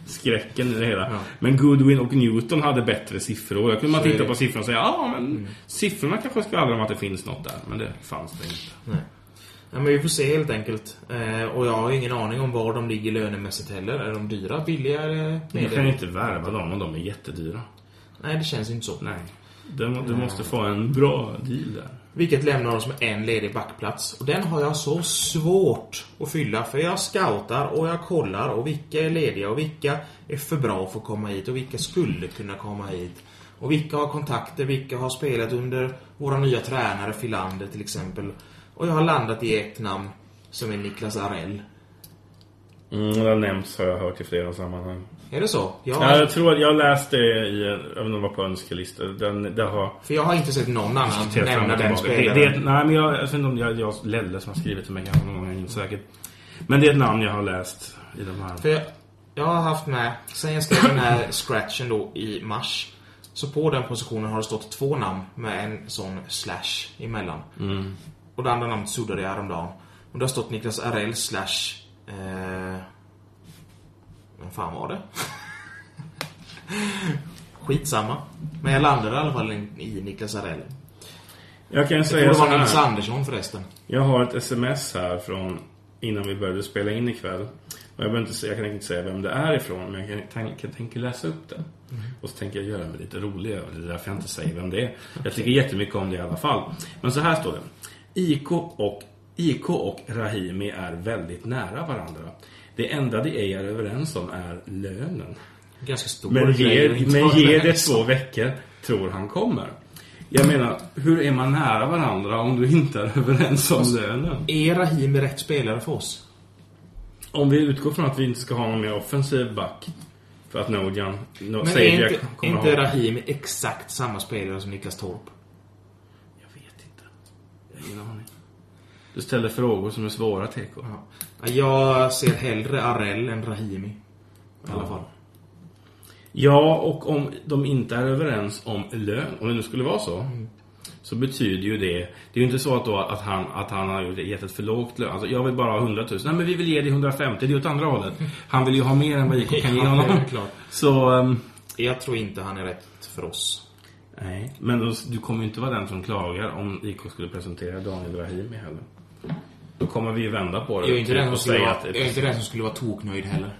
skräcken i det hela. Ja. Men Goodwin och Newton hade bättre siffror. Då kunde man Så är titta det. Mm. på siffrorna och säga ja, men siffrorna kanske skvallrar om att det finns något där. Men det fanns det inte. Nej. Ja, men vi får se helt enkelt. Eh, och jag har ingen aning om var de ligger lönemässigt heller. Är de dyra, billiga eller Men jag kan medel? inte värva dem om de är jättedyra. Nej, det känns inte så. Nej. Du, du måste få en bra deal där. Vilket lämnar oss med en ledig backplats. Och den har jag så svårt att fylla för jag scoutar och jag kollar och vilka är lediga och vilka är för bra för att komma hit och vilka skulle kunna komma hit. Och vilka har kontakter, vilka har spelat under våra nya tränare Filander till exempel. Och jag har landat i ett namn som är Niklas Arell. Mm, det har nämnts har jag hört i flera sammanhang. Är det så? Ja, Jag, jag tror att jag läste i, jag vet inte om det var på önskelista. Den, det har för jag har inte sett någon annan till fram nämna och den tillbaka. det, det, är spelaren. ett- Nej, men jag, jag vet inte om det är jag, Lelle som har skrivit till mig kanske någon gång, jag är inte säker. Men det är ett namn jag har läst i de här. För jag, jag har haft med, sen jag skrev den här scratchen då i mars, så på den positionen har det stått två namn med en sån slash emellan. Mm. Och det andra namnet suddade jag häromdagen. Och det har stått Niklas Arell slash... Eh, vem fan var det? Skitsamma. Men jag landade i alla fall i- i Niklas Arell. Jag kan Jag tror säga det så var Nils här. Andersson förresten. Jag har ett sms här från innan vi började spela in ikväll. Och jag, behöver inte, säga- jag kan inte säga vem det är ifrån, men jag kan, kan, kan tänka läsa upp det. Och så tänker jag göra mig lite rolig över det. Det är därför jag inte säger vem det är. Jag tycker jättemycket om det i alla fall. Men så här står det. IK och, IK och Rahimi är väldigt nära varandra. Det enda de ej är överens om är lönen. Ganska stor. Men grej. ger, men ger det två veckor tror han kommer. Jag menar, hur är man nära varandra om du inte är överens om lönen? Är Rahimi rätt spelare för oss? Om vi utgår från att vi inte ska ha någon mer offensiv back. För att Nordjan no, Men säger är jag inte, är kommer inte ha... Rahimi exakt samma spelare som Niklas Torp? Jag vet inte. Jag har ingen aning. Du ställer frågor som är svåra, TK. Ja. Jag ser hellre Arell än Rahimi. I alla fall. Ja, och om de inte är överens om lön, om det nu skulle vara så, så betyder ju det... Det är ju inte så att, då att, han, att han har gjort- gett ett för lågt lön. Alltså, jag vill bara ha 100 000. Nej, men vi vill ge dig 150. Det är åt andra hållet. Han vill ju ha mer än vad IK kan ge Ja, honom. det är klart. Så... ehm, Jag tror inte han är rätt för oss. Nej, men då- du kommer ju inte vara den som klagar om IK skulle presentera Daniel Rahimi heller. Då kommer vi ju vända på det. Jag är inte den som och skulle säga vara, att... jag är inte den som skulle vara toknöjd heller.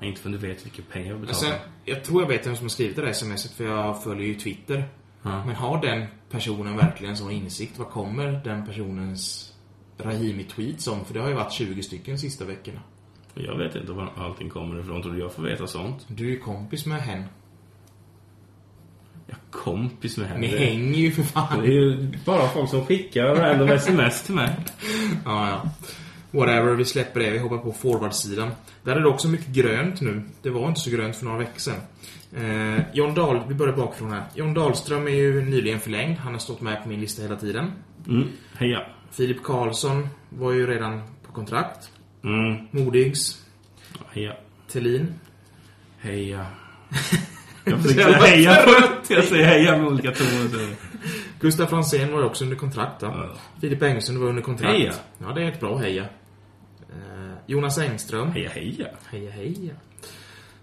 Nej, inte förrän du vet vilka pengar vi Men sen, betalar. Alltså, jag tror jag vet vem som har skrivit det där smset för jag följer ju Twitter. Ja. Men har den personen verkligen sån insikt? Vad kommer den personens Rahimi-tweets om? För det har ju varit 20 stycken sista veckorna. Jag vet inte var allting kommer ifrån. Tror du jag får veta sånt? Du är ju kompis med hen. Jag är kompis med henne. Ni hänger ju för fan. Det är ju bara folk som skickar random sms till mig. Ja, ja. Whatever, vi släpper det. Vi hoppar på forwardsidan. Där är det också mycket grönt nu. Det var inte så grönt för några veckor sedan. Eh, John Dahl, vi börjar bakifrån här. John Dahlström är ju nyligen förlängd. Han har stått med på min lista hela tiden. Mm. Heja. Filip Karlsson var ju redan på kontrakt. Mm. Modigs, Heja. Thelin. Heja. Jag försöker säga heja förut. Jag säger heja med olika toner. Gustaf Franzén var ju också under kontrakt va? Ja. Filip Engström var under kontrakt. Heja. Ja, det är ett bra heja. Eh, Jonas Engström. Heja heja. Heja, heja.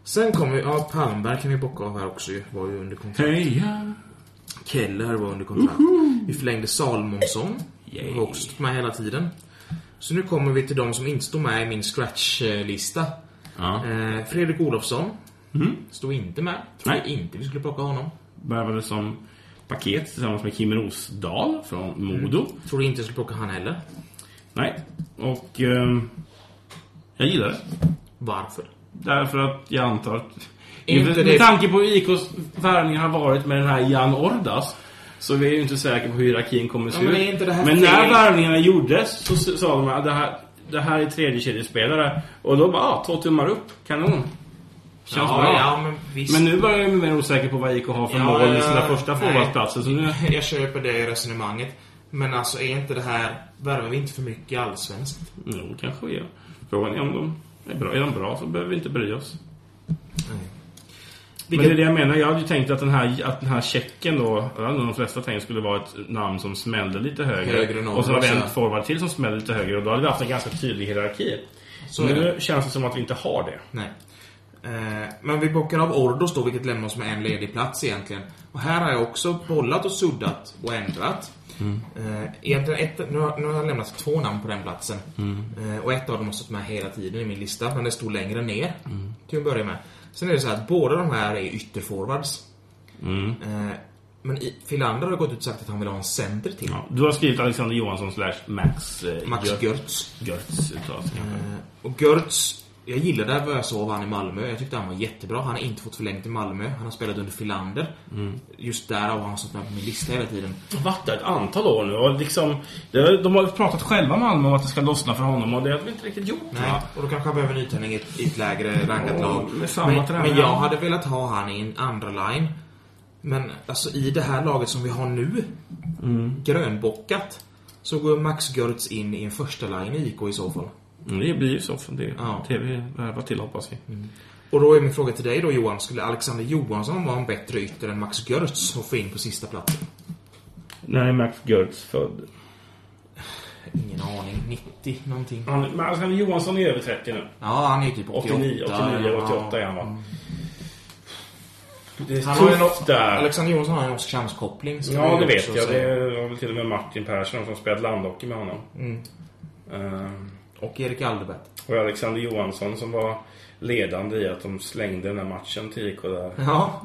Sen kommer vi... Ja, Palmberg kan vi bocka av här också ju. Var ju under kontrakt. Heja. Keller var under kontrakt. Vi förlängde Salomonsson. Yay. Var också med hela tiden. Så nu kommer vi till de som inte står med i min scratch-lista. Ja. Mhm. Eh, Fredrik Olofsson. Stod inte med. Trodde Nej. inte vi skulle plocka honom. Värvades som paket tillsammans med Kim Rosdahl från Modo. Trodde inte vi skulle plocka han heller. Nej. Och ehm, jag gillar det. Varför? Därför att jag antar att... Inte med det- tanke på hur IKs värvningar har varit med den här Jan Ordas så vi är ju inte säkra på hur hierarkin kommer att se Ja, men ut. är inte det här men fel? när värvningarna gjordes så s- sa de att det här, det här är tredjekedjespelare. Och då bara, ah, två tummar upp. Kanon. Känns ja, bra. ja, men visst. Men nu börjar jag bli mer osäker på vad IK har för Ja, mål i ja, sina första nej. forwardsplatser. Så nu... Jag köper det resonemanget. Men alltså, är inte det här... Värvar vi inte för mycket allsvenskt? Jo, kanske vi gör. Frågan är om de är bra. Är de bra så behöver vi inte bry oss. Men det är det jag menar. Jag hade ju tänkt att den här, att den här checken då, jag hade nog de flesta tänkte skulle vara ett namn som smällde lite högre. Högre än och så var det en Norrbotten. forward till som smällde lite högre och då hade vi haft en ganska tydlig hierarki. Så är nu det. känns det som att vi inte har det. Nej. Eh, men vi bockar av Ordos då, vilket lämnar oss med en ledig plats egentligen. Och här har jag också bollat och suddat och ändrat. Mm. Eh, egentligen ett, nu, har, nu har jag lämnat två namn på den platsen. Mm. Eh, och ett av dem har stått med hela tiden i min lista, men det stod längre ner. Mm. Till att börja med. Sen är det så här att båda de här är ytterforwards. Mm. Eh, men i, Filander har gått ut och sagt att han vill ha en center till. Ja. Du har skrivit Alexander Johansson slash Max, eh, Max Gör- Görtz. Görtz. uttalas det kanske. Eh, Och Görtz Jag gillade vad jag såg av han i Malmö. Jag tyckte han var jättebra. Han har inte fått förlängt i Malmö. Han har spelat under Filander. Just därav har han stått med på min lista hela tiden. varit där ett antal år nu och liksom... det- De har pratat själva med Malmö om att det ska lossna för honom och det har vi inte riktigt gjort Nej, va? och då kanske han behöver nytändning i ett, i ett lägre rankat Ja, lag. med samma Men, tränare. men jag hade velat ha han i en andra line. Men alltså i det här laget som vi har nu, Mm. grönbockat, så går Max Görtz in i en första line i IK i så fall. Mm, Det blir ju så. för Det Ja. Mm. TV-värva till hoppas vi. Och då är min fråga till dig då Johan, skulle Alexander Johansson vara en bättre ytter än Max Görtz och få in på sista platsen? När är Max Gertz född? Ingen aning, 90 någonting. Han, men Alexander Johansson är över 30 nu. Ja, han är ju typ 88. 89, 89 88 är han va? Mm. Det är Han har ju tufft något, där. Alexander Johansson har en Oskarshamnskoppling. ska Ja, vi det också vet jag. säga. Det var väl till och med Martin Persson som spelade landhockey med honom. Mm. Ehm, Och Erik Alderbert. och Alexander Johansson som var ledande i att de slängde den här matchen till IK där. Ja.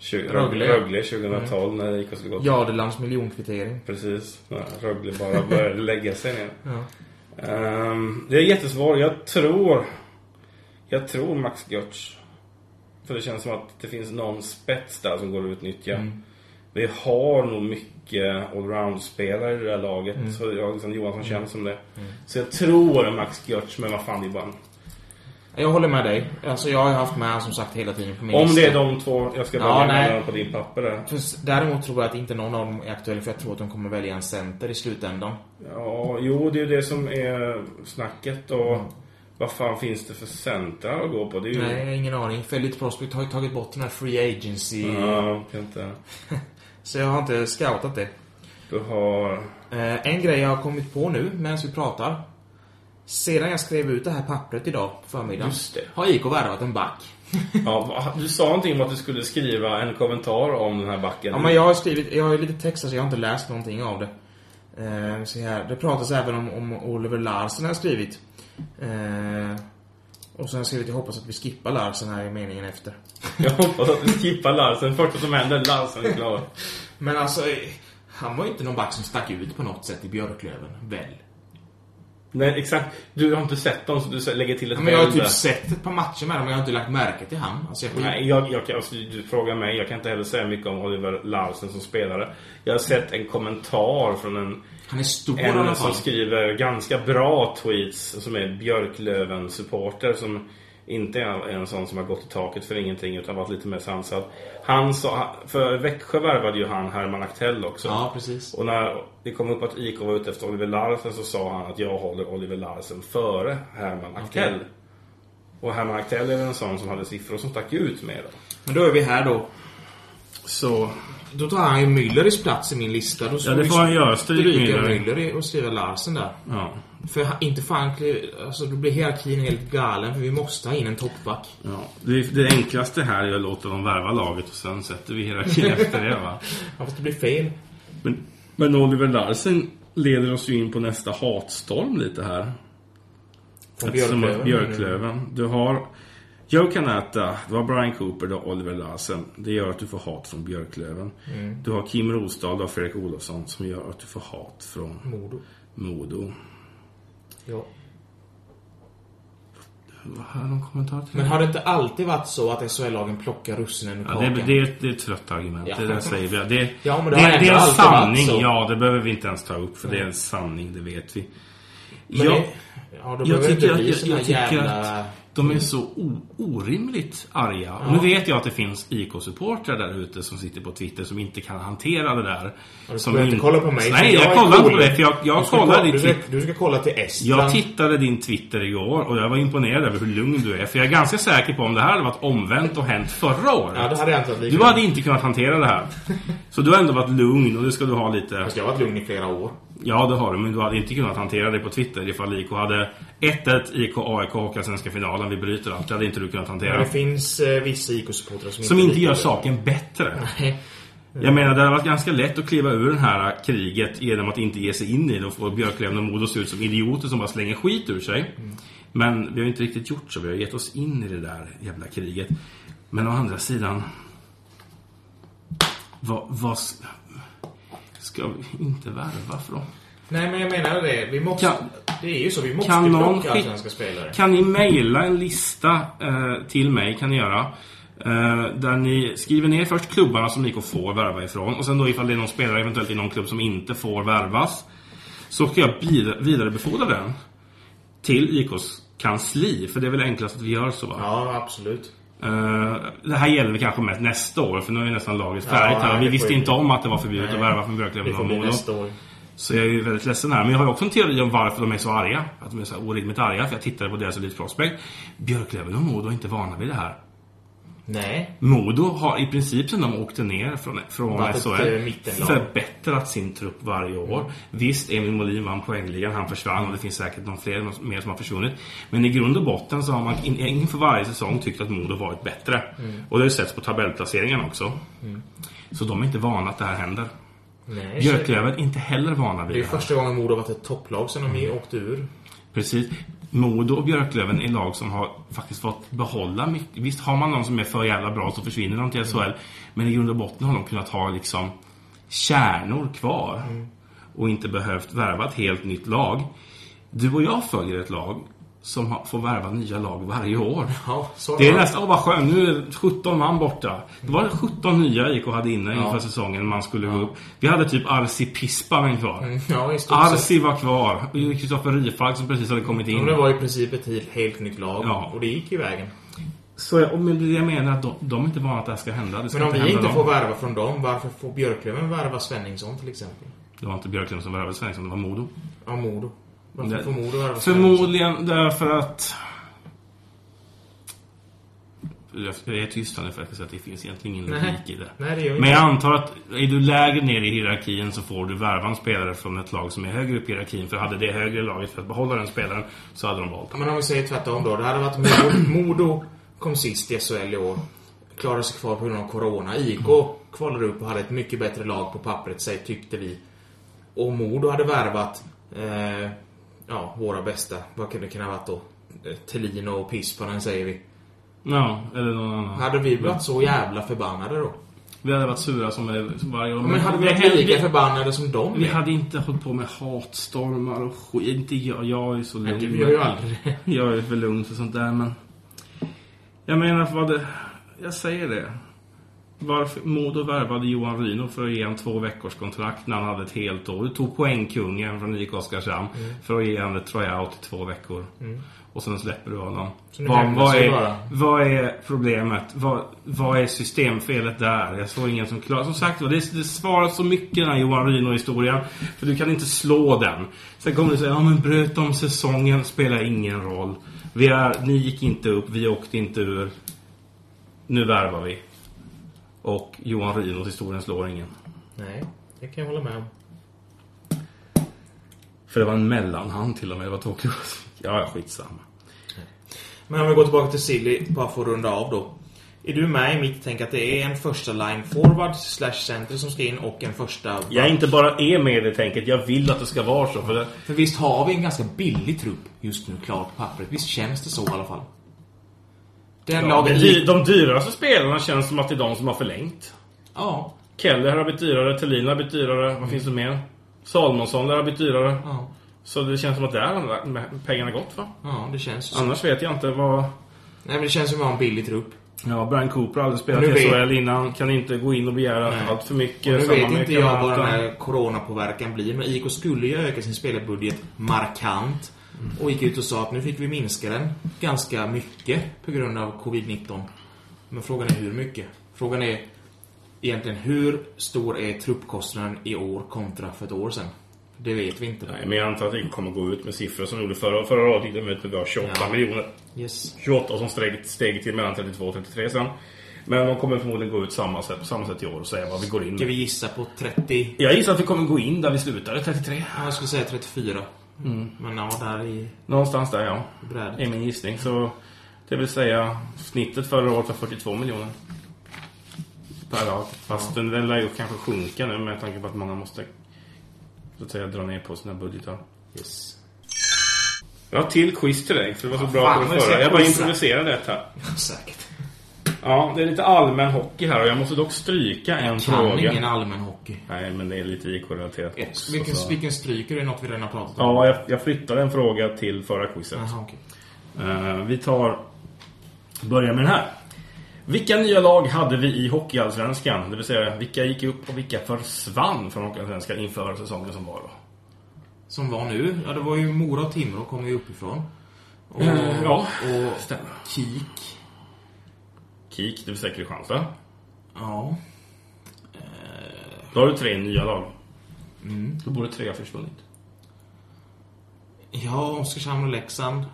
Tju- Rögle. Mm. Rögle 2012 när IK skulle gå till Jardelands miljonkvittering. Precis. Ja, Rögle bara började lägga sig ner. Ehm, det är jättesvårt. Jag tror... Jag tror Max Götz. För det känns som att det finns någon spets där som går att utnyttja. Mm. Vi har nog mycket allround-spelare i det här laget. Mm. Så jag, liksom, Johansson känns som det. Så jag tror Max Götz, men vad fan det är bara... en- Jag håller med dig. Alltså jag har haft med han som sagt hela tiden på min Om lista. det är de två jag ska Ja, välja nej. mellan på din papper där. För Däremot tror jag att inte någon av dem är aktuell för jag tror att de kommer välja en center i slutändan. Ja, jo det är ju det som är snacket och Mm. vad fan finns det för centra att gå på? Det är ju... Nej, jag har ingen aning. Felix Prospect har ju tagit bort den här Free Agency. Ja, kan inte. Så jag har inte scoutat det. Du har... Eh, en grej jag har kommit på nu medan vi pratar. Sedan jag skrev ut det här pappret idag på förmiddagen Just det. Mm. har IK värvat en back. Ja, va- du sa någonting om att du skulle skriva en kommentar om den här backen. Ja, men jag har skrivit, jag har ju lite texter så jag har inte läst någonting av det. Eh, så här, det pratas även om, om Oliver Larsen har jag skrivit. Eh, och sen har jag skrivit, jag hoppas att vi skippar Larsen här i meningen efter. Jag hoppas att du skippar Larsen. Första som händer, Larsen är klar. Men alltså, eh, han var ju inte någon back som stack ut på något sätt i Björklöven, väl? Nej, exakt. Du har inte sett dem så du lägger till ett Ja, men jag har väl där. typ sett ett par matcher med dem, men jag har inte lagt märke till han. Alltså, jag kan... Nej, jag, jag, kan- alltså, du frågar mig. Jag kan inte heller säga mycket om Oliver Larsen som spelare. Jag har sett en kommentar från en Han är stor i alla En som fall. skriver ganska bra tweets som är Björklöven-supporter som inte är en sån som har gått i taket för ingenting utan varit lite mer sansad. Han sa, för Växjö värvade ju han Herman Aktell också. Ja, precis. Och när det kom upp att IK var ute efter Oliver Larsen så sa han att jag håller Oliver Larsen före Herman Aktell. Okej. Och Herman Aktell är väl en sån som hade siffror som stack ut med då. Men då är vi här då. Så... Då tar han ju Müllers plats i min lista. Då det får han göra. Stryk Stryka Müller. Müller i- och skriva Larsen där. Ja. För ha- inte fan kli- alltså då blir hierarkin helt galen för vi måste ha in en toppback. Ja, det, det enklaste här är att låta dem värva laget och sen sätter vi hierarkin efter det va. Ja, fast det blir fel. Men, men Oliver Larsen leder oss ju in på nästa hatstorm lite här. Från Eftersom att Björklöven. Björklöven. Du har Joe Kanata, du har Brian Cooper, du har Oliver Larsen. Det gör att du får hat från Björklöven. Mm. Du har Kim Rosdahl, du har Fredrik Olofsson som gör att du får hat från Modo. Modo. Ja. Vad har jag någon kommentar till Men har det inte alltid varit så att SHL-lagen plockar russinen ur Ja, kakan? det, det, är ett- det är ett trött argument. Ja. Det där säger vi. Det, Ja, men det, det det, har ändå är alltid en alltså. varit sanning. så. Ja, det behöver vi inte ens ta upp. För det är en sanning, det vet vi. Men Jag, det- ja, då jag behöver det tycker, inte att, bli jag, såna jag tycker jävla... att de är så o, orimligt arga. Och nu vet jag att det finns IK-supportrar där ute som sitter på Twitter som inte kan hantera det där. Du Som ska inte inte- kolla på mig. Nej, för jag, är kollar inte cool. på det. För jag, Du jag ska kollar kolla- ditt du Twitter. ska, du ska kolla till Estland. Jag tittade din Twitter igår och jag var imponerad över hur lugn du är. För jag är ganska säker på om det här hade varit omvänt och hänt förra året. Ja, då hade jag inte varit lika Du hade inte kunnat hantera det här. Så du har ändå varit lugn och det ska du ha lite... Fast jag har varit lugn i flera år. Ja, det har du, men du hade inte kunnat hantera det på Twitter ifall IK hade 1-1 IK AIK Hockeyallsvenska finalen, vi bryter allt. Det hade inte du kunnat Men hantera. det finns eh, vissa IK-supportrar som, Som inte litar gör på det. saken bättre. Nej. Jag menar, det hade varit ganska lätt att kliva ur det här kriget genom att inte ge sig in i det och få Björklöven och Modo se ut som idioter som bara slänger skit ur sig. Mm. Men vi har ju inte riktigt gjort så. Vi har gett oss in i det där jävla kriget. Men å andra sidan... Vad, vad s- ska vi inte värva för dem? Nej, men jag menar det. Vi måste, Kan- det är ju så. Vi måste Kan någon plocka skick- allsvenska spelare. Kan ni mejla en lista eh, till mig, kan ni göra. Eh, där ni skriver ner först klubbarna som ni får värva ifrån. Och sen då ifall det är någon spelare eventuellt i någon klubb som inte får värvas. Så ska jag bid- vidarebefordra den. Till IKs kansli. För det är väl enklast att vi gör så va? Ja, absolut. Eh, det här gäller väl kanske mest nästa år. För nu är ju nästan laget färdigt nej, här. Och vi det visste får ju inte bli. om att det var förbjudet att Nej. värva från Det Björklöven får och bli Modo. nästa år. Så jag är ju väldigt ledsen här. Men jag har ju också en teori om varför de är så arga. Att de är så här orimligt arga. För jag tittade på deras Elite Prospect. Björklöven och Modo är inte vana vid det här. Nej. Modo har i princip sedan de åkte ner från, från Varit ett, eh, SHL mittenlag. förbättrat sin trupp varje år. Visst, Emil Molin vann poängligan, han försvann och det finns säkert någon fler någon mer som har försvunnit. Men i grund och botten så har man in, inför varje säsong tyckt att Modo varit bättre. Mm. Och det har ju setts på tabellplaceringen också. Så de är inte vana att det här händer. Nej. Björklöven är inte heller vana vid Det är det ju här. första gången Modo har varit ett topplag sen de Mm. åkte ur. Precis. Modo och Björklöven är lag som har faktiskt fått behålla mycket. Visst har man någon som är för jävla bra så försvinner de till SHL. Men i grund och botten har de kunnat ha liksom kärnor kvar. Och inte behövt värva ett helt nytt lag. Du och jag följer ett lag som har- får värva nya lag varje år. Ja, så Det är har- nästan, åh vad skönt, nu är det 17 man borta. Det var 17 nya IK hade inne inför säsongen man skulle gå upp. Vi hade typ Arsi Pispanen kvar. Mm, Ja, i stort sett. Arsi var kvar. Och Kristoffer Rifalk som precis hade kommit Men in. det var i princip ett helt, helt nytt lag. Ja. Och det gick ju vägen. Så jag, och men det jag menar att de, de är inte vana att det här ska hända. Det ska Men om inte vi hända inte dem. får värva från dem, varför får Björklöven värva Svenningsson till exempel? Det var inte Björklund som värvade Svensson, det var Modo. Ja, Modo. Varför Det- får Modo värva Svenningsson? Förmodligen därför att... Jag är tyst här nu för att jag ska säga att det finns egentligen ingen Nej. logik i det. Nej, det gör Men inte. jag antar att är du lägre ner i hierarkin så får du värva en spelare från ett lag som är högre upp i hierarkin. För hade det högre laget för att behålla den spelaren så hade de valt Men om vi säger tvärtom då. Det hade varit Modo. Modo kom sist i SHL i år. Klarade sig kvar på grund av Corona. IK kvalade upp och hade ett mycket bättre lag på pappret, säg, tyckte vi. Och Modo hade värvat eh, ja, våra bästa. Vad kunde det kunna ha varit då? Eh, Thelin och Pispanen, säger vi. Ja, eller någon annan. Hade vi varit så jävla förbannade då? Vi hade varit sura som är- som varje år. Men hade vi varit hellre- lika förbannade som dem? Vi är? hade inte hållit på med hatstormar och skit. Inte jag, jag är så lugn. du gör ju aldrig det. Jag är för lugn för sånt där men... Jag menar, vad det... Jag säger det. Varför Modo värvade Johan Ryno för att ge honom två veckors kontrakt när han hade ett helt år. Du tog poängkungen från IK Oskarshamn Mm. för att ge honom ett tryout i två veckor. Och sen släpper du honom. Så nu Vad, hämnas vad, vi är, bara. vad är problemet? Vad, vad är systemfelet där? Jag såg ingen som klar. Som sagt var, det, det svaras så mycket i den här Johan Ryno-historien. För du kan inte slå den. Sen kommer du säga, ja men bröt de säsongen spelar ingen roll. Vi är, ni gick inte upp, vi åkte inte ur. Nu värvar vi. Och Johan Rynos historien slår ingen. Nej, det kan jag hålla med om. För det var en mellanhand till och med. Det var tråkigt. Ja, ja, skitsamma. Men om vi går tillbaka till Silly, bara för att runda av då. Är du med i mitt tänk att det är en första line forward slash center som ska in och en första... Jag inte bara är med i det tänket, jag vill att det ska vara så. För det, För visst har vi en ganska billig trupp just nu, klart på pappret. Visst känns det så i alla fall? Den ja, lagen... de, gick- dy- de dyraste spelarna känns som att det är de som har förlängt. Ja. Keller har blivit dyrare, Thelin har blivit dyrare. Vad finns det mer? Salomonsson har blivit dyrare. Ja. Så det känns som att där har pengarna gått va? Ja, det känns så. Annars vet jag inte vad... Nej, men det känns som att vi har en billig trupp. Ja, Brian Cooper har aldrig spelat Nu i vet- SHL innan. Kan inte gå in och begära Nej. allt för mycket. Och nu Samma vet med inte jag vad Kanata. den här coronapåverkan blir, men IK skulle ju öka sin spelarbudget markant. Mm. Och gick ut och sa att nu fick vi minska den ganska mycket på grund av covid-19. Men frågan är hur mycket? Frågan är egentligen hur stor är truppkostnaden i år kontra för ett år sedan? Det vet vi inte. Nej, men jag antar att det kommer gå ut med siffror som de gjorde förra, förra året. Gick de ut med vi har 28 Ja. miljoner. Yes. 28 som steg, steg till mellan 32 och 33 sen. Men de kommer förmodligen gå ut samma sätt, på samma sätt i år och säga vad vi går in Ska vi med. gissa på 30? Jag gissar att vi kommer gå in där vi slutade, 33. Ja, jag skulle säga 34. Mm. Men ja, där i Någonstans där ja. brädet. Är min gissning. Så det vill säga snittet förra året var 42 miljoner. Per dag. Fast den den lär ju kanske sjunka nu med tanke på att många måste så att säga, dra ner på sina budgetar. Yes. Jag har till quiz till dig för det var så Ja, bra fan, på nu det ska förra. jag Jag bara quizza. improviserade ett här. Säkert. Ja, det är lite allmän hockey här och jag måste dock stryka en Kan fråga. ingen allmän hockey. Nej, men det är lite IK-relaterat också. Vilken, så- vilken stryker är något vi redan har pratat om? Ja, jag, jag flyttade en fråga till förra quizet. Jaha, okej. Eh, vi tar... Börjar med den här. Vilka nya lag hade vi i Hockeyallsvenskan? Det vill säga, vilka gick upp och vilka försvann från Hockeyallsvenskan inför säsongen som var då? Som var nu? Ja, det var ju Mora och Timrå kom ju uppifrån. Och, Eh, ja. och Kik. KIK, det vill säga Kristianstad. Ja. Då har du tre nya lag. Mm. Då borde tre ha försvunnit. Ja, Oskarshamn och Leksand.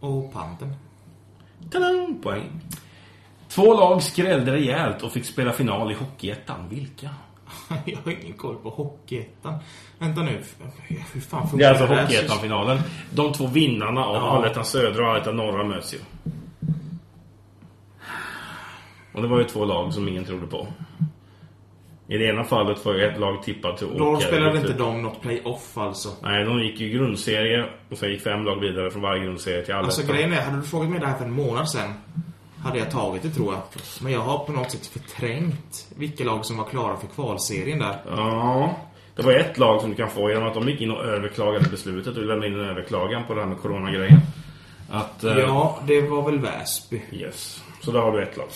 Och Panten. Tadan, poäng. Två lag skrällde rejält och fick spela final i Hockeyettan. Vilka? Jag har ingen koll på Hockeyettan. Vänta nu. Hur fan Det är fungerar alltså här? Hockeyettan-finalen. De två vinnarna av Ja. Allettan Södra och Allettan Norra möts ju. Och det var ju två lag som ingen trodde på. I det ena fallet var ju ett lag tippat till Då åkare. spelade inte de något playoff alltså. Nej, de gick ju grundserie och sen gick fem lag vidare från varje grundserie till Allettan. Alltså grejen är, hade du frågat mig det här för en månad sedan hade jag tagit det tror jag. Men jag har på något sätt förträngt vilka lag som var klara för kvalserien där. Ja. Det var ett lag som du kan få genom att de gick in och överklagade beslutet och lämnade in en överklagan på det här med coronagrejen. Att... eh, Ja, det var väl Väsby. Yes. Så där har du ett lag.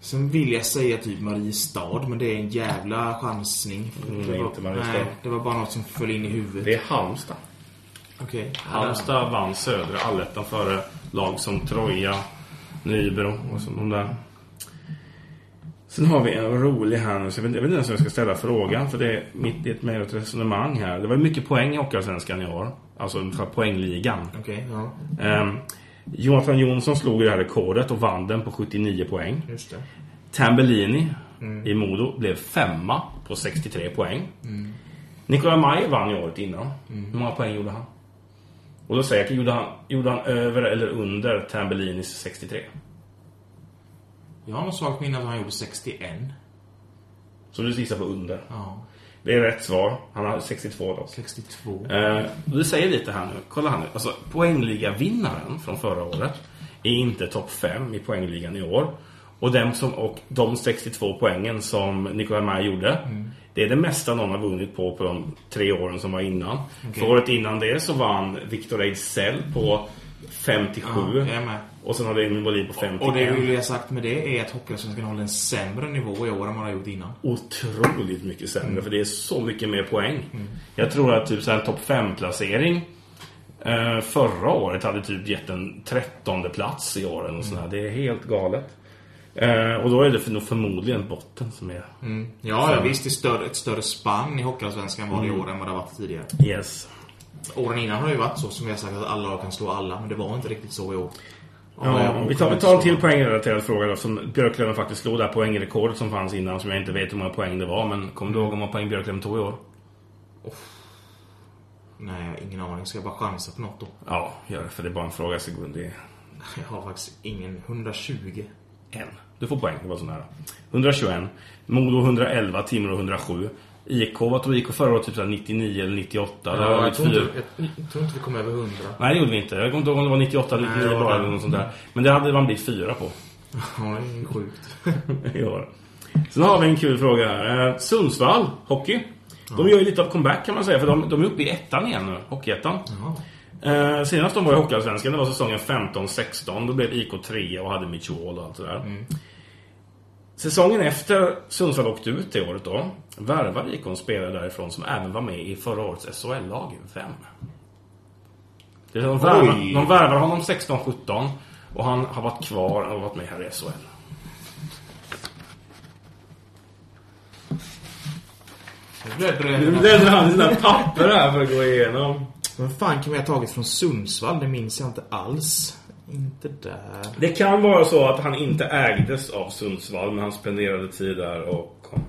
Sen vill jag säga typ Mariestad, men det är en jävla chansning. Mm, det, var, inte Mariestad. Nej, det var bara något som föll in i huvudet. Det är Halmstad. Okej. Halmstad vann södra allettan före lag som Troja, Nybro och så de där. Sen har vi en rolig här nu, så jag vet, jag vet inte ens om jag ska ställa frågan för det är mitt i ett med ett resonemang här. Det var ju mycket poäng i Hockeyallsvenskan i år. Alltså för poängligan. Okej, ja. Um, Jonathan Jonsson slog ju det här rekordet och vann den på 79 poäng. Just det. Tambellini i Modo blev femma på 63 poäng. Nikolaj Maj vann ju året innan. Hur många poäng gjorde han? Och då säger jag, gjorde han, gjorde han över eller under Tambellinis 63? Jag har något svagt minne att han gjorde 61. Så du gissar på under. Ja. Det är rätt svar. Han har 62 då. 62. Eh, och det säger lite här nu. Kolla här nu. Alltså, poängligavinnaren från förra året är inte topp 5 i poängligan i år. Och, dem som, och de 62 poängen som Nikolaj Maj gjorde, Mm. det är det mesta någon har vunnit på på de tre åren som var innan. För året innan det så vann Victor Ejdsell på 57. Ja, jag är med. och sen har det Emil Molin på 51. Och det jag vill jag sagt med det är att Hockeyallsvenskan håller en sämre nivå i år än vad den har gjort innan. otroligt mycket sämre. För det är så mycket mer poäng. Jag tror att typ så här en topp 5-placering eh, förra året hade typ gett en trettonde plats i år. Eller mm. här. Det är helt galet. Eh, och då är det för, nog förmodligen botten som är... Mm. Ja, ja visst. Det är större, ett större spann i Hockeyallsvenskan var det i Mm. år än vad det har varit tidigare. Yes. Åren innan har det ju varit så som vi har sagt att alla lag kan slå alla, men det var inte riktigt så i år. Ja, Eh, vi, tar, vi tar en till poängrelaterad fråga då, som Björklöven faktiskt slog det här poängrekordet som fanns innan som jag inte vet hur många poäng det var men kommer du ihåg hur många poäng Björklöven tog i år? Nej, jag har ingen aning. Ska jag bara chansa på något då? Ja, gör det för det är bara en fråga sekund. Det är Jag har faktiskt ingen. 120. En. Du får poäng, det var så nära. 121. Modo 111, Timrå 107. IK, vad tog IK förra året? Typ så här 99 eller 98? Eller var det jag, tror inte, 94? jag, jag tror inte vi kom över 100. Nej, det gjorde vi inte. Jag kommer inte ihåg om det var 98 eller Nej, 99 det var bara det. eller något sånt där. Men det hade man blivit fyra på Ja, det är ju sjukt. i år. Sen har vi en kul fråga här. Eh, Sundsvall, hockey. De gör ju lite av comeback kan man säga, för de, de är uppe i ettan igen nu. Hockeyettan. Ja. Eh, senast de var i Hockeyallsvenskan, det var säsongen 15-16. Då blev IK 3 och hade Mitchell och allt sådär. Säsongen efter Sundsvall åkte ut det året då, värvade IK en spelare därifrån som även var med i förra årets SHL-lag. Vem? Det är de, värvar, de värvar honom 16-17 och han har varit kvar och varit med här i SHL. Jag blev Nu rädd. bläddrar han i sina papper här för att gå igenom. Vem fan kan vi ha tagit från Sundsvall? Det minns jag inte alls. Inte där. Det kan vara så att han inte ägdes av Sundsvall, men han spenderade tid där och kom.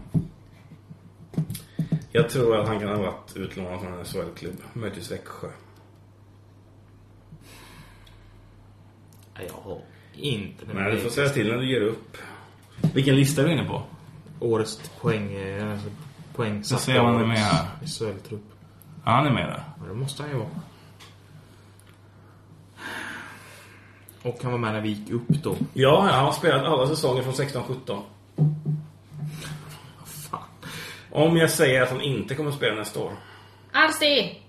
Jag tror att han kan ha varit utlånad från en SHL-klubb, möjligtvis Växjö. Nej, jag har inte. Nej, du får säga till när du ger upp. Vilken lista är du inne på? Årets poäng... eh, Alltså, poäng Så ser man det med här. SHL-trupp. Ja, han är med där. Ja, det måste han ju vara. Och han var med när vi gick upp då. Ja, jag har spelat alla säsonger från 16-17. Fan. Om jag säger att han inte kommer spela nästa år. Arsti!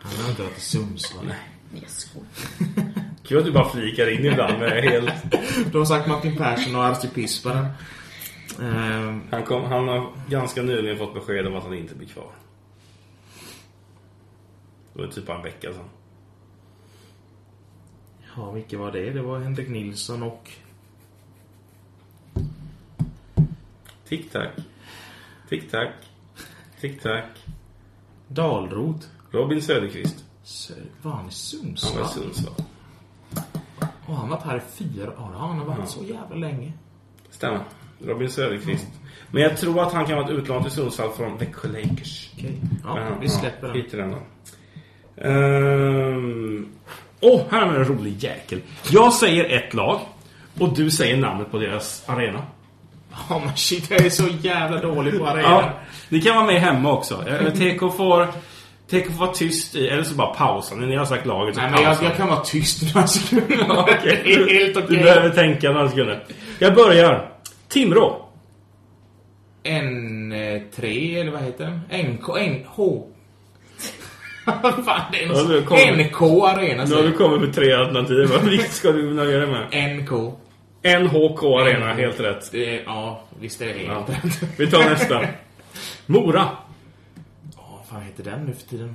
Han har inte varit i Sundsvall. Nej, jag skojar. Kul att du bara flikar in ibland med helt... Du har sagt Martin Persson och Arsti Pispanen. Ehm, Han, kom, han har ganska nyligen fått besked om att han inte blir kvar. Det var typ bara en vecka sedan. ja, vilka var det? Det var Henrik Nilsson och... Tic tac. Tic tac. Tic tac. Dalrot. Robin Söderqvist. Sö- Var han i Han var i Sundsvall? Sundsvall. Och han har varit här i fyra år. Ja, han har varit så jävla länge. Stämmer. Robin Söderqvist. Men jag tror att han kan vara ett utlån till Sundsvall från Växjö Lakers. Okej. Men, Ja, vi släpper den. skit i den då. Ehm, Åh, här är en rolig jäkel. Jag säger ett lag och du säger namnet på deras arena. Ja, men shit. Jag är så jävla dålig på Ja, arenor. ni kan vara med hemma också. Eh, TK får, TK får vara tyst i, eller så bara pausa när ni har sagt laget. Så Nej, men jag, pausar ni. jag kan vara tyst några sekunder. Okej. Det är helt Du okej. behöver tänka några sekunder. Jag börjar. Timrå. N3, eller vad heter den? NK, NH. Fan, det är Ja, nu en... kommer- NK Arena Nu har säger du kommit med tre alternativ. Vad Vilket ska du nöja dig med? jag. NK. NHK Arena, helt rätt. Det är, ja, visst är det Ja. helt rätt. Vi tar nästa. Mora. Ja, vad fan heter den nu för tiden?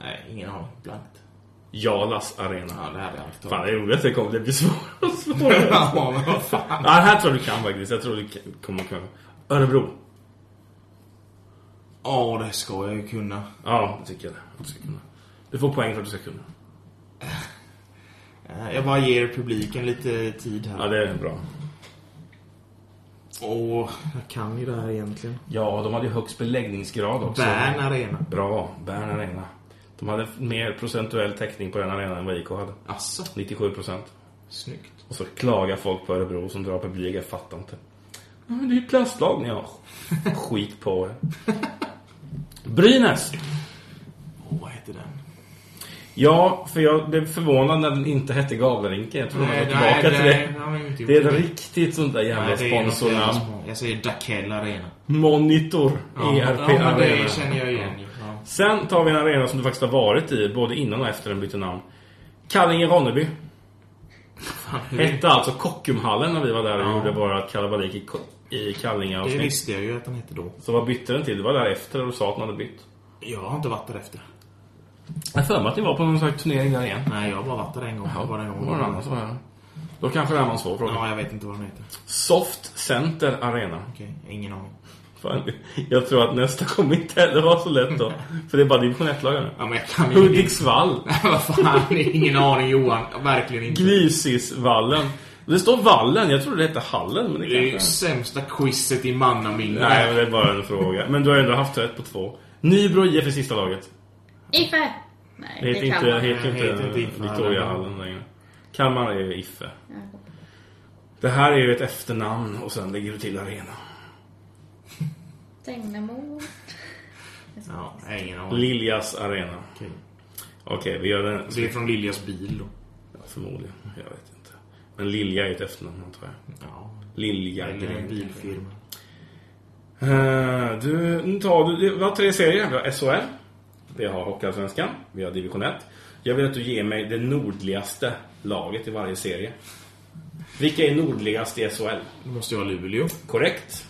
Nej, ingen aning. Blankt. Jalas Arena. Ja, det hade jag inte Fan, tagit. det är roligt att det kommer det bli svårare och svårare. Ja, men vad fan. Ja, den här tror jag du kan faktiskt. Jag tror du kan- kommer kunna. Örebro. Ja, det ska jag ju kunna. Ja, det tycker jag. Du ska kunna. Du får poäng för att du ska kunna. Eh, Jag bara ger publiken lite tid Ja, här. det är bra. Åh, jag kan ju det här egentligen. Ja, de hade ju högst beläggningsgrad också. Bern Arena. Bra, Bern Arena. De hade mer procentuell täckning på den arenan än vad IK hade. Asså, 97 procent. snyggt. Och så klagar folk på Örebro som drar publik. Jag fattar inte. Ja, men det är ju plastlag. Ja, skit på er. Brynäs. Åh, vad heter den? Ja, för jag blev förvånad när den inte hette Gavlerinken. Jag tror de var tillbaka till det. nej, nej, inte gjort Det är ett riktigt sånt där jävla Nej, det är något sponsornamn. jävla- Jag säger Dakell Arena. Monitor. ERP ja, men Arena. det känner jag igen ju. Ja. Sen tar vi en arena som du faktiskt har varit i, både innan och efter den bytte namn. Kallinge-Ronneby. Hette alltså Kockumhallen när vi var där och gjorde våra kalabalik i, Ko- i Det Kallinge-avsnitt. visste jag ju att den hette då. Så vad bytte den till? Det var där efter och sa att man hade bytt. Jag har inte varit där efter. Jag har för mig att ni var på någon slags turnering där igen. Nej, jag har bara varit där en gång. Ja, Bara en det var någon annan gång. som var där. Då kanske det här var en svår fråga. Ja, jag vet inte vad den heter. Soft Center Arena. Okej, ingen aning. Fan, jag tror att nästa kommer inte heller vara så lätt då. För det är bara division 1-lag nu. Ja, men jag kan ju inte. Hudiksvall. Vad fan, det är ingen aning Johan. Verkligen inte. Glisisvallen. Det står vallen. Jag trodde det hette hallen, men det Det är kanske ju är. sämsta quizet i mannaminne. Nej, men det är bara en fråga. Men du har ändå haft rätt på två. Nybro IF är sista laget. Iffe! Det Nej, heter det kan inte, man. Nej, heter heter inte inte Iffe. Victoriahallen längre. Kalmar är ju Iffe. Det här är ju ett efternamn och sen lägger du till arena. Tegnamo. Ja, jag har ingen aning. Liljas arena. Okej. Okej, vi gör den Det är från Liljas bil då. Ja, förmodligen. Jag vet inte. Men Lilja är ett efternamn, antar jag. Ja, Lilja eller en Gren. bilfirma. Eh, du, nu tar du... Vi har tre serier. Vi har SHL. Vi har Hockeyallsvenskan. Vi har Division 1. Jag vill att du ger mig det nordligaste laget i varje serie. Vilka är nordligast i SHL? Då måste jag ha Luleå. Korrekt.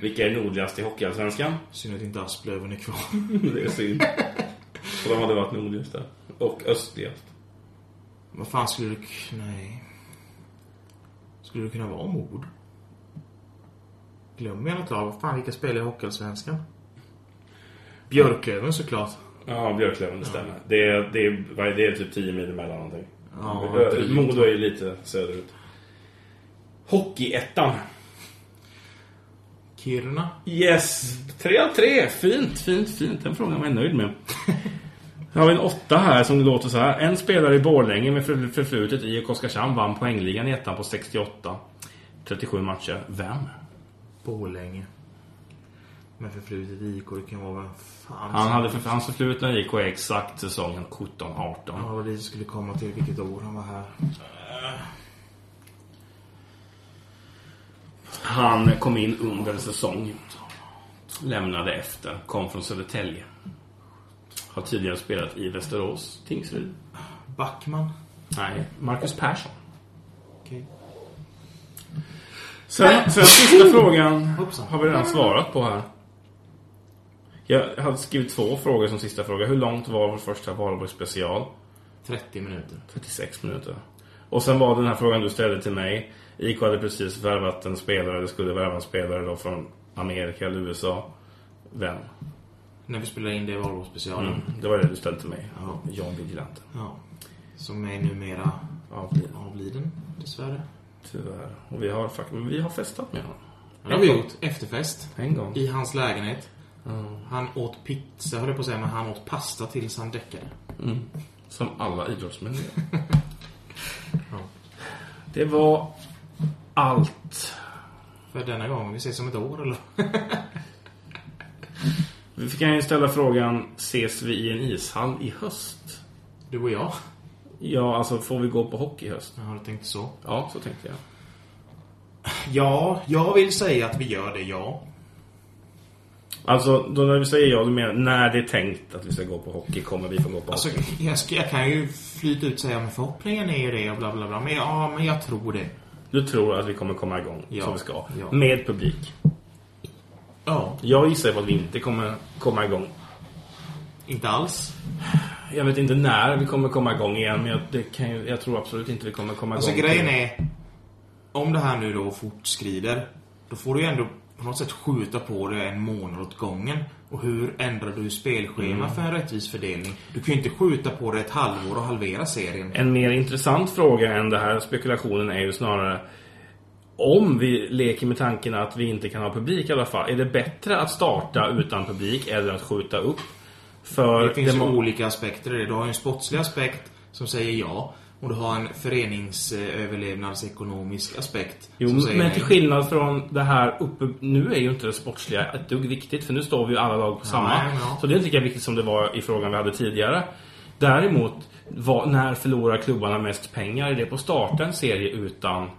Vilka är nordligast i Hockeyallsvenskan? Synd att inte Asplöven är kvar. Det är synd. Och de hade varit nordligast där. Och östligast. Vad fan skulle det... k- Nej. Skulle det kunna vara mord? Glömmer jag något lag? Vad fan, vilka spelar i Hockeyallsvenskan? Björklöven såklart. Ja, Björklöven, det stämmer. Det, är, det, är, vad är det? Det är typ 10 mil emellan någonting. Ja, Ö- drygt. Modo är ju lite söderut. Hockeyettan. Kiruna. Yes! 3 av 3. Fint, fint, fint. Den frågan var jag nöjd med. Jag har en åtta här som låter så här. En spelare i Borlänge med för- förflutet i IFK Oskarshamn vann poängligan i ettan på 68. 37 matcher. Vem? Borlänge. med förflutet i IK. Det kan vara vem fan Han som- hade för, hans förflutna i IK är exakt säsongen 17-18. Ja, vad det skulle komma till. Vilket år han var här. Han kom in under säsong. Lämnade efter. Kom från Södertälje. Har tidigare spelat i Västerås, Tingsryd. Backman. Nej, Marcus Persson. Okej. Sen, sen sista frågan Hoppsan. har vi redan svarat på här. Jag hade skrivit två frågor som sista fråga. Hur långt var vår första Valborg special? 30 minuter. 36 minuter. Och sen var det den här frågan du ställde till mig. IK hade precis värvat en spelare, eller skulle värva en spelare då från Amerika eller USA. Vem? Mm. När vi spelade in det i Valborgsspecialen. Det var det du ställde till mig. Ja. John Vigilante. Ja. Som är numera Avliden. avliden, dessvärre. Tyvärr. Och vi har, fakt- men vi har festat med honom. Det har vi gjort. Efterfest. En gång. I hans lägenhet. Han åt pizza, höll jag på att säga, men han åt pasta tills han däckade. Som alla idrottsmän gör. Ja. Det var allt. För denna gång, vi ses om ett år eller? Vi kan ju ställa frågan, ses vi i en ishall i höst? Du och jag. Ja, alltså får vi gå på hockey i höst? Jag har tänkt så. Ja, så tänkte jag. Ja, jag vill säga att vi gör det, ja. Alltså, då när vi säger ja, du menar när det är tänkt att vi ska gå på hockey kommer vi få gå på Alltså, hockey? jag, ska, jag kan ju flyta ut och säga men förhoppningen är ju det och bla bla bla. Men ja, men jag tror det. Du tror att vi kommer komma igång Ja. som vi ska? Ja. Med publik? Ja, Jag gissar på att vi inte kommer komma igång. inte alls. Jag vet inte när vi kommer komma igång igen, men jag, det kan ju, jag tror absolut inte vi kommer komma Alltså igång. grejen är, om det här nu då fortskrider, då får du ju ändå på något sätt skjuta på det en månad åt gången. Och hur ändrar du spelschema Mm. för en rättvis fördelning? Du kan ju inte skjuta på det ett halvår och halvera serien. En mer intressant fråga än det här spekulationen är ju snarare om vi leker med tanken att vi inte kan ha publik i alla fall. Är det bättre att starta utan publik eller att skjuta upp? För Det finns ju må- olika aspekter i det. Du har ju en sportslig aspekt som säger ja. Och du har en föreningsöverlevnadsekonomisk aspekt Jo, som säger men nej. till skillnad från det här uppe... Nu är ju inte det sportsliga ett dugg viktigt, för nu står vi ju alla lag på samma. Nej, ja. Så det är inte lika viktigt som det var i frågan vi hade tidigare. Däremot, vad, när förlorar klubbarna mest pengar? Är det på starten serie utan,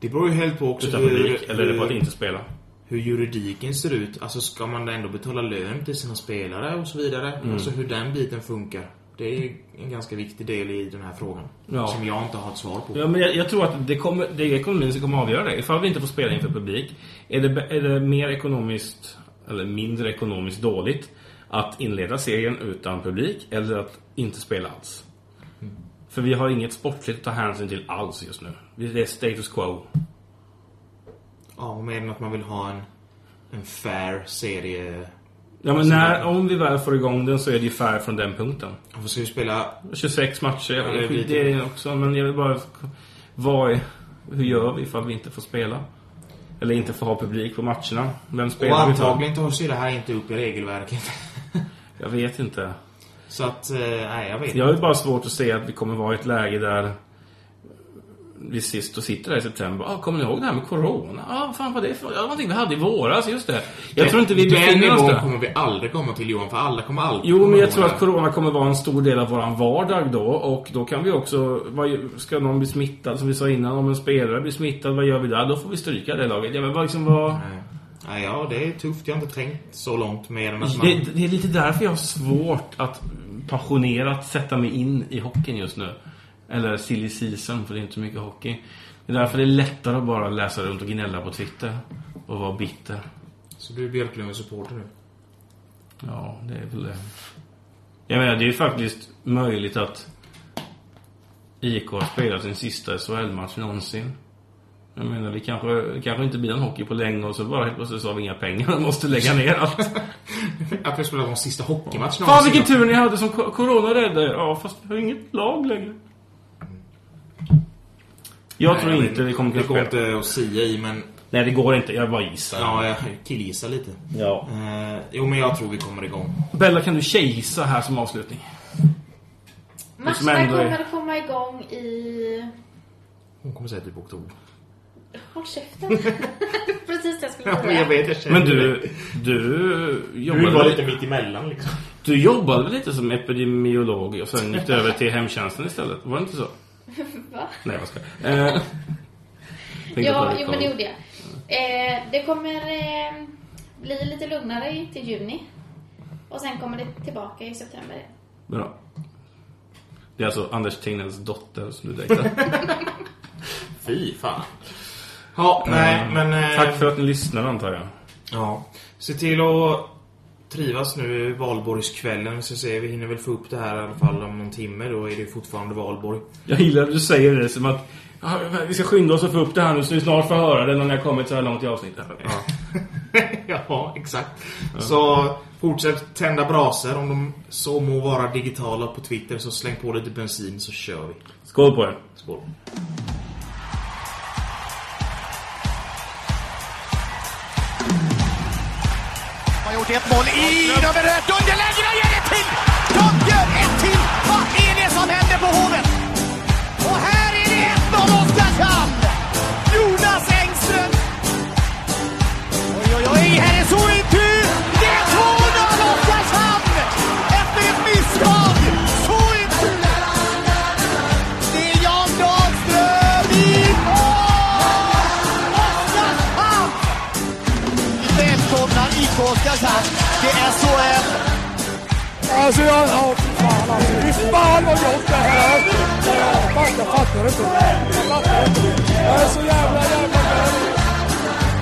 Det beror ju helt på också utan hur, publik? Eller är det på att hur, inte spela? hur juridiken ser ut. Alltså ska man ändå betala lön till sina spelare och så vidare? Mm. Alltså hur den biten funkar. Det är en ganska viktig del i den här frågan. Ja. Som jag inte har ett svar på. Ja, men jag, jag tror att det, kommer, det är ekonomin som kommer att avgöra det. Ifall vi inte får spela inför publik, är det, bä- är det mer ekonomiskt, eller mindre ekonomiskt dåligt att inleda serien utan publik eller att inte spela alls? För vi har inget sportligt att ta hänsyn till alls just nu. Vi- Det är status quo. Ja, och mer än att man vill ha en, en fair serie. Ja, men när, om vi väl får igång den så är det ju färre från den punkten. Varför ska vi spela... 26 matcher, Ja, det jag blir skiter i det också, men jag vill bara... Vad är, hur gör vi ifall vi inte får spela? Eller inte får ha publik på matcherna? Vem Och spelar vi för? antagligen tar sig det här inte upp i regelverket. Jag vet inte. så att, eh, nej jag vet Jag har ju bara svårt att se att vi kommer vara i ett läge där vi sist och sitter där i september. Ah, kommer ni ihåg det här med corona? Ah, fan vad det är för... Ja, någonting vi hade i våras, just det. Jag tror inte vi Den befinner oss nivån där. kommer vi aldrig komma till Johan, för alla kommer aldrig Jo, komma men jag ihåg tror det att här. corona kommer vara en stor del av våran vardag då. Och då kan vi också... Vad, ska någon bli smittad, som vi sa innan, om en spelare blir smittad, vad gör vi där? Då får vi stryka det laget. Ja, men vad liksom vad... Nej. Nej, ja, det är tufft. Jag har inte tänkt så långt mer än att man... Det, det är lite därför jag har svårt att passionerat sätta mig in i hockeyn just nu. Eller silly season, för det är inte så mycket hockey. Det är därför det är lättare att bara läsa runt och gnälla på Twitter. Och vara bitter. Så du är Björklöven-supporter nu? Ja, det är väl det. Jag menar, det är ju faktiskt möjligt att IK har spelat sin sista SHL-match någonsin. Jag menar, vi kanske, det kanske inte blir någon hockey på länge och så bara helt plötsligt så har vi inga pengar och måste lägga ner allt. Att vi spelar vår sista hockeymatch Fan vilken tur ni hade som co- corona räddade er. Ja, fast vi har inget lag längre. Jag tror men inte vi kommer Det kunna går spela. inte att sia i, men eh, Nej, det går inte. Jag bara gissar. ja, jag killgissar lite. Ja. Eh, jo, men jag tror vi kommer igång. Bella, kan du tjejgissa här som avslutning? som Matcherna ändå är- kommer att komma igång i... Hon kommer säga typ oktober. Håll käften. Precis det jag skulle Ja, men jag säga. vet, jag känner Men du, du Du jobbade, var väl- lite mitt emellan liksom. du jobbade väl lite som epidemiolog och sen gick du över till hemtjänsten istället? Var det inte så? Va? Nej, jag ska. Eh, tänkte att Ja, det jo, kom- men det gjorde jag. Eh, det kommer eh, bli lite lugnare i- till juni. Och sen kommer det tillbaka i september. Bra. Det är alltså Anders Tegnells dotter som du dejtar. Fy fan. Ja, nej men... eh, Tack för att ni lyssnar antar jag. Ja. Se till att trivas nu i valborgskvällen. Vi ska se, vi hinner väl få upp det här i alla fall om någon timme. Då är det ju fortfarande valborg. Jag gillar att du säger det som att "Ja, vi ska skynda oss att få upp det här nu så ni snart får höra det när ni har kommit så här långt i avsnittet. ja, exakt. Så fortsätt tända brasor om de så må vara digitala på Twitter. Så släng på lite bensin så kör vi. Skål på er! Skål. har gjort ett mål i nummer ett. Underläge, de gör ett till! De gör ett till! Vad är det som händer på Hovet? Och här är det 1-0 Oskarshamn! Jonas Engström! Oj, oj, oj, här är Soitu! Det är 2-0 Oskarshamn! Efter ett misstag! Soitu! Det är Jan Dahlström i mål! Oskarshamn! Välkomna IK Oskarshamn. Det er är SHL. Alltså jag... Ja, fan alltså. Fy fan vad gott det här är. Fan, jag fattar inte. Jag fattar inte. Jag är så jävla, jävla glad.